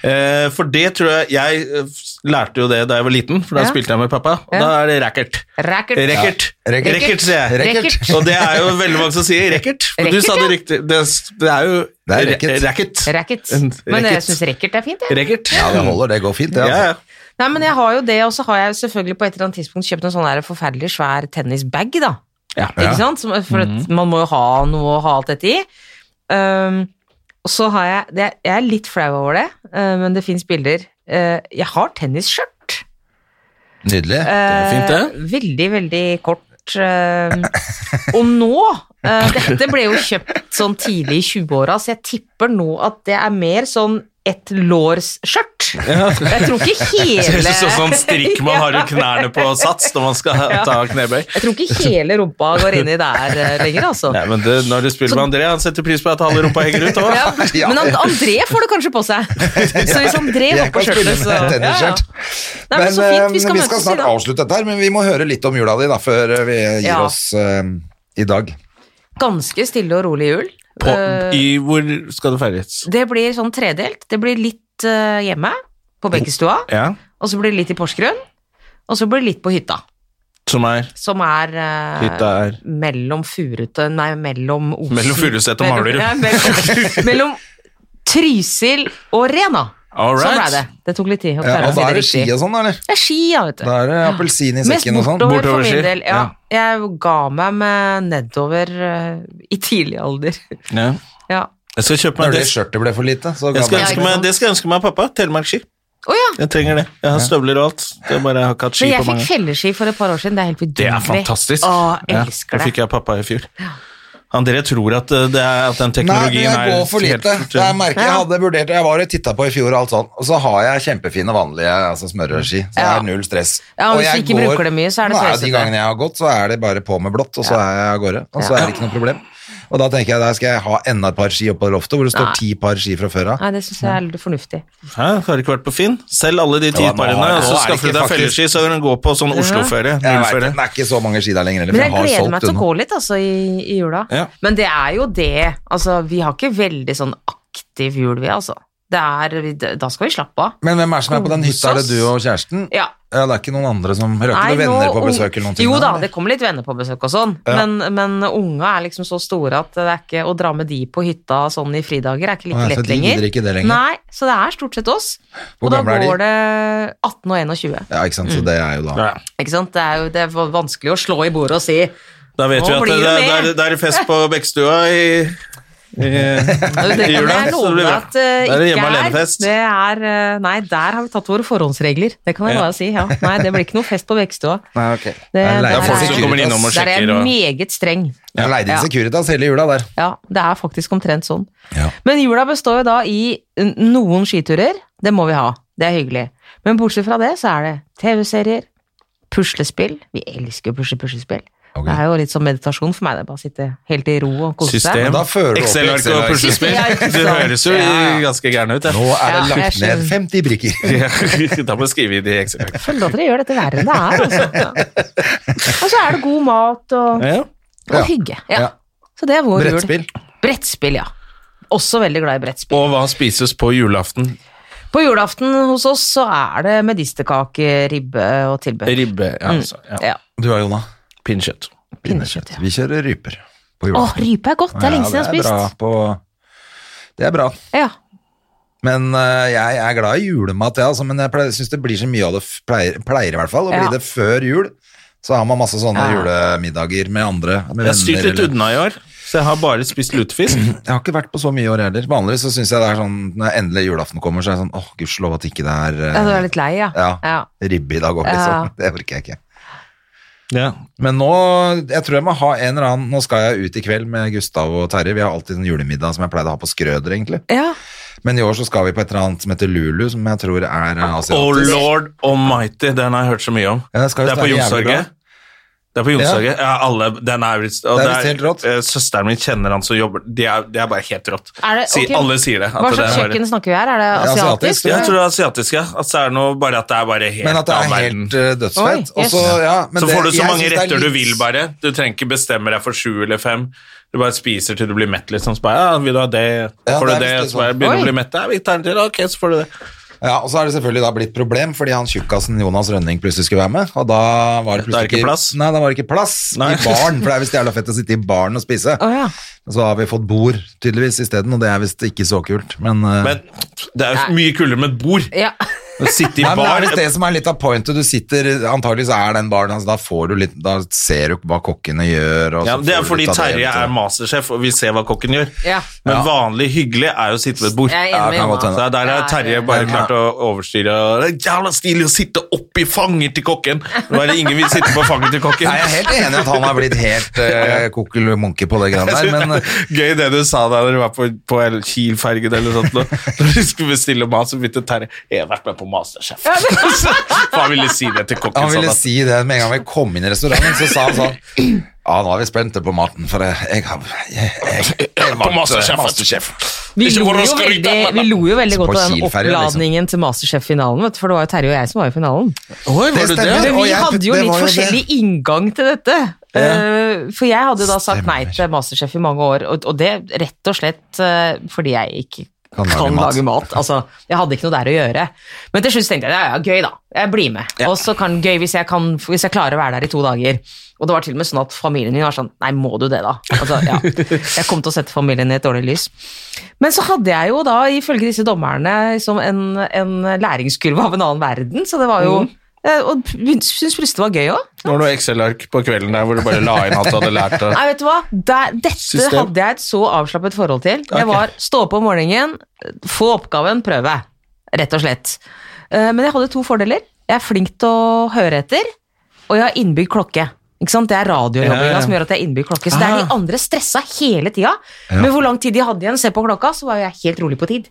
[SPEAKER 1] Eh, for det tror jeg Jeg eh, f- lærte jo det da jeg var liten, for da
[SPEAKER 4] Ja.
[SPEAKER 1] spilte jeg med pappa. Og
[SPEAKER 4] Ja.
[SPEAKER 1] Da er det racket.
[SPEAKER 4] racket.
[SPEAKER 1] Racket.
[SPEAKER 2] Racket.
[SPEAKER 1] Racket, sier jeg.
[SPEAKER 4] Racket.
[SPEAKER 1] Og det er jo veldig mange som sier racket. Men du
[SPEAKER 4] Racket,
[SPEAKER 1] sa det
[SPEAKER 4] ja.
[SPEAKER 1] riktig. Det, det er jo
[SPEAKER 2] Det er
[SPEAKER 1] ra-
[SPEAKER 2] racket.
[SPEAKER 1] racket.
[SPEAKER 4] Racket.
[SPEAKER 1] En
[SPEAKER 4] Men jeg
[SPEAKER 1] racket.
[SPEAKER 4] syns racket er fint, jeg.
[SPEAKER 1] Racket.
[SPEAKER 2] Ja, det holder. Det går fint, det.
[SPEAKER 1] Ja,
[SPEAKER 2] Altså.
[SPEAKER 1] ja.
[SPEAKER 4] Nei, men jeg har jo det, og så har jeg jo selvfølgelig på et eller annet tidspunkt kjøpt en sånn der forferdelig svær tennisbag, da.
[SPEAKER 1] Ja.
[SPEAKER 4] Ikke sant? Som, for at man må jo ha noe å ha alt dette i. Um, og så har jeg det, Jeg er litt flau over det, eh, men det fins bilder. Eh, jeg har tennisskjørt.
[SPEAKER 2] Nydelig.
[SPEAKER 4] Eh,
[SPEAKER 1] fint, det.
[SPEAKER 4] Veldig, veldig kort. eh, og nå eh, Dette ble jo kjøpt sånn tidlig i 20-åra, så jeg tipper nå at det er mer sånn ett lårs skjørt. Jeg tror ikke
[SPEAKER 1] Det
[SPEAKER 4] hele
[SPEAKER 1] er sånn sånn strikk man har rundt knærne på sats når man skal ta knebøy.
[SPEAKER 4] Jeg tror ikke hele rumpa går inni der eh, lenger, altså.
[SPEAKER 1] Nei, men det, når du spiller med André, han setter pris på at halve rumpa henger ut òg.
[SPEAKER 4] Ja, men And- André får det kanskje på seg. Så hvis André har
[SPEAKER 2] Jeg
[SPEAKER 4] på
[SPEAKER 2] kan spille
[SPEAKER 4] skjørtet, så
[SPEAKER 2] med tennisskjørt.
[SPEAKER 4] Nei, men,
[SPEAKER 2] Men,
[SPEAKER 4] så
[SPEAKER 2] eh,
[SPEAKER 4] fint. Vi skal,
[SPEAKER 2] vi
[SPEAKER 4] møtes
[SPEAKER 2] skal
[SPEAKER 4] i
[SPEAKER 2] snart
[SPEAKER 4] dag.
[SPEAKER 2] avslutte dette her, men vi må høre litt om jula di da, før vi gir
[SPEAKER 4] Ja.
[SPEAKER 2] oss eh, i dag.
[SPEAKER 4] Ganske stille og rolig jul. Eh,
[SPEAKER 1] I hvor skal du feires?
[SPEAKER 4] Det blir sånn tredelt. Det blir litt eh, hjemme på
[SPEAKER 2] Mm.
[SPEAKER 4] Bekkestua,
[SPEAKER 1] Ja,
[SPEAKER 4] og så blir det litt i Porsgrunn, og så blir det litt på hytta,
[SPEAKER 1] som er
[SPEAKER 4] som er eh,
[SPEAKER 1] Hytta er
[SPEAKER 4] mellom Furute Nei, mellom Osen
[SPEAKER 1] Mellom Furuset og
[SPEAKER 4] Mellom-
[SPEAKER 1] Manglerud.
[SPEAKER 4] Ja, mellom, mellom Trysil og Rena.
[SPEAKER 1] All
[SPEAKER 4] Sånn ble
[SPEAKER 1] right.
[SPEAKER 4] det. Det tok litt tid å
[SPEAKER 2] Ja,
[SPEAKER 4] klare
[SPEAKER 2] og
[SPEAKER 4] å si
[SPEAKER 2] da
[SPEAKER 4] det
[SPEAKER 2] er det ski
[SPEAKER 4] riktig.
[SPEAKER 2] og sånn, da, eller?
[SPEAKER 4] Det er ski, ja, vet du.
[SPEAKER 2] Da er det appelsin i
[SPEAKER 4] Mest
[SPEAKER 2] sekken og sånn.
[SPEAKER 4] bortover,
[SPEAKER 1] Bortover
[SPEAKER 4] for
[SPEAKER 1] ski,
[SPEAKER 4] min del. Ja. Jeg ga meg med nedover eh, i tidlig alder.
[SPEAKER 1] Ja.
[SPEAKER 4] ja.
[SPEAKER 1] Jeg skal kjøpe
[SPEAKER 2] Når
[SPEAKER 1] meg
[SPEAKER 2] det
[SPEAKER 1] det.
[SPEAKER 2] skjørtet ble for lite, så
[SPEAKER 1] Jeg
[SPEAKER 2] ga
[SPEAKER 1] skal
[SPEAKER 2] det
[SPEAKER 4] Ja,
[SPEAKER 1] ønske
[SPEAKER 4] ikke
[SPEAKER 1] meg,
[SPEAKER 4] sant?
[SPEAKER 1] det skal jeg ønske meg pappa. Telemarkski.
[SPEAKER 4] Å ja.
[SPEAKER 1] Jeg trenger det. Jeg har støvler og alt. Jeg bare har ikke hatt ski
[SPEAKER 4] Men
[SPEAKER 1] på
[SPEAKER 4] jeg fikk
[SPEAKER 1] mange
[SPEAKER 4] felleski for et par år siden. Det er helt vidunderlig.
[SPEAKER 1] Det er fantastisk.
[SPEAKER 4] Å,
[SPEAKER 1] Ja,
[SPEAKER 4] elsker
[SPEAKER 1] Det
[SPEAKER 4] det.
[SPEAKER 1] fikk jeg av pappa i fjor. André tror at, uh, det er, at
[SPEAKER 2] Nei,
[SPEAKER 1] den
[SPEAKER 2] det
[SPEAKER 1] teknologien er
[SPEAKER 2] går for lite.
[SPEAKER 1] helt-
[SPEAKER 2] Det er merket jeg hadde vurdert, jeg var og tittet på i fjor og alt sånn, og så har jeg kjempefine vanlige altså smørreski, så det
[SPEAKER 4] Ja.
[SPEAKER 2] er null stress.
[SPEAKER 4] Ja,
[SPEAKER 2] og
[SPEAKER 4] hvis du
[SPEAKER 2] jeg
[SPEAKER 4] ikke bruker det mye, så er det
[SPEAKER 2] Nei,
[SPEAKER 4] tøysete.
[SPEAKER 2] De gangene jeg har gått, så er det bare på med blått, og så er jeg av gårde, og så er det ikke noe problem. Og da tenker jeg, der skal jeg ha enda et par ski oppe på loftet, hvor det står
[SPEAKER 4] Nei.
[SPEAKER 2] ti par ski fra før av.
[SPEAKER 4] Nei, det syns jeg er litt fornuftig.
[SPEAKER 1] Hæ? Har du ikke vært på Finn? Selv alle de ti
[SPEAKER 2] Ja, nå
[SPEAKER 1] parene,
[SPEAKER 2] har jeg-
[SPEAKER 1] og
[SPEAKER 2] nå
[SPEAKER 1] så
[SPEAKER 2] er det
[SPEAKER 1] skaffer du
[SPEAKER 2] ikke
[SPEAKER 1] deg
[SPEAKER 2] faktisk-
[SPEAKER 1] felleski, så kan du gå på sånn Oslo-ferie.
[SPEAKER 2] Jeg vet,
[SPEAKER 1] Nullferie.
[SPEAKER 2] det er ikke så mange ski der lenger heller,
[SPEAKER 4] Men
[SPEAKER 2] for
[SPEAKER 4] jeg
[SPEAKER 2] jeg har
[SPEAKER 4] gleder
[SPEAKER 2] solgt
[SPEAKER 4] meg til å
[SPEAKER 2] unna.
[SPEAKER 4] gå litt, altså, i, i jula.
[SPEAKER 1] Ja.
[SPEAKER 4] Men det er jo det Altså, vi har ikke veldig sånn aktiv jul, vi, altså. Det er vi- Da skal vi slappe av.
[SPEAKER 2] Men hvem er det som er på den hytta? Er det du og kjæresten?
[SPEAKER 4] Ja.
[SPEAKER 2] Ja, det er ikke noen andre som Røker
[SPEAKER 4] Nei,
[SPEAKER 2] noen venner
[SPEAKER 4] nå-
[SPEAKER 2] på besøk eller noen ting?
[SPEAKER 4] Jo da,
[SPEAKER 2] eller?
[SPEAKER 4] det kommer litt venner på besøk og sånn,
[SPEAKER 2] Ja.
[SPEAKER 4] men, men unga er liksom så store at det er ikke å dra med de på hytta sånn i fridager er ikke like
[SPEAKER 2] Nei, så
[SPEAKER 4] lett
[SPEAKER 2] de
[SPEAKER 4] lenger.
[SPEAKER 2] gidder ikke det lenger.
[SPEAKER 4] Nei, så det er stort sett oss.
[SPEAKER 2] Hvor
[SPEAKER 4] og da
[SPEAKER 2] gamle er de?
[SPEAKER 4] går det 18 og 21.
[SPEAKER 2] Ja, ikke sant,
[SPEAKER 4] Mm.
[SPEAKER 2] så det er jo da
[SPEAKER 1] Ja.
[SPEAKER 4] Ikke sant? Det er jo det er vanskelig å slå i bordet og si
[SPEAKER 1] Da vet
[SPEAKER 4] Nå
[SPEAKER 1] vi at
[SPEAKER 4] blir
[SPEAKER 1] det,
[SPEAKER 4] det
[SPEAKER 1] det,
[SPEAKER 4] mer.
[SPEAKER 1] det, er- det er fest på Bekkestua i, i,
[SPEAKER 4] Det
[SPEAKER 1] i
[SPEAKER 4] kan
[SPEAKER 1] jula. Så
[SPEAKER 4] jeg
[SPEAKER 1] det
[SPEAKER 4] love
[SPEAKER 1] blir bra.
[SPEAKER 4] at eh,
[SPEAKER 1] Da er det
[SPEAKER 4] ikke
[SPEAKER 1] hjemme
[SPEAKER 4] er.
[SPEAKER 1] alene-fest.
[SPEAKER 4] Det er eh, Nei, der har vi tatt våre forhåndsregler. Det kan jeg
[SPEAKER 1] Ja.
[SPEAKER 4] bare si. Ja. Nei, det blir ikke noe fest på Vekstua.
[SPEAKER 2] Nei, ok. Det,
[SPEAKER 4] det
[SPEAKER 2] leid
[SPEAKER 4] er
[SPEAKER 2] inn
[SPEAKER 4] folk som
[SPEAKER 2] Securitas.
[SPEAKER 1] kommer innom og
[SPEAKER 4] Der er jeg
[SPEAKER 1] sjekker og-
[SPEAKER 4] meget streng.
[SPEAKER 2] Jeg leide inn
[SPEAKER 4] Ja.
[SPEAKER 2] Securitas hele jula der.
[SPEAKER 4] Ja, det er faktisk omtrent sånn.
[SPEAKER 2] Ja.
[SPEAKER 4] Men jula består jo da i n- noen skiturer. Det må vi ha. Det er hyggelig. Men bortsett fra det, så er det TV-serier, puslespill. Vi elsker jo pusle- puslespill.
[SPEAKER 2] Ok.
[SPEAKER 4] Det er jo litt som meditasjon for meg. Det er bare å sitte helt i ro og kose
[SPEAKER 2] Men
[SPEAKER 1] System,
[SPEAKER 2] da fører du opp i
[SPEAKER 1] Excel-ark og
[SPEAKER 2] Excel-ark.
[SPEAKER 1] puslespill.
[SPEAKER 4] Ja, ikke sant.
[SPEAKER 1] Det høres jo
[SPEAKER 4] Ja, ja.
[SPEAKER 1] ganske gæren ut,
[SPEAKER 2] Nå er
[SPEAKER 1] ja.
[SPEAKER 2] det
[SPEAKER 4] Ja, jeg
[SPEAKER 2] lagt ned
[SPEAKER 4] skjønner.
[SPEAKER 2] 50 brikker.
[SPEAKER 1] Da må jeg skrive i de Excel-ark.
[SPEAKER 4] Jeg føler at dere gjør dette verre enn det er. Altså. Ja. Og så er det god mat og,
[SPEAKER 1] Ja.
[SPEAKER 4] og
[SPEAKER 2] Ja.
[SPEAKER 4] hygge.
[SPEAKER 2] Ja.
[SPEAKER 4] Ja. Så det er vår jul.
[SPEAKER 2] Brettspill.
[SPEAKER 4] Brettspill, ja. Også veldig glad i brettspill.
[SPEAKER 1] Og hva spises på julaften?
[SPEAKER 4] På julaften hos oss så er det medisterkake, ribbe og tilbehør.
[SPEAKER 1] Ribbe, ja, altså. Ja.
[SPEAKER 4] Mm. Ja.
[SPEAKER 2] Du og Jonna?
[SPEAKER 1] Pinnekjøtt.
[SPEAKER 4] Pinnekjøtt, ja.
[SPEAKER 2] Vi kjører ryper på
[SPEAKER 4] Å,
[SPEAKER 2] julaften.
[SPEAKER 4] rype er godt. Det er lenge siden
[SPEAKER 2] Ja, det
[SPEAKER 4] jeg har
[SPEAKER 2] er bra
[SPEAKER 4] spist.
[SPEAKER 2] på Det er bra.
[SPEAKER 4] Ja.
[SPEAKER 2] Men øh, jeg er glad i julemat, jeg, altså, men jeg syns det blir så mye av det f- pleier, pleier i hvert fall å bli
[SPEAKER 4] Ja.
[SPEAKER 2] det før jul. Så har man masse sånne
[SPEAKER 4] Ja.
[SPEAKER 2] julemiddager med andre. Med
[SPEAKER 1] Jeg har styrt litt
[SPEAKER 2] eller-
[SPEAKER 1] unna i år, så jeg har bare spist lutefisk.
[SPEAKER 2] Jeg har ikke vært på så mye i år heller. Vanligvis så syns jeg det er sånn når endelig julaften kommer, så er jeg sånn åh, gudskjelov at ikke det er,
[SPEAKER 4] ja, du
[SPEAKER 2] øh,
[SPEAKER 4] er litt lei, ja.
[SPEAKER 2] ja, ribbe i dag òg,
[SPEAKER 4] Ja.
[SPEAKER 2] liksom. Det orker jeg ikke.
[SPEAKER 1] Ja.
[SPEAKER 2] Men nå, jeg tror jeg må ha en eller annen Nå skal jeg ut i kveld med Gustav og Terje. Vi har alltid en julemiddag som jeg pleide å ha på Skrøder, egentlig.
[SPEAKER 4] Ja.
[SPEAKER 2] Men i år så skal vi på et eller annet som heter Lulu, som jeg tror er eh,
[SPEAKER 1] Oh
[SPEAKER 2] asiatisk.
[SPEAKER 1] lord almighty, den har jeg hørt så mye om.
[SPEAKER 2] Ja, den skal visst
[SPEAKER 1] det er på
[SPEAKER 2] være jævlig
[SPEAKER 1] Youngstorget. Det er på Youngstorget. Ja, alle, den er visst og
[SPEAKER 2] Det er
[SPEAKER 1] det
[SPEAKER 2] visst helt rått.
[SPEAKER 1] eh, Søsteren min kjenner han som jobber Det er, det er bare helt rått.
[SPEAKER 4] Er det-
[SPEAKER 1] Si-
[SPEAKER 4] ok.
[SPEAKER 1] alle sier det. at
[SPEAKER 4] Hva
[SPEAKER 1] det
[SPEAKER 4] slags
[SPEAKER 1] er bare-
[SPEAKER 4] kjøkken snakker vi her? Er det asiatisk?
[SPEAKER 2] asiatisk,
[SPEAKER 1] Ja, jeg tror det er asiatiske. At det er noe, bare at det er bare helt
[SPEAKER 2] Men at det
[SPEAKER 1] annen
[SPEAKER 2] er
[SPEAKER 1] verden.
[SPEAKER 2] helt eh, dødsfett.
[SPEAKER 4] Oi,
[SPEAKER 2] Og så,
[SPEAKER 4] yes.
[SPEAKER 2] ja, men
[SPEAKER 1] så
[SPEAKER 2] det-
[SPEAKER 1] får du så
[SPEAKER 2] jeg synes
[SPEAKER 1] mange
[SPEAKER 2] det er
[SPEAKER 1] retter du
[SPEAKER 2] litt-
[SPEAKER 1] vil, bare. Du trenger ikke bestemme deg for sju eller fem. Du bare spiser til du blir mett, liksom. Så bare, ja, vil du ha det?
[SPEAKER 2] Ja,
[SPEAKER 1] får du
[SPEAKER 2] det er
[SPEAKER 1] det?
[SPEAKER 2] visst litt
[SPEAKER 1] Så bare
[SPEAKER 2] sånn.
[SPEAKER 1] begynner du å
[SPEAKER 4] Oi.
[SPEAKER 1] bli mett. Ja, vi tar en til. Ok, så får du det.
[SPEAKER 2] Ja, Og så er det selvfølgelig da blitt problem, fordi han tjukkasen Jonas Rønning plutselig skulle være med. Og da var det
[SPEAKER 1] Da er
[SPEAKER 2] plutselig
[SPEAKER 1] det ikke plass.
[SPEAKER 2] Nei, da var det ikke plass
[SPEAKER 1] Nei.
[SPEAKER 2] i baren, for det er visst jævla fett å sitte i baren og spise.
[SPEAKER 4] Å ja.
[SPEAKER 2] Så har vi fått bord tydeligvis isteden, og det er visst ikke så kult, men, eh,
[SPEAKER 1] Men det er jo mye kulere med et bord.
[SPEAKER 4] ja.
[SPEAKER 1] Å sitte i
[SPEAKER 2] Nei, men det er
[SPEAKER 1] bar.
[SPEAKER 2] visst det som er litt av pointet. Du sitter, antagelig så er den baren hans, da får du litt, da ser du hva kokkene gjør. Og
[SPEAKER 1] Ja,
[SPEAKER 2] så
[SPEAKER 1] men det
[SPEAKER 2] får
[SPEAKER 1] er
[SPEAKER 2] du
[SPEAKER 1] fordi
[SPEAKER 2] litt av det,
[SPEAKER 1] Terje
[SPEAKER 2] vet
[SPEAKER 1] er
[SPEAKER 2] du.
[SPEAKER 1] mastersjef, og vi ser hva kokken gjør.
[SPEAKER 4] Ja.
[SPEAKER 1] Men
[SPEAKER 2] Ja.
[SPEAKER 1] vanlig hyggelig er jo å sitte ved et bord.
[SPEAKER 4] Jeg er
[SPEAKER 2] Ja,
[SPEAKER 4] enig
[SPEAKER 2] kan
[SPEAKER 4] med
[SPEAKER 2] godt
[SPEAKER 4] Jonas.
[SPEAKER 2] hende.
[SPEAKER 1] Så der har
[SPEAKER 4] Ja,
[SPEAKER 1] Terje
[SPEAKER 4] ja.
[SPEAKER 1] bare
[SPEAKER 2] ja.
[SPEAKER 1] klart å overstyre. og Det er jævla stilig å sitte oppi fanget til kokken! Nå er det ingen vil sitte på fanget til kokken.
[SPEAKER 2] Nei, jeg er helt enig at han har blitt helt uh, kokkelmunke på det greiene der, men
[SPEAKER 1] Gøy det du sa da dere var på, på en Kiel-fergen eller sånt. nå. Når du skulle bestille mat, så begynte Terje Jeg har vært med på Masterchef. For han ville si det til kokken.
[SPEAKER 2] Han ville
[SPEAKER 1] sånn at-
[SPEAKER 2] si det med en gang vi kom inn i restauranten, så sa han sånn Ja, nå er vi spente på maten, for jeg, jeg, har- jeg, jeg, jeg
[SPEAKER 1] På
[SPEAKER 2] vant, eh,
[SPEAKER 1] Masterchef.
[SPEAKER 4] Vi
[SPEAKER 1] Ikke
[SPEAKER 4] lo,
[SPEAKER 1] for å
[SPEAKER 4] jo
[SPEAKER 1] skryte,
[SPEAKER 4] veldig,
[SPEAKER 1] men-
[SPEAKER 4] vi lo jo veldig godt av den
[SPEAKER 2] Kiel-ferja, liksom.
[SPEAKER 4] oppladningen til Masterchef-finalen, vet du, for det var jo Terje og jeg som var i finalen.
[SPEAKER 1] Oi,
[SPEAKER 2] Det
[SPEAKER 1] var du det?
[SPEAKER 2] stemmer.
[SPEAKER 4] Men
[SPEAKER 2] og
[SPEAKER 4] vi
[SPEAKER 2] jeg-
[SPEAKER 4] hadde jo
[SPEAKER 2] det
[SPEAKER 4] litt
[SPEAKER 2] var jo det.
[SPEAKER 4] forskjellig inngang til dette. Eh, for jeg hadde jo da sagt nei
[SPEAKER 2] Stemmer.
[SPEAKER 4] til Masterchef i mange år, og, og det rett og slett eh, fordi jeg ikke
[SPEAKER 2] Kan lage
[SPEAKER 4] kan,
[SPEAKER 2] mat.
[SPEAKER 4] lage mat. Altså, jeg hadde ikke noe der å gjøre. Men til slutt tenkte jeg ja, ja, gøy da, jeg blir med. Og så kan gøy hvis jeg, kan, hvis jeg klarer å være der i to dager. Og det var til og med sånn at familien min var sånn nei, må du det da? Altså, ja. Jeg kom til å sette familien i et dårlig lys. Men så hadde jeg jo da, ifølge disse dommerne, liksom en, en læringskurve av en annen verden, så det var
[SPEAKER 2] Mm.
[SPEAKER 4] jo eh, Og syns plutselig det var gøy òg.
[SPEAKER 1] Det var noe Excel-ark på kvelden der hvor du bare la inn alt du hadde lært. Og...
[SPEAKER 4] Nei, vet du hva? Der, dette
[SPEAKER 1] System.
[SPEAKER 4] hadde jeg et så avslappet forhold til.
[SPEAKER 1] Ok.
[SPEAKER 4] Jeg var stå opp om morgenen, få oppgaven, prøve. Rett og slett. Eh, Men jeg hadde to fordeler. Jeg er flink til å høre etter, og jeg har innbygd klokke. Ikke sant? Det er radiojobbinga
[SPEAKER 1] Ja, ja.
[SPEAKER 4] som gjør at jeg har innbygd klokke. Så det er
[SPEAKER 1] Ah.
[SPEAKER 4] de andre stressa hele tida. Men hvor lang tid de hadde igjen, se på klokka, så var jo jeg helt rolig på tid.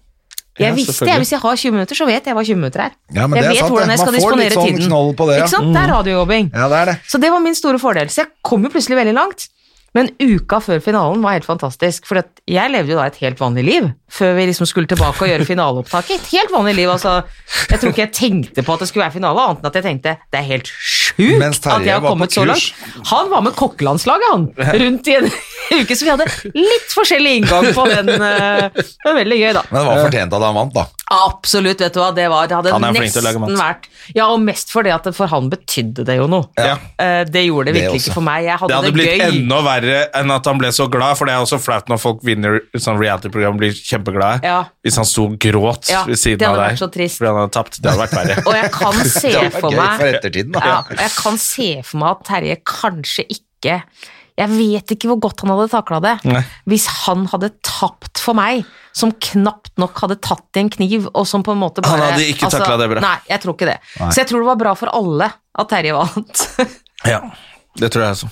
[SPEAKER 4] Jeg
[SPEAKER 1] Ja,
[SPEAKER 4] visste,
[SPEAKER 1] selvfølgelig.
[SPEAKER 4] jeg, Hvis jeg har 20 minutter, så vet jeg hva 20 minutter er.
[SPEAKER 2] Ja, men
[SPEAKER 4] jeg
[SPEAKER 2] det er
[SPEAKER 4] vet
[SPEAKER 2] sant, det.
[SPEAKER 4] hvordan jeg skal
[SPEAKER 2] Man får litt
[SPEAKER 4] disponere
[SPEAKER 2] sånn
[SPEAKER 4] tiden.
[SPEAKER 2] knoll på det, ja. Mm.
[SPEAKER 4] Ikke sant? Det er radiojobbing.
[SPEAKER 2] Ja, det er det.
[SPEAKER 4] Så det var min store fordel. Så jeg kom jo plutselig veldig langt. Men uka før finalen var helt fantastisk, for at jeg levde jo da et helt vanlig liv. Før vi liksom skulle tilbake og gjøre finaleopptaket. Et helt vanlig liv, altså. Jeg tror ikke jeg tenkte på at det skulle være finale, annet enn at jeg tenkte det er helt sjukt
[SPEAKER 2] Mens
[SPEAKER 4] at
[SPEAKER 2] Terje
[SPEAKER 4] jeg har
[SPEAKER 2] var på
[SPEAKER 4] kommet så langt.
[SPEAKER 2] kurs.
[SPEAKER 4] Han var med kokkelandslaget, han, rundt i en uke, så vi hadde litt forskjellig inngang på den. eh, Det var veldig gøy, da.
[SPEAKER 2] Men det var fortjent at han vant, da.
[SPEAKER 4] Absolutt, vet du hva. Det, var, det hadde
[SPEAKER 1] Han er flink til
[SPEAKER 4] nesten
[SPEAKER 1] å lage mat.
[SPEAKER 4] vært Ja, og mest fordi at det- for han betydde det jo noe.
[SPEAKER 1] Ja.
[SPEAKER 4] Eh, Det gjorde det
[SPEAKER 2] Det
[SPEAKER 4] virkelig
[SPEAKER 2] også.
[SPEAKER 4] ikke for meg. Jeg hadde
[SPEAKER 1] Det
[SPEAKER 4] det,
[SPEAKER 1] hadde blitt
[SPEAKER 4] gøy.
[SPEAKER 1] enda verre enn at han ble så glad, for det er også flaut når folk vinner sånn reality-program blir kjempeglade.
[SPEAKER 4] Ja.
[SPEAKER 1] Hvis han sto og gråt
[SPEAKER 4] Ja,
[SPEAKER 1] ved
[SPEAKER 4] det
[SPEAKER 1] siden av
[SPEAKER 4] hadde vært
[SPEAKER 1] deg
[SPEAKER 4] så trist.
[SPEAKER 1] fordi han hadde tapt. Det hadde vært verre.
[SPEAKER 4] Og jeg kan se
[SPEAKER 2] Det var
[SPEAKER 4] for
[SPEAKER 2] gøy
[SPEAKER 4] meg
[SPEAKER 2] for ettertiden, da.
[SPEAKER 4] ja, og Jeg kan se for meg at Terje kanskje ikke Jeg vet ikke hvor godt han hadde takla det.
[SPEAKER 1] Nei.
[SPEAKER 4] Hvis han hadde tapt for meg, som knapt nok hadde tatt i en kniv, og som på en måte bare altså,
[SPEAKER 1] Han hadde ikke taklet det bra.
[SPEAKER 4] Nei, jeg tror ikke det. Så jeg tror det var bra for alle at Terje vant.
[SPEAKER 1] ja, det tror jeg også.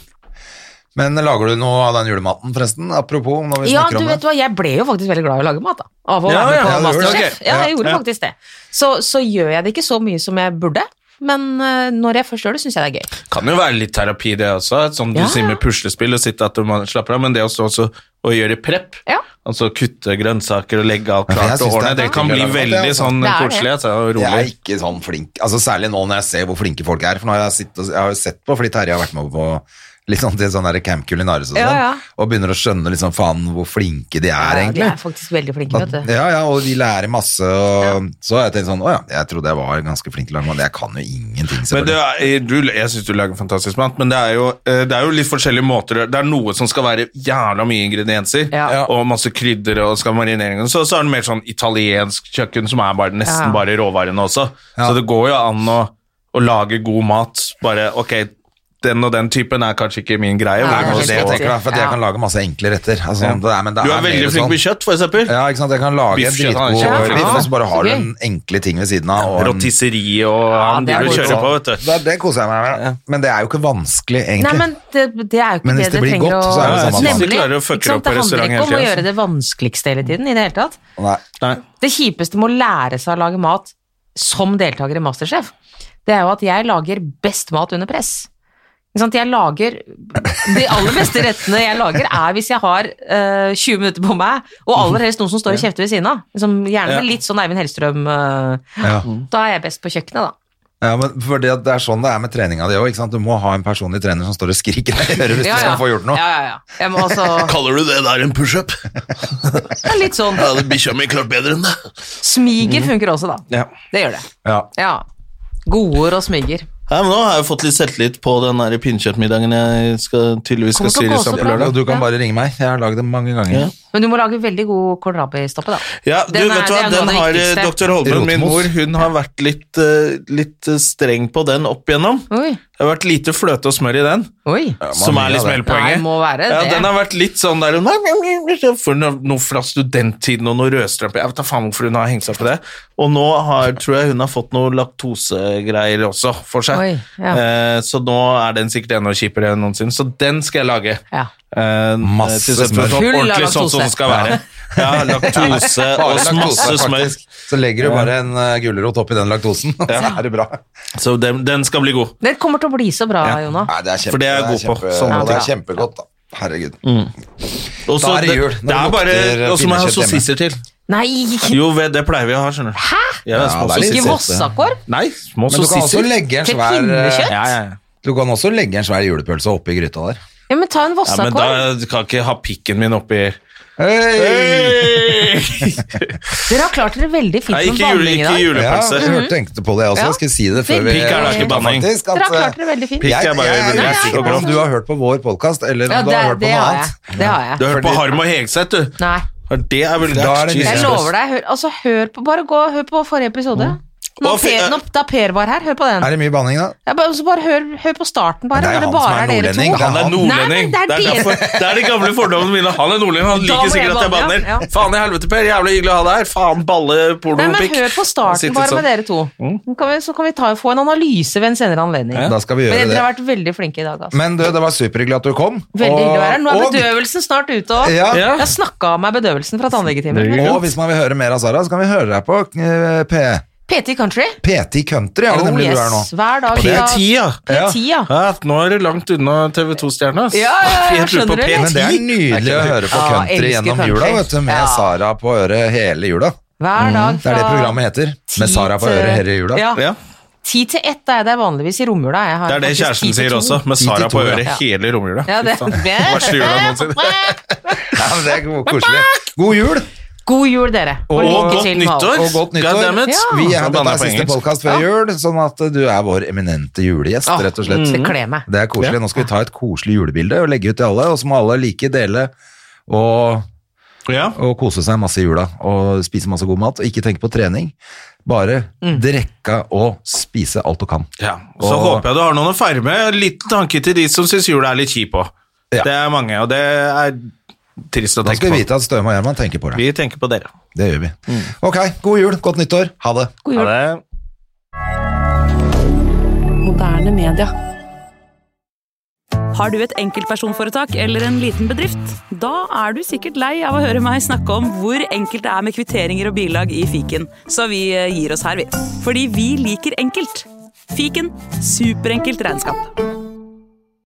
[SPEAKER 2] Men lager du noe av den julematen, forresten? Apropos, når vi
[SPEAKER 4] Ja,
[SPEAKER 2] snakker
[SPEAKER 4] du
[SPEAKER 2] om
[SPEAKER 4] vet
[SPEAKER 2] det.
[SPEAKER 4] hva, jeg ble jo faktisk veldig glad i å lage mat, da. Av å
[SPEAKER 1] Ja,
[SPEAKER 4] være med
[SPEAKER 1] ja, ja,
[SPEAKER 4] på
[SPEAKER 2] du gjorde det.
[SPEAKER 4] Masterchef.
[SPEAKER 1] Ok.
[SPEAKER 4] Ja, jeg
[SPEAKER 1] Ja,
[SPEAKER 4] gjorde
[SPEAKER 1] ja.
[SPEAKER 4] faktisk det. Så, så gjør jeg det ikke så mye som jeg burde, men eh, når jeg først gjør det, syns jeg det er gøy.
[SPEAKER 1] Kan jo være litt terapi, det også. et Sånn du
[SPEAKER 4] Ja,
[SPEAKER 1] sier
[SPEAKER 4] ja.
[SPEAKER 1] med puslespill og sitte at du må slappe av, men det også, også å gjøre prep.
[SPEAKER 4] Ja.
[SPEAKER 1] Altså kutte grønnsaker og legge alt
[SPEAKER 2] Ja, for jeg
[SPEAKER 1] klart og
[SPEAKER 2] synes
[SPEAKER 1] ordne.
[SPEAKER 2] det er
[SPEAKER 1] Det kan bli
[SPEAKER 2] veldig gøy å lage mat,
[SPEAKER 1] veldig
[SPEAKER 2] det, altså.
[SPEAKER 1] sånn
[SPEAKER 4] Det er det.
[SPEAKER 1] koselig altså, og
[SPEAKER 2] Jeg er
[SPEAKER 1] rolig.
[SPEAKER 2] ikke sånn flink, altså særlig nå når jeg ser hvor flinke folk er, for nå har jeg, sittet, og- jeg har jo sett på, fordi Terje har vært med på litt sånn til sånn der Camp Culinaris og sånn,
[SPEAKER 4] Ja, ja.
[SPEAKER 2] og begynner å skjønne liksom faen hvor flinke de er
[SPEAKER 4] Ja,
[SPEAKER 2] egentlig.
[SPEAKER 4] de er faktisk veldig flinke, vet du.
[SPEAKER 2] Ja, ja, og vi lærer masse, og så har jeg tenkt sånn, å ja, jeg trodde jeg var ganske flink til å lage mat, jeg kan jo ingenting
[SPEAKER 1] Men det
[SPEAKER 2] selvfølgelig.
[SPEAKER 1] er, du, jeg syns du lager fantastisk mat, men det er, jo, eh, det er jo litt forskjellige måter. å- Det er noe som skal være jævla mye ingredienser,
[SPEAKER 4] Ja.
[SPEAKER 1] og masse krydder og skal marinering. og Så, så er det mer sånn italiensk kjøkken som er bare, nesten
[SPEAKER 4] Ja.
[SPEAKER 1] bare råvarene også.
[SPEAKER 2] Ja.
[SPEAKER 1] Så det går jo an å, å lage god mat. Bare ok,
[SPEAKER 5] den og den typen er kanskje ikke min greie.
[SPEAKER 4] Ja,
[SPEAKER 5] hvor
[SPEAKER 2] Det er
[SPEAKER 5] må
[SPEAKER 2] kanskje det jeg
[SPEAKER 5] stå-
[SPEAKER 2] tenker, da, for at jeg
[SPEAKER 4] Ja.
[SPEAKER 2] kan lage masse enkle retter. Altså, det er, men det
[SPEAKER 5] du er veldig
[SPEAKER 2] er mer sånn
[SPEAKER 1] sånn.
[SPEAKER 5] flink med kjøtt, for eksempel.
[SPEAKER 2] Ja, ikke sant? Jeg kan lage en
[SPEAKER 5] Biff, kjøtt, han er
[SPEAKER 2] dritgod
[SPEAKER 4] kjempeflink.
[SPEAKER 2] biff,
[SPEAKER 4] Ja,
[SPEAKER 2] og så bare har du
[SPEAKER 4] så gøy.
[SPEAKER 2] en enkle ting ved siden av. Og en,
[SPEAKER 5] Rotisseri og han
[SPEAKER 4] det er
[SPEAKER 5] driver og
[SPEAKER 4] godt.
[SPEAKER 5] kjører på, vet du.
[SPEAKER 2] det, det koser jeg meg med. Men det er jo ikke vanskelig,
[SPEAKER 4] Nei,
[SPEAKER 2] egentlig.
[SPEAKER 4] men det, det er jo ikke
[SPEAKER 2] Men
[SPEAKER 4] det
[SPEAKER 2] hvis det
[SPEAKER 4] dere
[SPEAKER 2] blir
[SPEAKER 4] trenger
[SPEAKER 2] godt,
[SPEAKER 4] å
[SPEAKER 2] så er det
[SPEAKER 5] samme
[SPEAKER 4] Nemlig.
[SPEAKER 5] vanskelig. Hvis du klarer å fucke
[SPEAKER 4] Ikke
[SPEAKER 5] opp på
[SPEAKER 4] sant? Det
[SPEAKER 5] restaurant
[SPEAKER 4] handler ikke om
[SPEAKER 5] hele
[SPEAKER 4] å
[SPEAKER 5] tiden,
[SPEAKER 4] gjøre det vanskeligste hele tiden i det hele tatt.
[SPEAKER 2] Nei.
[SPEAKER 5] Nei.
[SPEAKER 4] Det kjipeste med å lære seg å lage mat som deltaker i Masterchef, det er jo at jeg lager best mat under press. Ikke sant? Jeg lager De aller beste rettene jeg lager, er hvis jeg har eh, 20 minutter på meg, og aller helst noen som står og kjefter ved siden av. Liksom, gjerne
[SPEAKER 5] Ja.
[SPEAKER 4] litt sånn Eivind Hellstrøm. eh,
[SPEAKER 2] Ja.
[SPEAKER 4] da er jeg best på kjøkkenet, da.
[SPEAKER 2] Ja, men fordi at Det er sånn det er med treninga di òg. Du må ha en personlig trener som står og skriker deg i øret hvis
[SPEAKER 4] Ja,
[SPEAKER 2] du
[SPEAKER 4] ja.
[SPEAKER 2] skal få gjort noe.
[SPEAKER 4] Ja, ja, ja. Jeg må også,
[SPEAKER 1] Kaller du det der en pushup?
[SPEAKER 4] det er litt sånn.
[SPEAKER 1] Ja, det bikkja mi klart bedre enn det.
[SPEAKER 4] Smiger
[SPEAKER 2] Mm.
[SPEAKER 4] funker også, da.
[SPEAKER 5] Ja.
[SPEAKER 4] Det gjør det.
[SPEAKER 2] Ja.
[SPEAKER 4] Ja. Godord og smiger.
[SPEAKER 1] Nei, men Nå har jeg fått litt selvtillit på den der pinnekjøttmiddagen jeg skal, tydeligvis skal
[SPEAKER 4] Kommer til å
[SPEAKER 1] styre
[SPEAKER 4] gå så
[SPEAKER 1] sammen på
[SPEAKER 4] bra.
[SPEAKER 1] lørdag.
[SPEAKER 2] Og du kan bare ringe meg. Jeg har lagd det mange ganger.
[SPEAKER 4] Men du må lage veldig god kålrabistoppe, da.
[SPEAKER 1] Ja, du
[SPEAKER 4] Den er-
[SPEAKER 1] vet du hva,
[SPEAKER 4] det er noe
[SPEAKER 1] den
[SPEAKER 4] av det
[SPEAKER 1] har eh,
[SPEAKER 4] viktigste.
[SPEAKER 1] Dr. Holmen, min
[SPEAKER 2] Rotmos.
[SPEAKER 1] mor, hun har vært litt, eh, litt eh, streng på den opp igjennom.
[SPEAKER 4] Oi.
[SPEAKER 1] Det har vært lite fløte og smør i den,
[SPEAKER 4] Oi.
[SPEAKER 2] Ja,
[SPEAKER 1] som
[SPEAKER 2] mange
[SPEAKER 1] er liksom
[SPEAKER 2] av det.
[SPEAKER 1] hele
[SPEAKER 4] Nei,
[SPEAKER 1] poenget.
[SPEAKER 4] må være
[SPEAKER 1] Ja,
[SPEAKER 4] det.
[SPEAKER 1] den har vært litt sånn der For nå- nå fra studenttiden og noe rødstrømpe Jeg vet da faen hvorfor hun har hengt seg på det. Og nå har, tror jeg hun har fått noe laktosegreier også for seg.
[SPEAKER 4] Oi, ja.
[SPEAKER 1] eh, så nå er den sikkert enda kjipere enn noensinne. Så den skal jeg lage.
[SPEAKER 4] Ja.
[SPEAKER 1] Eh,
[SPEAKER 2] Masse
[SPEAKER 1] til
[SPEAKER 2] smør.
[SPEAKER 1] søsteren, sånn
[SPEAKER 4] Full av
[SPEAKER 1] Ordentlig sånn som
[SPEAKER 4] laktose.
[SPEAKER 1] det skal være. Ja, laktose
[SPEAKER 2] Bare
[SPEAKER 1] og masse
[SPEAKER 2] laktose,
[SPEAKER 1] smør.
[SPEAKER 2] faktisk. Så legger du bare en uh, gulrot oppi den laktosen, og så er det bra.
[SPEAKER 1] Så den, den skal bli god.
[SPEAKER 4] Den kommer til å bli så bra, Jona.
[SPEAKER 2] Nei, det er kjempe,
[SPEAKER 1] For det er jeg god på,
[SPEAKER 2] kjempe-
[SPEAKER 1] sånne Mm.
[SPEAKER 2] og det er
[SPEAKER 4] ting.
[SPEAKER 2] kjempegodt, da. Herregud.
[SPEAKER 1] Og
[SPEAKER 2] Da
[SPEAKER 1] så
[SPEAKER 2] er det
[SPEAKER 1] det-
[SPEAKER 2] jul, når
[SPEAKER 1] Det er
[SPEAKER 2] det
[SPEAKER 1] bare,
[SPEAKER 2] lukter eh,
[SPEAKER 1] Og så må jeg ha
[SPEAKER 2] pinnekjøtt hjemme.
[SPEAKER 1] sossiser til.
[SPEAKER 4] Nei,
[SPEAKER 1] Jo, ved- det pleier vi å ha, skjønner du. Hæ? Ja, små
[SPEAKER 2] det er litt
[SPEAKER 1] sossiser.
[SPEAKER 4] ikke
[SPEAKER 2] voss.
[SPEAKER 4] vossakår.
[SPEAKER 1] Nei, små
[SPEAKER 2] Men du kan også
[SPEAKER 1] sossiser.
[SPEAKER 2] legge en
[SPEAKER 4] Til
[SPEAKER 2] svær
[SPEAKER 4] pinnekjøtt?
[SPEAKER 2] eh,
[SPEAKER 1] Ja, ja, ja.
[SPEAKER 2] Du kan også legge en svær julepølse oppi gryta der.
[SPEAKER 4] Ja, men ta en
[SPEAKER 1] ja, men
[SPEAKER 4] vossakår.
[SPEAKER 1] da kan jeg ikke ha pikken min oppi
[SPEAKER 2] Hei!
[SPEAKER 4] Dere har klart dere veldig fint
[SPEAKER 1] Nei,
[SPEAKER 4] med
[SPEAKER 1] ikke, jule,
[SPEAKER 4] banning i
[SPEAKER 1] ikke
[SPEAKER 4] dag.
[SPEAKER 2] Ja,
[SPEAKER 1] julepølse. Mm-hmm.
[SPEAKER 2] jeg tenkte på det også.
[SPEAKER 4] Ja.
[SPEAKER 2] Jeg skulle si det før vi
[SPEAKER 4] Pikk er da
[SPEAKER 1] ikke banning.
[SPEAKER 2] Faktisk,
[SPEAKER 4] Dere har
[SPEAKER 2] eh,
[SPEAKER 4] klart dere veldig fint.
[SPEAKER 2] Pikk
[SPEAKER 1] Pikk
[SPEAKER 2] er
[SPEAKER 1] er bare
[SPEAKER 2] jeg er
[SPEAKER 1] underlig
[SPEAKER 2] usikker på
[SPEAKER 1] og
[SPEAKER 2] om
[SPEAKER 1] grovt.
[SPEAKER 2] du har hørt på vår podkast, eller om
[SPEAKER 4] Ja,
[SPEAKER 2] du
[SPEAKER 4] det,
[SPEAKER 2] har hørt på
[SPEAKER 4] det
[SPEAKER 2] noe
[SPEAKER 4] har
[SPEAKER 2] annet.
[SPEAKER 4] jeg. Det har
[SPEAKER 1] Du
[SPEAKER 4] jeg.
[SPEAKER 1] har hørt på Harm og Hegseth, du.
[SPEAKER 4] Nei.
[SPEAKER 1] Ja, Det er vel
[SPEAKER 2] Da er det
[SPEAKER 4] Jeg
[SPEAKER 2] Jesus.
[SPEAKER 4] lover deg. Hør, altså, hør på, bare gå, hør på forrige episode.
[SPEAKER 1] Mm.
[SPEAKER 4] Når
[SPEAKER 1] Og fi-
[SPEAKER 4] per, når, da Per var her, hør på den.
[SPEAKER 2] Er det mye banning, da?
[SPEAKER 4] Ja, bare, så bare hør, hør på starten, bare.
[SPEAKER 2] Men det er han
[SPEAKER 4] når
[SPEAKER 2] som
[SPEAKER 4] det bare
[SPEAKER 2] er
[SPEAKER 4] er dere
[SPEAKER 2] nordlending,
[SPEAKER 4] to.
[SPEAKER 2] han
[SPEAKER 1] Han er
[SPEAKER 4] Nei, men
[SPEAKER 1] nordlending.
[SPEAKER 4] det er
[SPEAKER 1] Det er,
[SPEAKER 4] dere.
[SPEAKER 1] derfor, det er de gamle fordommene mine. Han er nordlending, han
[SPEAKER 4] Da må
[SPEAKER 1] liker
[SPEAKER 4] jeg
[SPEAKER 1] sikkert at jeg
[SPEAKER 4] banne,
[SPEAKER 1] banner.
[SPEAKER 4] ja.
[SPEAKER 1] Faen, i helvete, Per. Jævlig hyggelig å ha deg her. Faen, balle,
[SPEAKER 4] Nei,
[SPEAKER 1] porno,
[SPEAKER 4] men
[SPEAKER 1] pikk. sånn.
[SPEAKER 4] Hør på starten, bare
[SPEAKER 2] sånn.
[SPEAKER 4] med dere to. Så kan vi, så kan vi ta, få en analyse ved en senere anledning.
[SPEAKER 2] Mm. Da skal vi gjøre
[SPEAKER 4] Men
[SPEAKER 2] det.
[SPEAKER 4] dere har vært veldig flinke i dag, altså.
[SPEAKER 2] Men du, det var superhyggelig at du kom.
[SPEAKER 4] Veldig hyggelig å være her. Nå er
[SPEAKER 2] og-
[SPEAKER 4] bedøvelsen snart ute òg.
[SPEAKER 2] Ja.
[SPEAKER 1] Ja.
[SPEAKER 4] Jeg snakka av meg bedøvelsen fra tannlegetimen.
[SPEAKER 2] Og hvis man vil høre mer av Sara, så kan vi høre deg på eh, P
[SPEAKER 4] PT Country.
[SPEAKER 2] PT Country, er det
[SPEAKER 4] Oh,
[SPEAKER 2] nemlig du er nå.
[SPEAKER 4] yes. Hver dag.
[SPEAKER 2] det er
[SPEAKER 4] fra
[SPEAKER 1] P10, ja.
[SPEAKER 4] P10, ja.
[SPEAKER 1] ja. Nå er det langt unna TV2-stjerna. ass.
[SPEAKER 4] Ja, ja, ja,
[SPEAKER 1] Helt ut på
[SPEAKER 4] skjønner du, eller?
[SPEAKER 2] Men det er
[SPEAKER 1] P10.
[SPEAKER 2] nydelig å høre på
[SPEAKER 4] Ja,
[SPEAKER 2] country
[SPEAKER 4] elsker
[SPEAKER 2] gjennom
[SPEAKER 4] country.
[SPEAKER 2] jula, vet du, med
[SPEAKER 4] Ja.
[SPEAKER 2] Sara på øret hele jula.
[SPEAKER 4] Hver dag
[SPEAKER 2] Mm, Det
[SPEAKER 4] fra
[SPEAKER 2] er det programmet heter. Med
[SPEAKER 4] ti
[SPEAKER 2] Sara på
[SPEAKER 4] til-
[SPEAKER 2] øret hele jula.
[SPEAKER 4] Ja.
[SPEAKER 1] Ja,
[SPEAKER 4] Ti til ett er jeg der vanligvis i romjula. Jeg har
[SPEAKER 1] det er det
[SPEAKER 4] faktisk ti
[SPEAKER 1] kjæresten
[SPEAKER 4] til
[SPEAKER 1] sier
[SPEAKER 4] to.
[SPEAKER 1] også, med
[SPEAKER 2] 10 til
[SPEAKER 1] Sara på
[SPEAKER 2] to, ja.
[SPEAKER 1] øret hele romjula.
[SPEAKER 4] Ja, det.
[SPEAKER 1] Fy faen. Verste jula noensinne.
[SPEAKER 2] Ja, men det er jo koselig. God jul!
[SPEAKER 4] God jul, dere.
[SPEAKER 1] Og
[SPEAKER 4] lykke
[SPEAKER 1] godt
[SPEAKER 4] til med alt.
[SPEAKER 1] nyttår!
[SPEAKER 2] Og godt nyttår.
[SPEAKER 1] God damn it.
[SPEAKER 4] Ja.
[SPEAKER 2] Vi er,
[SPEAKER 1] Nå
[SPEAKER 2] dette
[SPEAKER 1] banner jeg
[SPEAKER 2] er
[SPEAKER 1] på
[SPEAKER 2] siste
[SPEAKER 1] engelsk.
[SPEAKER 2] podkast før jul, sånn at du er vår eminente julegjest,
[SPEAKER 4] Åh,
[SPEAKER 2] rett og slett.
[SPEAKER 4] Det kler Ah, mm. meg.
[SPEAKER 2] Det er koselig. Nå skal vi ta et koselig julebilde og legge ut til alle, og så må alle like, dele og,
[SPEAKER 1] Ja.
[SPEAKER 2] og kose seg masse i jula. Og spise masse god mat, og ikke tenke på trening. Bare
[SPEAKER 1] Mm.
[SPEAKER 2] drikke og spise alt du kan.
[SPEAKER 1] Ja, og Så
[SPEAKER 2] Og-
[SPEAKER 1] håper jeg du har noen å feire med. En liten tanke til de som syns jula er litt kjip òg.
[SPEAKER 2] Ja.
[SPEAKER 1] Det er mange, og det er trist å
[SPEAKER 2] Da
[SPEAKER 1] tenke
[SPEAKER 2] skal vi
[SPEAKER 1] på.
[SPEAKER 2] vite at Støme og Gjerman tenker på det.
[SPEAKER 1] Vi Mm. tenker på dere.
[SPEAKER 2] Det gjør vi. Ok, god jul, godt nyttår. Ha det.
[SPEAKER 4] God jul.
[SPEAKER 1] Ha det.
[SPEAKER 6] Moderne media.
[SPEAKER 7] Har du et enkeltpersonforetak eller en liten bedrift? Da er du sikkert lei av å høre meg snakke om hvor enkelt det er med kvitteringer og bilag i fiken, så vi eh, gir oss her, vi. Fordi vi liker enkelt. Fiken superenkelt regnskap.